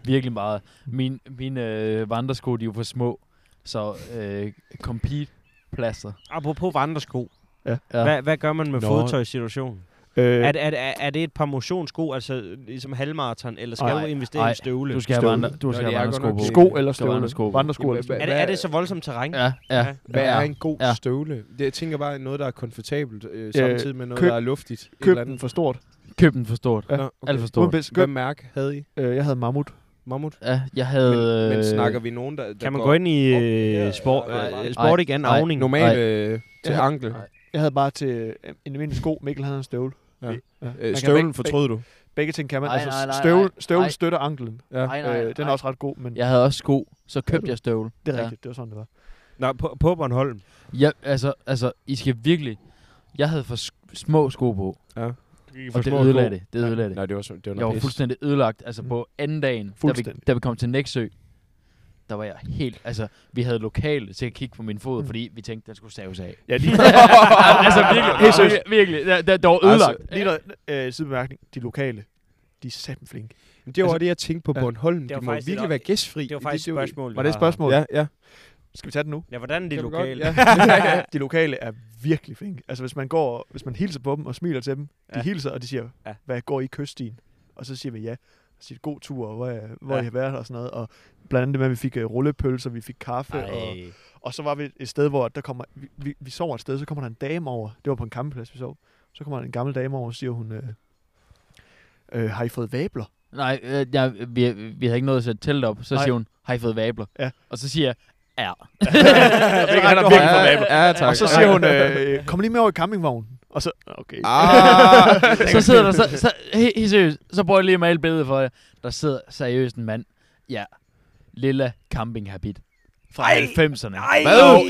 F: Virkelig meget. Min, mine øh, vandresko, de er jo for små. Så øh, compete plaster.
D: Apropos vandresko.
F: Ja.
D: Hvad, hvad gør man med
G: Nå.
D: fodtøjssituationen?
E: Øh,
D: Er, det- er, det- er, er det et par motionssko, altså ligesom halvmarathon, eller skal
F: Ej,
D: du investere i
F: ej.
D: en støvle?
F: Du skal have,
E: Støvle.
F: vandre, du
G: Nå,
F: skal
G: det
F: have
G: er
F: vandresko
G: godt
F: på.
G: nok
E: sko eller
F: Skal vandresko
E: støvle.
F: på.
E: Vandresko eller
G: Jamen, hvad-
E: støvle.
D: er, det, er det så voldsomt terræn?
F: Ja, ja.
D: Ja.
G: Hvad
F: ja.
G: er en god
F: Ja.
G: støvle? Det, jeg tænker bare noget, der er komfortabelt, øh, samtidig med noget,
E: køb-
G: der er luftigt. Et
E: Køb
G: eller
E: den
G: andet.
E: for stort.
F: Køb den for stort.
E: Ja.
G: Nå,
F: Alt for
E: Uden
F: stort.
E: pis.
G: Hvad
E: Køb.
G: mærke havde I?
E: Øh, jeg havde mammut.
G: Mammut?
F: Ja, jeg havde...
G: Men, men
F: øh,
G: snakker vi nogen, der, der
D: Kan man
G: går
D: gå ind i
G: Op. Ja,
D: øh, sport,
G: ja, ja, ja.
D: øh, sport igen,
F: Ej,
D: avning?
G: normalt øh, til
E: Ja.
G: ankel?
F: Nej.
E: Jeg havde bare til øh, en almindelig sko. Mikkel havde en støvle.
G: Ja.
E: Man
G: Øh,
E: kan
G: støvlen
E: begge-
G: fortrød du?
E: begge- Begge ting kan man.
F: Nej,
E: altså,
F: nej, nej,
E: støvlen,
F: nej.
E: støvlen
F: Nej.
E: støtter anklen.
G: Ja.
F: Nej, nej,
E: Øh, den er
F: nej.
E: også ret god, men
F: Jeg havde også sko, så købte
E: du?
F: jeg støvle.
E: det er
F: Ja.
E: rigtigt. Det var sådan, det var.
D: Nå, på, på Bornholm.
F: Ja, altså, altså, I skal virkelig... Jeg havde for sk- små sko på, og det ødelagde det. Det ødelagde det.
G: Nej, det var, sådan- det var
F: Jeg
G: noget
F: var
G: pis.
F: fuldstændig ødelagt. Altså
E: Mm.
F: på anden dagen, da vi,
E: Fuldstændig.
F: da vi kom til Næksø, der var jeg helt... Altså, vi havde lokale til at kigge på min
E: Mm.
F: fod, fordi vi tænkte, den skulle saves af.
E: Ja, lige,
F: altså virkelig,
E: Helt seriøst. Altså,
F: virkelig, virkelig. Der, der, der var ødelagt.
E: Lige noget øh, sidebemærkning. De lokale, de er satme flinke.
G: Men Det var
E: Altså-
G: det, jeg tænkte på
E: Ja.
G: Bornholm.
D: Det var
G: De må
D: faktisk
G: virkelig
D: et-
G: være gæstfri.
D: Det var faktisk et
G: jo-
D: spørgsmål. vi
E: Var det et
D: har.
E: spørgsmål?
G: Ja, ja.
E: Skal vi tage den nu?
D: Ja, hvordan er det
G: Kan du godt?
D: lokale?
G: Ja.
E: de lokale er virkelig flinke. Altså hvis man går, hvis man hilser på dem og smiler til dem, de
D: Ja.
E: hilser, og de siger,
D: Ja.
E: hvad går I i kyststien? Og så siger vi ja. Og siger, god tur, og hvor, er- hvor
D: Ja.
E: ja. I har været og sådan noget. Og blandt andet det med, at vi fik øh, rullepølser, vi fik kaffe. Og,
D: Ej.
E: og, så var vi et sted, hvor der kommer, vi, vi, vi sover et sted, så kommer der en dame over. Det var på en campingplads, vi sov. Så kommer der en gammel dame over, og siger hun, øh, øh, har I fået vabler?
F: Nej, øh, jeg, vi, vi havde ikke noget at sætte telt op. Så
E: Nej.
F: siger hun, har I fået vabler?
E: Ja.
F: Og så siger jeg, ja.
E: han er virkelig for vabler.
G: Ja, ja, tak.
E: Og så siger hun, øh, kom lige med over i campingvognen. Og så, okay.
G: Ah,
F: så sidder der, så, så helt he, seriøst, så prøver jeg lige at male billedet for jer. Der sidder seriøst en mand, ja, lilla camping habit fra
D: Ej!
F: 90'erne.
D: Ej!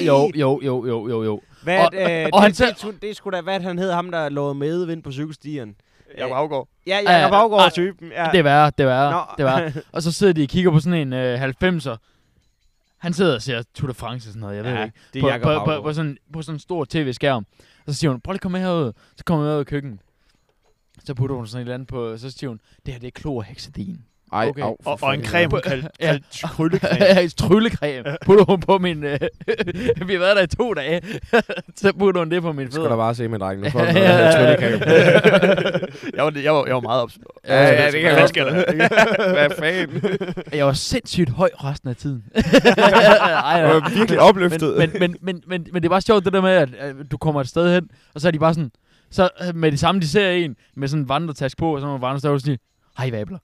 F: Jo, jo, jo, jo, jo, jo, jo.
D: Hvad,
F: Og-
D: og, øh, det,
F: og han
D: det,
F: selv-
D: det, det, det skulle da, hvad han hed, ham der lå med vind på cykelstieren.
E: Jeg afgår.
D: Ja, Jacob
F: ja,
D: Afgaard
F: ah,
D: typen. Ja.
F: Det er værre, det er værre,
D: Nå.
F: det er værre. Og så sidder de og kigger på sådan en øh, 90'er. Han sidder og ser Tour de France og sådan noget, jeg ved
D: Ja,
F: ikke.
D: det
F: på,
D: er Jacob
F: på, på,
D: Afgaard.
F: på, sådan, på sådan en stor tv-skærm. Og så siger hun, prøv lige at komme herud. Så kommer hun ud af køkkenet. Så putter hun sådan et eller andet på, så siger hun, det her det er klor og hexadin.
G: Ej,
F: Okay.
G: okay. au, for
E: Og, og en
G: fanden.
E: creme kaldt,
F: Ja.
E: kaldt krøllecreme.
F: Ja, tryllecreme. Putter hun på min... Øh, vi har været der i to dage. så putter hun det på min
G: Nu skal der
F: fødder.
G: bare se med drengen. Nu får du noget af tryllecreme.
E: jeg, var, jeg, var, jeg var meget ops.
G: Ja, ja, det kan jeg
E: Hvad
G: godt.
E: skal der?
G: Hvad fanden?
F: Jeg var sindssygt høj resten af tiden. Ej,
G: Jeg
F: nej.
G: var virkelig opløftet.
F: Men, men, men, men, men, men det er bare sjovt det der med, at, at du kommer et sted hen, og så er de bare sådan, så øh, med det samme, de ser en med sådan en vandretask på, og så må vandrestavelsen sige, hej vabler.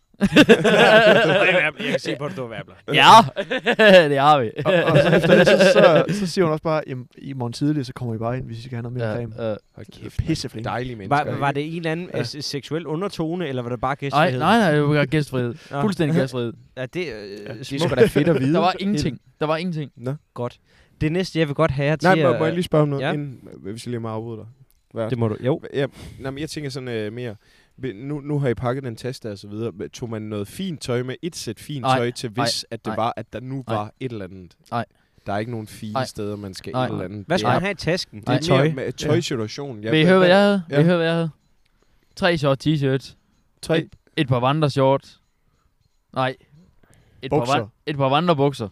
D: Jeg kan se på det, du væbler.
F: ja, det har vi.
E: Og, og så, efter det, så, så, så siger hun også bare, jamen, i morgen tidlig, så kommer I bare ind, hvis I skal have noget mere
F: Ja,
E: creme.
F: øh,
G: Hold kæft.
E: Pisseflink.
G: Dejlige mennesker.
D: Var, var det en eller anden ja. seksuel undertone, eller var det bare
F: nej,
D: gæstfrihed?
F: nej, nej, det var gæstfrihed.
D: Nå.
F: Fuldstændig gæstfrihed.
D: Ja, det, øh,
G: Det er
D: smukt.
G: sgu da fedt at vide.
F: Der var ingenting. Der var ingenting.
D: godt. Det næste, jeg vil godt have jer til
G: Nej, må,
D: at-
G: må jeg lige spørge om noget,
D: Ja.
G: ja. inden hvis jeg lige må afbryde dig? Hvad?
D: Det må du, jo.
G: Ja, nej, men jeg tænker sådan øh, mere, vi- nu, nu har I pakket den test der og så videre, men tog man noget fint tøj med, et sæt fint
F: Nej,
G: tøj til hvis, at det
F: nej.
G: var, at der nu
F: Nej.
G: var et eller andet?
F: Nej.
G: Der er ikke nogen fine
F: Nej.
G: steder, man skal
F: Nej.
G: et eller andet.
D: Hvad skal
G: Det
D: man
G: er-
D: have i tasken? Det
F: Nej.
D: er tøj.
G: Mere med tøjsituationen. Ja,
F: Vil I høre, hvad jeg havde?
G: Ja.
F: Vil I høre, hvad jeg havde? Tre short t-shirts.
G: Tre.
F: Et par vandreshorts. Nej. Et par,
E: Bukser.
F: van- et par vandrebukser.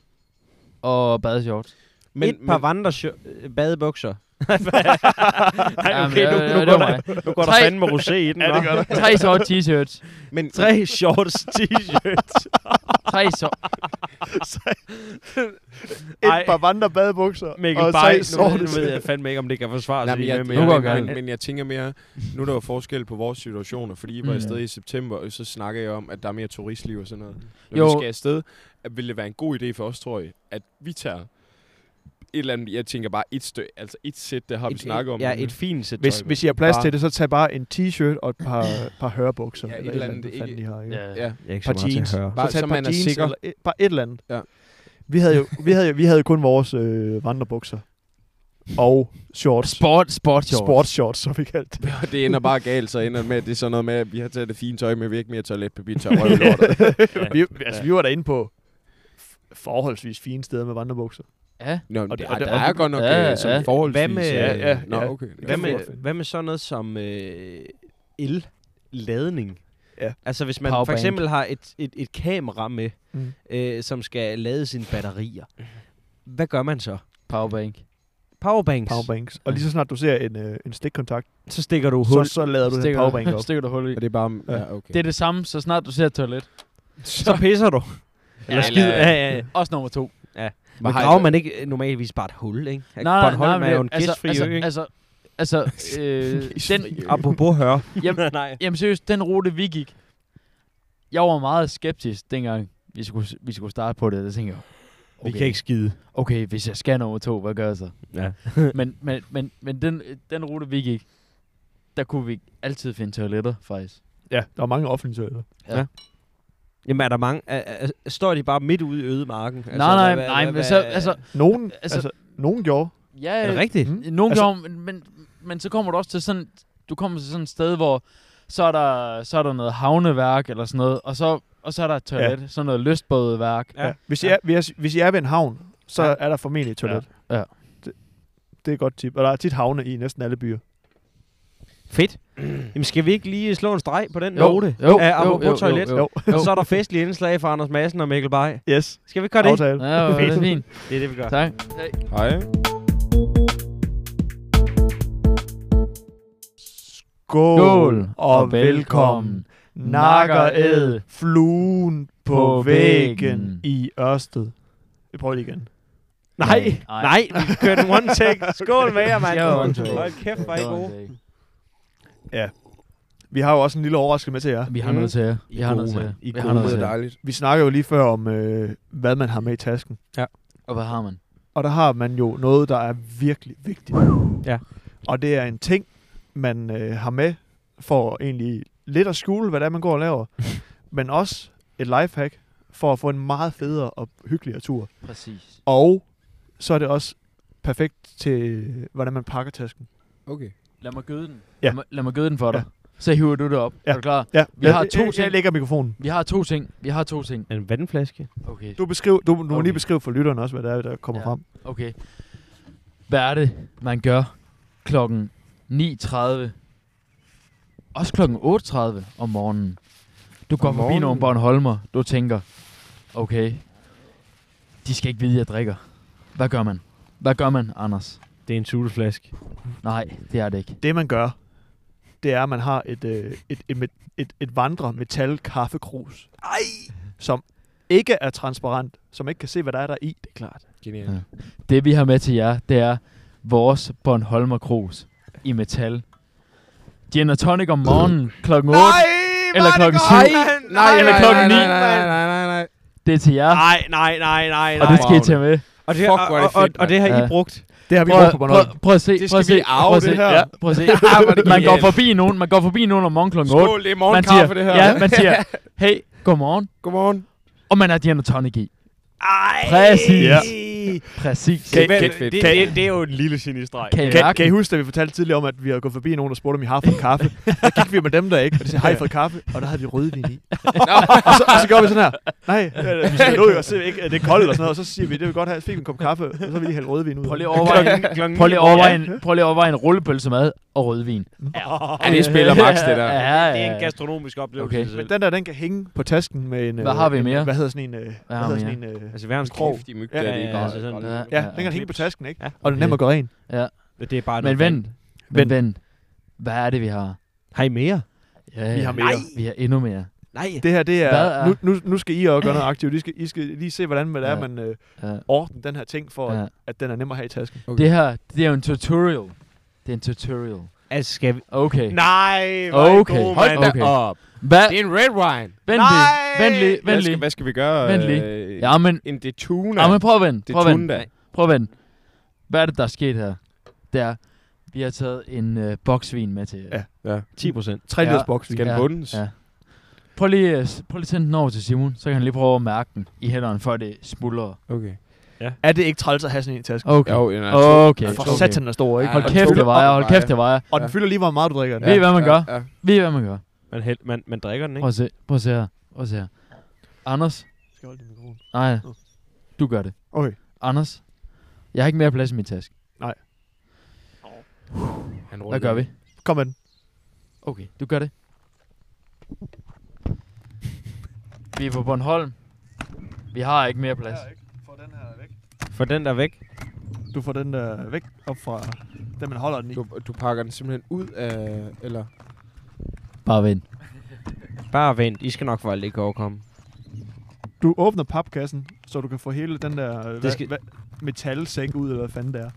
F: Og badeshorts.
G: Men,
D: et par
G: men,
D: vandre øh, badebukser.
F: Ja,
D: Nej,
F: men det- det- det var mig.
D: nu går
F: Tre-
D: fandme rosé i den, ja, det gør der.
F: Tre short t-shirts.
G: men,
D: Tre shorts t-shirts.
F: Tre short.
E: Et
D: Ej.
E: par vandrebadebukser.
D: Mikkel
E: og
D: Bay,
E: tre
D: nu, nu
E: sorte.
D: ved jeg fandme ikke, om det kan forsvare
G: Nej,
D: sig.
G: men
D: lige
G: jeg,
D: med
F: nu går
D: mere.
G: jeg,
F: gang.
G: jeg, men, men jeg tænker mere, nu er der jo forskel på vores situationer, fordi I var
F: Mm.
G: afsted i september, og så snakker jeg om, at der er mere turistliv og sådan noget. Når
F: Jo.
G: jo. vi skal afsted, at vil det være en god idé for os, tror jeg, at vi tager et eller andet, jeg tænker bare et stø, altså et sæt, det har vi
D: Et-
G: snakket om.
D: Ja,
G: nu.
D: et fint sæt
E: Hvis,
D: tøj.
E: hvis I har plads
G: Bare-
E: til det, så tag bare en t-shirt og et par, par hørebukser.
G: Ja,
E: et eller andet,
G: ikke-
E: fanden I har. Ikke?
F: Ja.
G: ja.
D: Jeg er ikke
E: par jeans.
D: høre.
G: Bare
E: så tag
G: så
E: et par
G: man er
E: jeans
G: sikker.
E: eller et, bare et eller andet.
G: Ja.
E: Vi, havde jo, vi, havde jo, vi havde jo kun vores øh, vandrebukser. Og shorts.
F: Sport, sport shorts.
E: Sportsshorts, som vi kaldte det.
G: Og det ender bare galt, så ender det med, at det er sådan noget med, at vi har taget det fine tøj, men vi har ikke mere toiletpapir, tør røvlortet.
E: vi, altså, vi var derinde på f- forholdsvis fine steder med vandrebukser.
F: Ja.
G: Nå, men
E: Og
G: og
E: det-
G: det,
E: og
G: der,
E: det-
G: der er godt nok
F: ja,
G: ja,
F: ja.
G: ja. sådan forholdsvis...
D: Hvad med-
G: øh,
D: Ja,
E: ja,
G: Nå,
E: ja.
G: okay. Det
D: Hvad
G: kan jeg
D: med,
G: godt finde.
D: hvad med sådan noget som øh, el-ladning?
E: Ja.
D: Altså hvis man for
F: Powerbank.
D: eksempel har et, et, et kamera med,
E: Mm.
D: mm. øh, som skal lade sine batterier. Hvad gør man så?
F: Powerbank.
D: Powerbanks.
E: Powerbanks. Og lige så snart du ser en, øh, en stikkontakt,
D: Så stikker du
E: så,
D: hul.
E: så lader du den
F: Stikker
E: powerbank op.
F: Stikker du hul i.
G: Og det er bare... Ja, okay.
F: Det er det samme, så snart du ser et toilet.
D: Så, så pisser du. Eller skid. Ja, ja, ja.
F: Også nummer to.
D: Men graver man ikke øh, normalvis bare et hul, ikke? Bornholm
F: men
D: er jo
F: det-
D: en gæstfri
F: altså,
D: altså, ø, ikke?
F: altså, altså, altså, øh, den,
D: Apropos høre.
F: Jamen-
D: nej.
F: Jamen seriøst, den rute vi gik, jeg var meget skeptisk dengang, vi skulle, vi skulle starte på det. Der tænkte jeg, okay,
D: Vi kan ikke skide.
F: okay, hvis jeg skal nummer to, hvad gør jeg så?
D: Ja.
F: men men, men, men den, den rute vi gik, der kunne vi altid finde toiletter, faktisk.
E: Ja, der var mange offentlige toiletter.
D: Jamen er der mange... Er, er, står de bare midt ude i ødemarken?
F: Altså, nej, nej, nej, men så, altså,
E: Nogen,
F: Altså-
E: altså, altså, nogen gjorde.
F: ja,
D: Er det rigtigt?
E: Mm.
F: Nogle altså,
E: Altså-
F: gange, men, men, men så kommer du også til sådan, du kommer til sådan et sted, hvor så er der, så er der noget havneværk eller sådan noget, og så, og så er der et toilet, ja. sådan noget lystbådeværk.
E: Ja.
D: Ja.
E: Hvis, I er, hvis, hvis I er ved en havn, så
F: Ja.
E: ja. er der formentlig et toilet.
F: Ja. Ja.
E: Det, det er et godt tip. Og der er tit havne i næsten alle byer.
D: Fedt. Jamen skal vi ikke lige slå en streg på den
F: Jo,
D: note?
F: jo,
D: af
F: jo,
D: apropos
F: jo, jo,
D: toilet.
F: jo. Jo.
D: Og så er der festlige indslag fra Anders Madsen og Mikkel Bay.
E: Yes,
D: Skal vi gøre det?
E: aftale.
F: Ja, det er fint.
D: Det er det, vi gør.
F: Tak.
G: Hej.
E: Skål og velkommen. Nakker ed fluen på,
F: på væggen.
E: væggen i Ørsted. Vi prøver lige igen.
D: Nej,
F: Nej.
D: nej, nej. vi kører den one take. Skål med jer, mand.
F: Det var en take.
D: Hold kæft, hvor er I gode.
E: Vi har jo også en lille overraskelse med til jer.
F: Vi har noget til jer. Vi har
D: gode,
F: noget til jer.
D: mand. I
F: Vi
D: er
F: har noget til jer.
G: dejligt.
E: Vi snakker jo lige før om, øh, hvad man har med i tasken.
F: Og hvad har man?
E: Og der har man jo noget, der er virkelig vigtigt.
D: Ja.
E: Og det er en ting, man øh, har med for egentlig lidt at skjule, hvad det er, man går og laver. men også et lifehack for at få en meget federe og hyggeligere tur.
F: Præcis.
E: Og så er det også perfekt til, hvordan man pakker tasken.
G: Okay.
F: Lad mig gøde den.
E: Ja.
F: Lad, mig, lad mig gøde den for dig.
E: Ja.
F: Så hiver du det op.
E: Ja.
F: Er du klar?
E: Ja,
F: Vi har to
E: jeg, jeg, jeg
F: ting.
E: lægger mikrofonen.
F: Vi har to ting. Vi har to ting.
D: En vandflaske.
F: Okay.
E: Du, beskriv, du, du må
F: Okay.
E: lige beskrive for lytterne også, hvad det er, der kommer
F: Ja.
E: ja. frem.
F: Okay. Hvad er det, man gør klokken 9.30? Også klokken 8.30 om morgenen. Du går forbi
G: morgenen.
F: nogle Bornholmer, du tænker, okay, de skal ikke vide, jeg drikker. Hvad gør man? Hvad gør man, Anders?
D: Det er en sutteflaske.
F: Nej, det er det ikke.
E: Det, man gør, det er, at man har et, øh, et, et, et, et, et vandre metal kaffekrus. Ej! Som ikke er transparent, som ikke kan se, hvad der er der i. Det er klart.
G: Genialt.
F: Ja. Det, vi har med til jer, det er vores Bornholmer Kros i metal. Gin og tonic om morgenen klokken 8. Eller klokken 7.
E: Nej,
F: eller klokken
E: nej,
F: 9.
E: nej, nej, nej.
F: Det er til jer,
D: Nej, nej, nej, nej,
F: og
D: nej.
F: det skal I tage med.
D: Og
G: Fuck,
D: det,
G: hvor
D: og,
G: er det
D: og, og,
G: fedt,
D: og det har
F: mand.
D: I brugt.
E: Det har vi
F: Prøv,
E: brugt på Bornholm.
F: prøv, prøv at se.
G: Det
F: prøv at
G: skal
F: se,
G: vi arve,
F: prøv at se,
G: det her.
F: Ja, prøv at se.
G: hvor er
F: man
G: det
F: går
G: genialt.
F: forbi nogen, man går forbi nogen om morgenen klokken 8.
G: Skål, det er
F: Man
G: morgenkaffe,
F: siger,
G: det her.
F: ja, man siger, hey, godmorgen.
G: Godmorgen.
F: Og man har gin og tonic i. Ej. Præcis.
E: Ja.
F: Præcis.
E: Kan I-
G: Fedt, fedt.
D: Det, det, det er jo en lille genistreg.
F: Kan I
E: Kan,
F: mærke
E: kan I
F: den?
E: huske, da vi fortalte tidligere om, at vi havde gået forbi nogen, der spurgte, om I har fået kaffe? Der gik vi med dem der ikke, og de sagde, har I fået kaffe? Og der havde vi rødvin i. og, så, og så gjorde vi sådan her, nej, øh, vi skal ud og se, ikke, at det er koldt eller sådan noget, og så siger vi, det vil vi godt have, så fik vi en kop kaffe, og så vil vi lige hælde rødvin ud.
F: Prøv lige at overveje, prøv lige at overveje, en, prøv lige at overveje en rullepølse mad og rødvin.
G: Ja, det spiller max, det der.
F: Ja, ja,
D: Det er en
F: ja.
D: gastronomisk oplevelse.
F: Okay.
D: i sig selv.
E: Men den der, den kan hænge på tasken med en... øh,
F: Hvad har vi
E: en-
F: mere?
E: Hvad hedder sådan en... øh, Hvad
F: har
E: hedder
F: vi
E: sådan en... øh,
D: Altså, verdens krog.
G: Krog. De mygge,
E: Ja,
G: det er
D: ja,
G: det ikke.
D: ja,
G: Godt,
D: altså sådan.
G: godt.
E: Ja, den kan hænge på tasken, ikke?
D: Ja.
E: Og den er nem at gøre ren.
D: Det er bare
F: Men
D: noget
F: vent, men
E: Vent.
F: vent. Hvad er det, vi har?
D: fanden. Har I mere?
F: Ja,
E: Vi har mere.
F: Vi har endnu mere.
D: Nej.
E: Det her, det
F: Hvad
E: er...
F: er-
E: Nu, nu, nu skal I også gøre noget aktivt. I skal, I skal lige se, hvordan det er,
F: Ja.
E: man øh,
F: Ja.
E: ordner den her ting, for
F: Ja.
E: at, at den er nem at have i tasken.
F: Det her, det er jo en tutorial. Det er en tutorial.
D: Altså, skal vi...
F: Okay.
D: Nej,
F: hvor er I Okay. gode,
G: Hold da
F: Okay.
G: op.
F: Hvad?
G: Det er en red wine.
F: Vent lige. Vent lige.
G: Hvad
F: Vent
G: skal,
F: lige.
G: hvad skal vi gøre?
F: Vent lige.
G: Øh,
F: Jamen,
G: En detuna.
F: jamen prøv at vente. Prøv at vente.
G: Detuna.
F: Prøv at vente. Hvad er det, der er sket her? Det er, vi har taget en øh, boksvin med til jer.
E: Ja.
D: 10 procent.
E: 3 liters boks.
G: Skal den
F: Ja.
G: bundes?
F: Ja. Prøv lige, øh, s- prøv lige at sende den over til Simon, så kan han lige prøve at mærke den i hænderne, før det smuldrer.
G: Okay.
E: Er det ikke træls at have sådan en i tasken?
F: Okay.
G: Jo, en
F: Okay.
E: For
F: okay.
E: satan den er stor, ikke?
G: Ja.
F: Hold
G: Og
F: kæft,
G: to-
F: det vejer. Hold
G: vejer.
F: kæft, det vejer.
E: Og den fylder lige, hvor meget du drikker den.
F: Ved I, hvad man gør?
G: Ja, ja.
F: Ved I, hvad man gør?
D: Man, hel, man, man drikker den, ikke?
F: Prøv at se, prøv at se her. Prøv at se her. Anders,
E: Skal jeg holde din mikrofon?
F: nej,
E: Nå.
F: du gør det.
E: Okay.
F: Anders, jeg har ikke mere plads i min taske.
G: Han
F: Hvad gør vi?
E: Kom med den.
F: Okay, du gør det. Vi er på Bornholm. Vi har ikke mere plads.
E: Få den her væk.
D: For den der væk.
E: Du får den der væk op fra den, man holder den i.
G: Du, du pakker den simpelthen ud af... Eller?
F: Bare vent.
D: Bare vent. I skal nok for alt ikke overkomme.
E: Du åbner papkassen, så du kan få hele den der øh, hva,
D: skal-
E: hva, metalsæk ud, eller hvad fanden det er.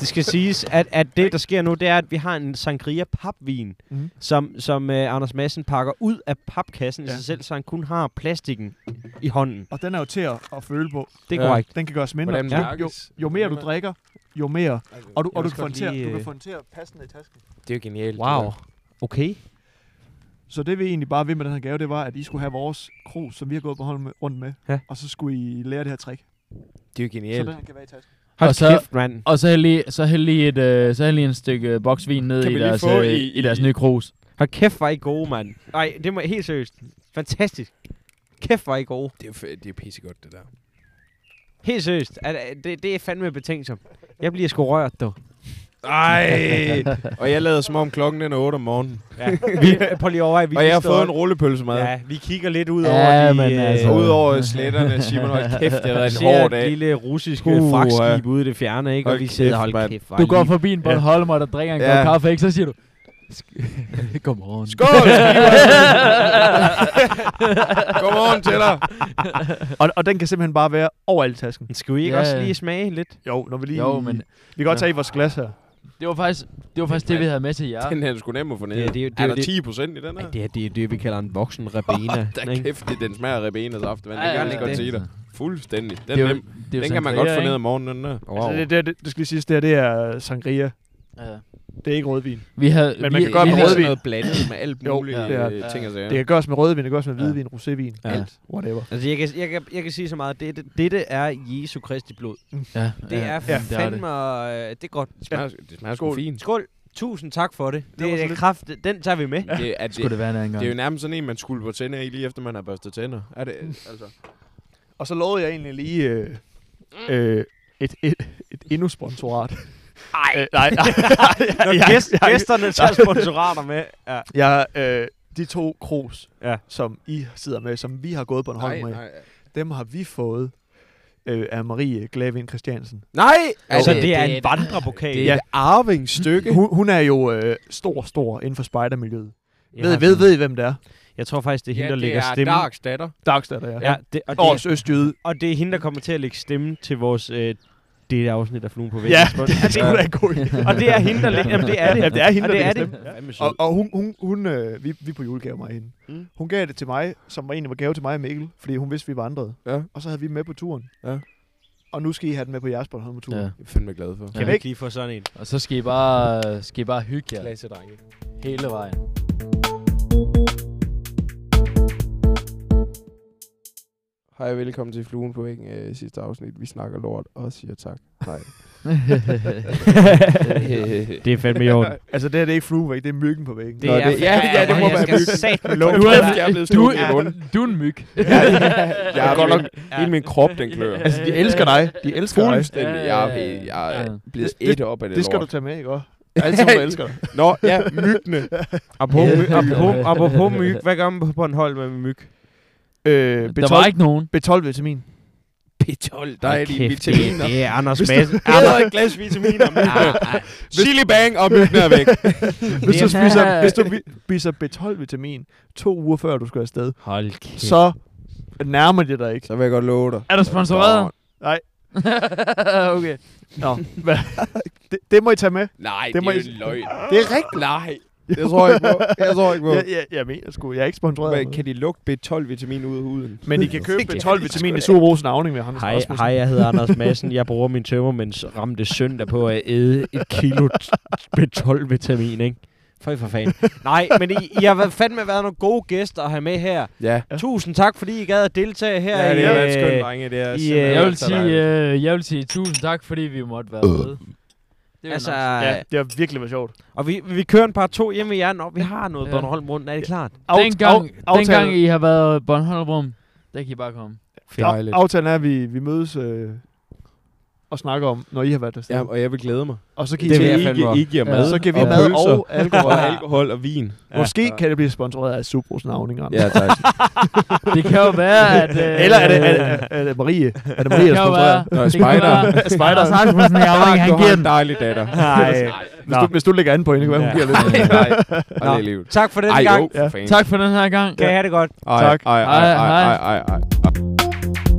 D: Det skal siges, at, at det, der sker nu, det er, at vi har en sangria papvin,
E: Mhm.
D: mm. som, som uh, Anders Madsen pakker ud af papkassen ja.
E: Ja.
D: i sig selv, så han kun har plastikken i hånden.
E: Og den er jo til at, at føle på.
D: Det er
G: Ja.
D: ja. korrekt.
E: Den kan gøres mindre.
G: Hvordan
E: Jo- jo,
G: mærkes-
E: jo mere du drikker, jo mere. Og du,
D: Jeg
E: og du,
D: vil
E: kan,
D: godt
E: få den til, at-
D: lige,
E: du kan
D: øh,
E: få den til at passe ned i tasken.
G: Det er jo genialt.
D: Wow. Okay.
E: Så det vi egentlig bare ved med den her gave, det var, at I skulle have vores krus, som vi har gået på hold med, rundt med.
D: Ja.
E: Og så skulle I lære det her trick.
G: Det er jo
E: Så
G: genialt.
E: den her kan være i tasken.
D: Hold
F: Og så-
D: kæft, mand.
F: Og så hæld lige, så hæld lige, et, øh, så hæld lige en stykke øh, boksvin ned
G: Kan
F: i
G: vi lige
F: deres,
G: få
F: øh,
G: i-
F: i, deres
G: i-
F: nye krus.
D: Hold kæft, hvor er I gode, mand. Nej, det må helt seriøst. Fantastisk. Kæft, hvor er I gode.
G: Det er, jo fe- det er pissegodt, det der.
D: Helt seriøst. At, at det, det er fandme betænksomt. Jeg bliver sgu rørt, dog.
G: Ej! og jeg lader som om klokken den er 8 om morgenen.
D: Ja. Vi, prøv lige over, vi
G: og jeg har
D: lige står-
G: fået en rullepølsemad. Ja.
D: Ja, vi kigger lidt ud
F: Ja,
D: over de... øh,
F: men altså.
G: Så udover slætterne, Simon, hold kæft, det har
D: vi
G: været en
D: ser
G: hård
D: et
G: dag.
D: lille russisk
G: Puh,
D: uh, fragtskib ude i det fjerne, ikke? Og
G: Hold
D: vi sidder,
G: kæft,
D: hold
G: mand.
D: kæft, hvor
F: Du
D: er
F: går
D: I-
F: forbi en Bornholmer, der drikker en
G: Ja.
F: ja. kop kaffe, ikke? Så siger du, "Sk- godmorgen.
G: Skål! Godmorgen til dig.
E: Og, og den kan simpelthen bare være overalt i tasken.
D: Skal vi ikke
F: Ja,
D: også
F: ja.
D: lige smage lidt?
E: Jo, når vi lige...
F: Jo, men
E: Vi kan godt tage i vores glas her.
F: det var faktisk det, var faktisk det vi havde med til jer.
G: Den her er sgu nem at få ned.
D: Ja, det er jo- det er
G: er
D: jo
G: der
D: det-
G: 10 procent i den her?
D: Ej, det her, det er det, vi kalder en voksen rabena.
G: Da
D: ikke?
G: kæft, det, den smager af ribenas aftenvand. Det
F: Ja,
G: kan
F: ja,
G: jeg lige
F: ja.
G: godt sige dig. Fuldstændig. Den,
F: Det er jo-
G: den,
F: det er jo
G: den kan man
F: sangria,
G: godt få
F: ikke?
G: ned om morgenen, den der.
E: Wow. Altså, det, det, det, det skal lige siges, det her det er sangria.
F: Ja.
E: Det er ikke rødvin.
F: Vi havde,
E: Men
F: vi,
E: man kan godt
F: vi
G: Det
E: med
G: er
F: havde,
G: sådan
E: rødvin.
G: noget blandet med alt
E: Jo,
G: muligt
E: det er-
G: øh, ting og sager.
E: Det kan gøres med rødvin, det kan gøres med hvidvin, rosévin,
F: Ja.
E: alt, whatever.
D: Altså, jeg kan, jeg, kan, jeg kan sige så meget. Dette, dette er Jesu Kristi blod.
F: ja,
D: Det
F: ja,
D: er
F: det er
D: fandme... øh, Det er godt.
G: Det smager, det smager sgu fint.
D: Skål. Tusind tak for det.
E: var så
D: Det er
E: lidt.
D: kraft. Den tager vi med.
G: Det, er, det,
F: Skulle det være en anden gang.
G: det er jo nærmest sådan en, man skulper tænder i, lige efter man har børstet tænder. Er det, altså,
E: Og så lovede jeg egentlig lige øh, øh, et, et, et endnu sponsorat. Ej, nej, nej.
D: Når
E: jeg,
D: gæst,
E: jeg,
D: gæsterne tager sponsorater med. Ja.
E: jeg, øh, de to krus,
D: Ja.
E: som I sidder med, som vi har gået på en hånd
G: Nej,
E: med,
G: nej.
E: dem har vi fået øh, af Marie Glavin Christiansen.
G: Nej! Altså,
D: Ja, så Altså,
F: det-
D: det, det er
F: det er
D: en
F: et-
D: vandrepokal.
G: Det
D: Det,
G: er
E: Ja.
G: et arvingsstykke.
E: Hun, hun er jo øh, stor, stor inden for spidermiljøet.
D: jeg,
E: ved,
D: har-
E: ved, ved I, hvem det er?
D: jeg tror faktisk, det er hende, der
G: det
D: lægger
G: er
D: stemmen.
G: Darks datter.
E: Darkstad, der er.
D: Ja, det, og,
E: Års
D: det,
E: østjyde.
D: og det er hende, der kommer til at lægge stemmen til vores... Øh, det er afsnit af Fluen på væggen.
E: Ja, det er sgu da en god idé.
D: Og det er hende, der lægger... Jamen, det er det.
E: Ja, det er hende,
D: og
E: der
D: det er
E: lægger
D: det. Fandme sød.
E: Og, og hun, hun, hun øh, vi, vi er på julegave mig hende.
G: Mm.
E: Mm. Hun gav det til mig, som var egentlig var gave til mig og Mikkel, fordi hun vidste, vi vandrede.
G: Ja.
E: Og så havde vi dem med på turen.
G: Ja.
E: Og nu skal I have den med på jeres Bornholm-tur.
F: Ja.
E: Ja.
G: Jeg er fandme glad for.
D: Kan vi ikke lige få sådan en?
F: Og så skal I bare, skal I bare hygge jer
G: Klasse, drenge.
F: hele vejen.
G: Hej og velkommen til Fluen på væggen øh, sidste afsnit. Vi snakker lort og siger tak. Nej.
D: Det er fandme i orden.
E: Altså, det her det er ikke fluevæg, det er myggen på væggen.
G: Nå, det- ja, ja, det må være myggen.
D: myggen.
G: du er, jeg er blevet
F: Du,
G: stukket i munden.
F: du er en myg.
G: Ja, jeg er
E: godt
G: godt nok, hele min krop, den klør.
E: Altså, de elsker dig. De elsker dig.
G: Fuldstændig. Jeg, er- jeg
F: Ja.
G: er blevet
E: Det-
G: ædt op af det,
E: Det skal du
G: lort.
E: tage med, ikke også? Altid, hun elsker dig.
G: Nå, ja, myggene.
D: Apropos,
F: Ja.
D: apropos, apropos myg, hvad gør man på Bornholm med myg?
E: Øh,
F: Der var ikke nogen.
E: B12-vitamin.
G: P12, der er de
D: Kæft,
G: vitaminer.
D: Det, det er Anders
G: Hvis du-
D: Madsen.
G: Æder et glas vitaminer. Chili bang, og myggene er væk.
E: Hvis du,
F: Ja.
E: spiser, hvis du vi- spiser B12-vitamin to uger før, du skal afsted,
D: Hold kæft.
E: så nærmer det dig ikke.
G: Så vil jeg godt love dig.
F: Er du sponsoreret?
E: Nej.
F: okay.
E: Nå, hvad? det, det må I tage med.
G: Nej, det,
E: Det må
G: er jo
E: I-
G: en løgn.
E: Det er rigtigt.
G: Nej, det tror jeg ikke på. Jeg tror ikke på.
E: Jeg, jeg, jeg mener sgu, jeg er ikke sponsoreret. af
G: Men
E: noget.
G: kan de lugte B12-vitamin ud af huden?
E: Men I kan købe
G: kan jeg
E: B12-vitamin i Superbrugsen Avning med ham.
D: Hej, hej, jeg hedder Anders Madsen. Jeg bruger min tømmermænds ramte søndag på at æde et kilo B12-vitamin, ikke? For for fanden. Nej, men I, I har været- fandme været nogle gode gæster at have med her.
G: Ja.
D: Ja. Tusind tak, fordi I gad at deltage her.
G: Ja, det
D: i,
G: er været
D: øh,
G: skønt, drenge. Det er
D: i,
G: simpelthen
D: øh,
F: Jeg vil,
E: altså
G: så
F: sige,
G: dejligt.
F: øh, jeg vil sige tusind tak, fordi vi måtte være
E: Øh.
F: med. Det er
D: Altså,
F: nice.
E: Ja, det har virkelig været sjovt.
D: og vi, vi kører en par to hjemme i jer, når vi har noget
F: Ja.
D: ja. Bornholm rundt, er det klart?
F: dengang,
E: af-
F: dengang
E: aftalen,
F: I har været Bornholm, der kan I bare komme.
G: Dejligt.
E: af- aftalen er, at vi, vi mødes øh, og snakker om, når I har været der.
G: Ja, og jeg vil glæde mig.
E: og så kan I
D: det vil
E: til-
D: jeg
G: I,
D: fandme
G: gi- I giver
F: Ja.
G: mad.
E: Så kan vi
G: og
E: mad
G: pølser,
E: og alkohol.
G: og alkohol og vin.
E: Måske kan det blive sponsoreret af Superbrugsen Avning. Anders.
G: Ja, tak.
F: Det kan jo være, at... Øh,
E: Eller er det, er, det- er det Marie? Er det
F: det
E: Marie, der
F: kan jo
E: sponsorerer?
F: være...
G: Nå,
F: det kan
G: spider.
F: være-
E: Spider.
F: Anders Rasmussen, jeg var ikke, han
G: du
F: giver
G: har en
F: den.
G: dejlig datter.
D: Nej.
E: Hvis
D: Nå.
E: du, hvis du ligger an på hende, kan være, hun
D: Ja.
E: giver lidt.
G: Nej, og
D: Nå.
G: det er livet.
D: Tak for den
G: Ej, jo,
D: gang.
G: for
E: Ja.
G: fanden.
F: Tak for den her gang.
D: Kan I have det godt.
G: Ej,
E: Tak.
G: Ej, ej,
F: Hej,
G: ej,
F: hej.
G: ej, ej, ej.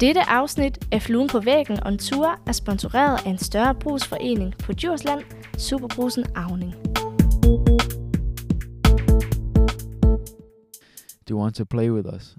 A: Dette afsnit af Fluen på væggen on tour er sponsoreret af en større brugsforening på Djursland, Superbrusen Avning.
F: Do you want to play with us?